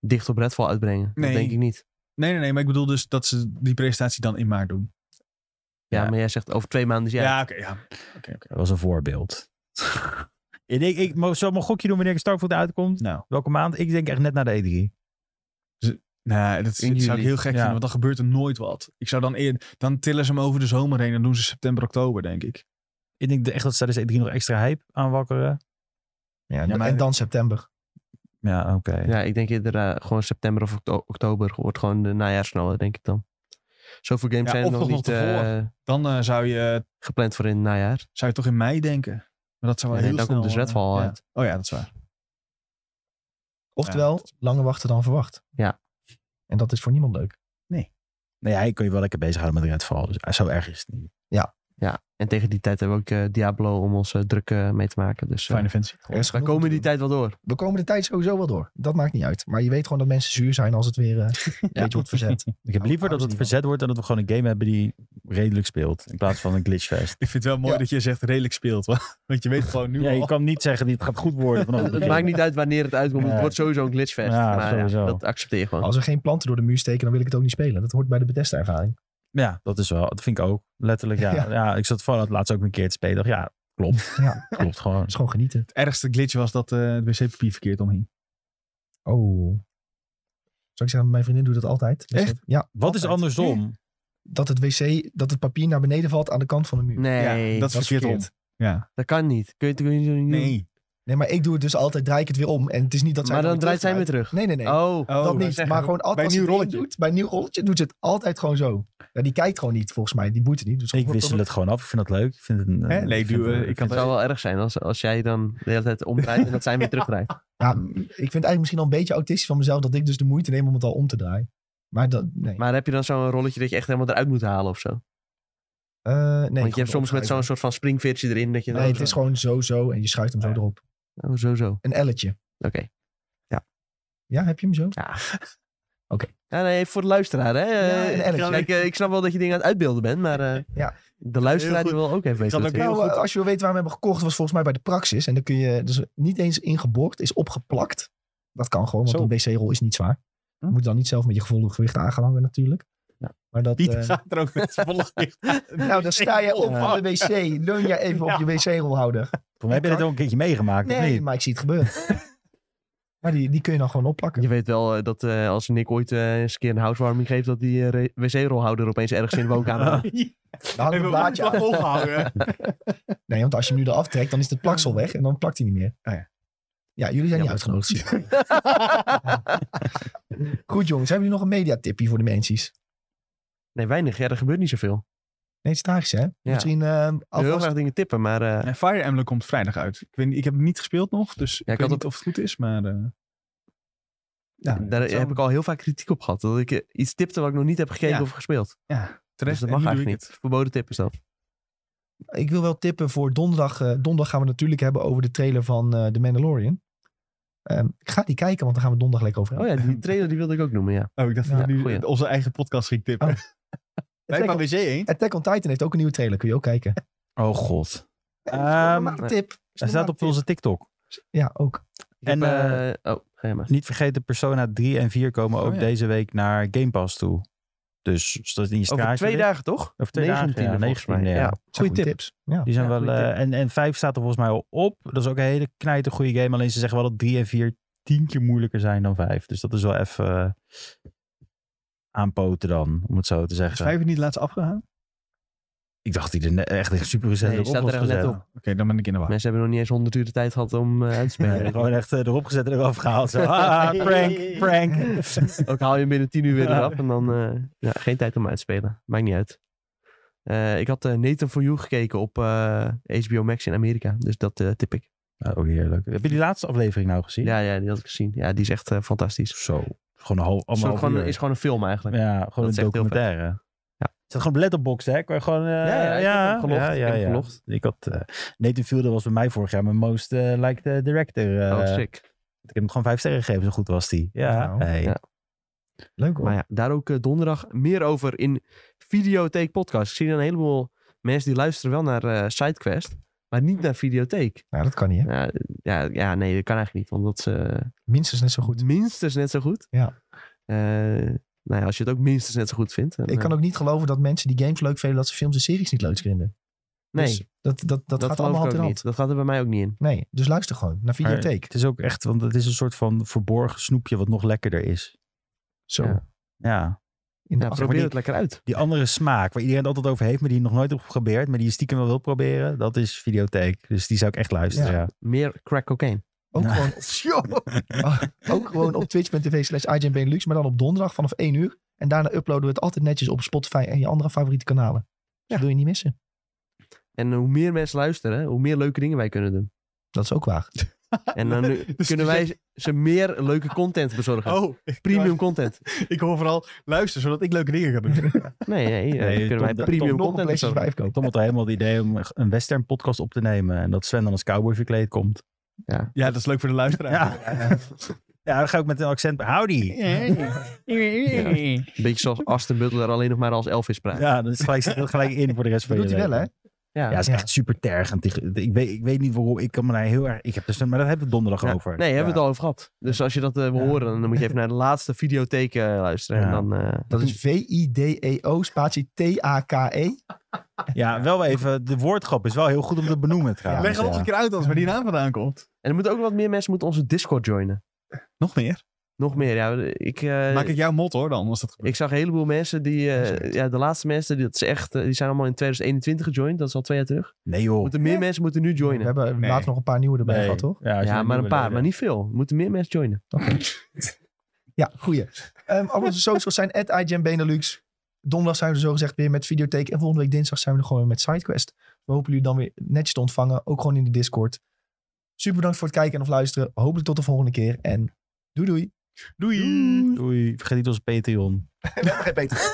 D: dicht op Redfall uitbrengen.
C: Nee.
D: Dat denk ik niet.
C: Nee, nee, nee, maar ik bedoel dus dat ze die presentatie dan in maart doen.
D: Ja,
B: Ja.
D: maar jij zegt over twee maanden. Dus
C: Ja,
D: ja,
C: oké, ja. Oké, oké.
B: Dat was een voorbeeld. ik denk, ik mo- zal mijn gokje doen wanneer Starfield uitkomt.
C: Nou.
B: Welke maand? Ik denk echt net na de E E3.
C: Nou, dat
D: In
C: dat zou ik
D: juli.
C: heel gek
B: Ja.
C: vinden, want dan gebeurt er nooit wat. Ik zou dan eer, dan tillen ze hem over de zomer heen en doen ze september, oktober, denk ik.
B: Ik denk echt dat ze tijdens E3 nog extra hype aanwakkeren.
A: Ja,
C: Ja, maar-
A: En dan september.
B: Ja, oké.
D: ja, ik denk eerder eh, gewoon september of okto- oktober wordt gewoon de najaarsnallen, denk ik dan. Zoveel games
C: Ja,
D: zijn er
C: of
D: nog
C: toch nog
D: niet
C: tevoren.
D: eh,
C: Dan eh, zou, je,
D: gepland voor in het najaar.
C: zou je toch in mei denken. Maar dat zou wel
D: Nee,
C: heel
D: dan
C: snel...
D: komt dus
C: eh,
D: Redfall
C: ja.
D: uit.
C: Oh ja, dat is waar.
A: Oftewel, langer wachten dan verwacht.
D: Ja.
A: En dat is voor niemand leuk.
B: Nee, hij kon je wel lekker bezighouden met Redfall. Dus eh, zo erg is het niet.
D: En tegen die tijd hebben we ook eh, Diablo om ons eh, druk eh, mee te maken. Dus eh,
C: Fijne fancy.
A: Er is
D: wij
A: genoeg
D: komen
A: te
D: die
A: doen.
D: tijd wel door.
A: We komen de tijd sowieso wel door. Dat maakt niet uit. Maar je weet gewoon dat mensen zuur zijn als het weer eh, een beetje wordt verzet.
B: Ik heb
A: Nou,
B: liever dat
A: houden
B: het
A: ze
B: verzet wordt dan dat we gewoon een game hebben die redelijk speelt. In plaats van een glitchfest.
C: Ik vind het wel mooi
A: Ja.
C: dat je zegt redelijk speelt. Want want je weet gewoon nu
B: Ja,
C: al.
B: je kan niet zeggen dat het gaat goed worden vanaf het
D: Het
B: begin.
D: maakt niet uit wanneer het uitkomt.
B: Nee.
D: Het wordt sowieso een glitchfest.
B: Ja,
D: Maar
B: sowieso.
D: dat accepteer je gewoon.
A: Als er geen planten door de muur steken, dan wil ik het ook niet spelen. Dat hoort bij de Bethesda-ervaring.
B: Ja, dat is wel. Dat vind ik ook. Letterlijk, ja. ja.
A: Ja.
B: ik zat Fallout laatst ook een keer te spelen. Dacht, Ja, klopt.
A: Ja.
B: Klopt gewoon.
A: Dat is gewoon genieten.
C: Het ergste glitch was dat eh het wc-papier verkeerd omhing.
A: Oh. Zou ik zeggen, mijn vriendin doet dat altijd. Dus
C: Echt?
A: dat- Ja.
B: Wat is
A: altijd.
B: andersom?
A: Dat het wc, dat het papier naar beneden valt aan de kant van de muur.
D: Nee,
C: ja, dat
D: dat,
C: is verkeerd om. Ja.
D: kan niet. Kun je, kun je, kun je niet doen.
C: Nee.
A: Nee, maar ik doe het dus altijd, draai ik het weer om. En het is niet dat zij
D: Maar dan
A: weer
D: draait zij weer terug.
A: Nee, nee, nee.
D: Oh,
C: Oh,
A: dat
C: wij
A: niet.
C: zeggen-
A: Maar gewoon altijd
C: bij
A: als
C: een nieuw
A: het
C: rolletje.
A: Doet, bij een nieuw rolletje doet ze het altijd gewoon zo. Ja, die kijkt gewoon niet, volgens mij. Die boeit het niet. Dus
B: Ik wissel het gewoon af. Ik vind dat leuk. Ik vind het een,
C: Hè?
B: eh,
C: Nee,
B: ik
C: doe,
B: vind het-
C: eh, ik kan
D: het zou wel erg zijn als, als jij dan de hele tijd omdraait en dat zij weer terugdraait.
A: Ja, ik vind het eigenlijk misschien al een beetje autistisch van mezelf dat ik dus de moeite neem om het al om te draaien. Maar dat, nee.
D: Maar heb je dan zo'n rolletje dat je echt helemaal eruit moet halen of zo?
A: Eh, nee
D: Want je
A: gewoon
D: hebt soms met
A: omdraaien.
D: zo'n soort van springveertje erin dat je...
A: Nee, het is gewoon zo, zo en je schuift hem zo erop.
D: Oh, zo, zo. Oké.
A: Een elletje. Ja, heb je hem zo?
D: Ja. Oké. Ja, nee, voor de luisteraar, hè.
A: Ja,
D: Eh,
A: en Alex,
D: Kijk, eh, ik snap wel dat je dingen aan het uitbeelden bent, maar eh,
A: Ja.
D: de luisteraar die wil ook even weten.
C: kan
D: wat
C: ook
D: er-
C: heel
A: Nou,
C: goed.
A: eh, als je wil weten waar we hebben gekocht, was volgens mij bij de Praxis. En dan kun je dus niet eens ingeborgd, is opgeplakt. Dat kan gewoon, want
C: Zo.
A: een wc-rol is niet zwaar. Je
C: Hm.
A: moet dan niet zelf met je gevoelig gewicht aangehangen natuurlijk.
D: Ja.
A: Maar dat,
C: Pieter
A: eh,
C: gaat er ook met zijn volle gezicht aan.
A: nou, dan sta je op
D: Ja.
A: van de wc. Leun je even op je wc-rol houden.
B: Voor mij heb je dat ook een keertje meegemaakt. of
A: Nee,
B: niet?
A: maar ik zie het gebeuren. maar die, die kun je dan gewoon opplakken.
D: Je weet wel eh, dat eh, als Nick ooit eh, eens een keer een housewarming geeft, dat die eh, re- wc-rolhouder opeens ergens in de woonkamer hangt.
A: Dan hangt
C: Even
A: een
C: een
A: blaadje
C: plak
A: aan.
C: ophouden.
A: Nee, want als je hem nu eraf trekt, dan is het plaksel weg en dan plakt hij niet meer.
C: Oh ja.
A: Ja, jullie zijn niet uitgenodigd. zie je. Goed jongens, hebben jullie nog een mediatipje voor de mensen?
D: Nee, weinig. Ja, er gebeurt niet zoveel.
A: Nee, het is tragisch hè? Misschien eh
D: Ik wil heel
A: alvast...
D: graag dingen tippen, maar eh,
C: Ja, Fire Emblem komt vrijdag uit. Ik, weet, niet- ik heb het niet gespeeld nog, dus ik
D: ik
C: weet
D: had
C: niet
D: het-
C: of het goed is, maar... eh, ja,
D: daar
C: het zou-
D: heb ik al heel vaak kritiek op gehad. Dat ik eh, iets tipte wat ik nog niet heb gekeken
C: Ja.
D: of gespeeld. Dus
C: terecht,
D: dat
C: en
D: mag
C: nu doe
D: eigenlijk
C: ik
D: niet. Verboden tip is dat.
A: Ik wil wel tippen voor donderdag. eh, donderdag gaan we het natuurlijk hebben over de trailer van eh The Mandalorian. Ehm, ik ga die kijken, want dan gaan we donderdag lekker over
D: Oh
A: hebben.
D: ja, die trailer die wilde ik ook noemen, ja.
C: het. Oh, ik dacht
D: Ja,
C: dat we nu
D: goeie.
C: onze eigen podcast ging tippen.
A: Oh.
C: Wij
A: Attack,
C: van
A: on,
C: WC heen.
A: Attack on Titan heeft ook een nieuwe trailer, kun je ook kijken.
B: Oh god.
A: Nee, dat is gewoon
B: Ehm,
A: een normale tip. Dat is een
B: Hij staat op
A: normale
B: onze TikTok.
A: tip. Ja, ook.
D: Ik heb,
B: En, eh,
D: eh, oh, ga je maar.
B: Niet vergeten, Persona 3 en 4 komen
C: Oh,
B: ook
C: ja.
B: deze week naar Game Pass toe. Dus zodat in je
D: Over
B: straatje
D: twee
B: ligt.
D: dagen, toch?
B: Over twee dagen,
D: 19e
B: ja,
D: volgens mij.
B: 19e, ja.
D: Ja.
A: Goeie
D: Goeie tip.
A: tips. Ja.
B: Die zijn
D: Ja,
B: wel,
D: goeie
B: eh,
D: tip.
B: en, en 5 staat er volgens mij al op. Dat is ook een hele knijter goede game. Alleen ze zeggen wel dat 3 en 4 tien keer moeilijker zijn dan 5. Dus dat is wel even eh, aanpoten dan, om het zo te
C: Is
B: zeggen.
C: vijf niet laatst afgehaald?
B: Ik dacht dat hij er ne- echt super
D: Nee,
B: recent
D: die
B: op
D: staat
B: was
D: er echt net
B: gezet.
D: op.
C: Oké, dan ben ik in de war.
D: Mensen hebben nog niet eens 100 uur de tijd gehad om eh, uit te spelen.
B: Nee, gewoon echt eh, erop gezet en eraf gehaald. Zo, ah, prank, prank.
D: Ook haal je hem binnen 10 uur weer
B: Ja.
D: eraf en dan eh, ja, geen tijd om uit te spelen. Maakt niet uit. Eh, ik had eh Nathan for You gekeken op eh, HBO Max in Amerika. Dus dat eh, tip ik.
B: Oh, heerlijk. Heb je die laatste aflevering nou gezien?
D: Ja, ja, die had ik gezien. Ja, die is echt eh, fantastisch.
B: Zo. Gewoon een half,
D: Het
B: allemaal
D: gewoon, is gewoon een film eigenlijk.
B: Ja, gewoon
D: is
B: een
D: echt heel vet.
B: documentaire.
D: Ja.
B: Het zat gewoon op letterbox, hè? Kan je gewoon... eh,
D: ja, ik heb hem gelogd.
B: ja,
D: Ik
B: ja,
D: heb hem
B: ja.
D: gelogd.
B: Ik had... eh Nathan Fielder was bij mij vorig jaar mijn most eh, liked eh, director. eh.
D: oh, sick.
B: ik heb hem gewoon vijf sterren gegeven, zo goed was die. Ja.
A: Nou.
B: Hey.
D: Ja.
A: Leuk hoor.
D: Maar ja, daar ook eh, donderdag meer over in Videotheek Podcast. Ik zie een heleboel mensen die luisteren wel naar eh, SideQuest, maar niet naar Videotheek.
A: Nou, dat kan niet hè.
D: Ja, ja, ja, nee, dat eh, kan eigenlijk niet, omdat ze
A: Minstens net zo goed.
D: minstens net zo goed.
A: Ja.
D: Eh, nou ja, als je het ook minstens net zo goed vindt. dan,
A: Ik kan
D: eh,
A: ook niet geloven dat mensen die games leuk vinden, dat ze films en series niet leuk vinden.
D: nee,
A: Dus dat, dat, dat,
D: dat,
A: gaat
D: geloof
A: allemaal
D: ik
A: hand
D: ook
A: in hand.
D: niet. Dat gaat er bij mij ook niet in.
A: Nee, dus luister gewoon naar
B: Maar
A: videotheek.
B: Het is ook echt... Want het is een soort van verborgen snoepje wat nog lekkerder is.
A: Zo.
D: Ja.
B: Ja.
A: In de achter-
D: Ja, Nou, probeer het lekker uit.
B: Die andere smaak, waar iedereen het altijd over heeft, maar die je nog nooit hebt geprobeerd, maar die je stiekem wel wil proberen, dat is videotheek. Dus die zou ik echt luisteren,
A: Ja.
B: ja.
D: Meer crack cocaine.
A: Ook,
B: Ja.
A: gewoon, Ah, ook gewoon op twitch.tv slash IGNBenelux, maar dan op donderdag vanaf 1 uur. En daarna uploaden we het altijd netjes op Spotify en je andere favoriete kanalen. Dus Dat wil je niet missen.
D: En hoe meer mensen luisteren, hoe meer leuke dingen wij kunnen doen.
A: Dat is ook waar.
D: En dan nu
C: Dus
D: kunnen
C: je
D: wij ze meer leuke content bezorgen.
C: Oh, ik-
D: Premium content.
C: Ik hoor vooral luister, zodat ik leuke dingen ga doen.
D: Nee, nee, eh,
B: Nee,
D: dan kunnen wij
B: Tom-
A: Toch
D: premium
A: nog een
D: content
A: PlayStation
D: bezorgen.
A: 5 kopen.
B: Tom had al helemaal het idee om een western podcast op te nemen en dat Sven dan als cowboy verkleed komt.
C: Ja, dat is leuk voor de luisteraar.
B: Ja, ja dan ga ik met een accent. Howdy!
D: Een beetje zoals Aston Butler, alleen nog maar als Elvis praat.
B: Ja, dan is het gelijk, zit het gelijk in voor de rest
A: Dat
B: van je
A: doet hij wel,
B: leven.
A: hè?
D: Ja.
B: Ja, het is
A: Ja.
B: echt super tergend. Die- Ik weet, ik weet niet waarom. Ik kan me daar heel erg. Ik heb dus, maar dat hebben we donderdag
D: Ja.
B: over.
D: Nee, hebben we
B: Ja.
D: het al over gehad. Dus als je dat eh, wil
B: Ja.
D: horen, dan moet je even naar de laatste videotheek eh, luisteren. En
B: Ja.
D: dan, eh,
A: Dat is V-I-D-E-O E spatie T-A-K-E.
B: Ja, wel even. De woordgrap is wel heel goed om te benoemen trouwens.
C: Leg hem nog
B: ja.
C: een keer uit als waar die naam vandaan komt.
D: En er moeten ook wat meer mensen moeten onze Discord joinen.
C: Nog meer?
D: Nog meer, ja. Ik, eh,
C: Maak ik jouw mot hoor dan, als dat gebeurt.
D: ik zag een heleboel mensen die... eh, ja, de laatste mensen, die, dat is echt, eh, die zijn allemaal in 2021 gejoind. Dat is al twee jaar terug.
B: Nee joh.
D: Moeten meer mensen moeten nu
A: We
D: joinen.
A: hebben
C: Nee.
A: laatst nog een paar nieuwe erbij
B: Nee.
A: gehad, toch?
B: Ja, als je
D: Ja,
B: een
D: maar een
B: nieuwe
D: paar.
B: leden-
D: Maar niet veel. Moeten meer mensen joinen.
A: Ja, goeie. Ehm al onze socials zijn at Benelux. Donderdag zijn we er zogezegd weer met Videotheek. En volgende week dinsdag zijn we er gewoon weer met SideQuest. We hopen jullie dan weer netjes te ontvangen. Ook gewoon in de Discord. Super bedankt voor het kijken en of luisteren. Hopelijk tot de volgende keer. En doei doei.
C: Doei!
B: Doei. Vergeet niet ons Patreon.
A: Beter.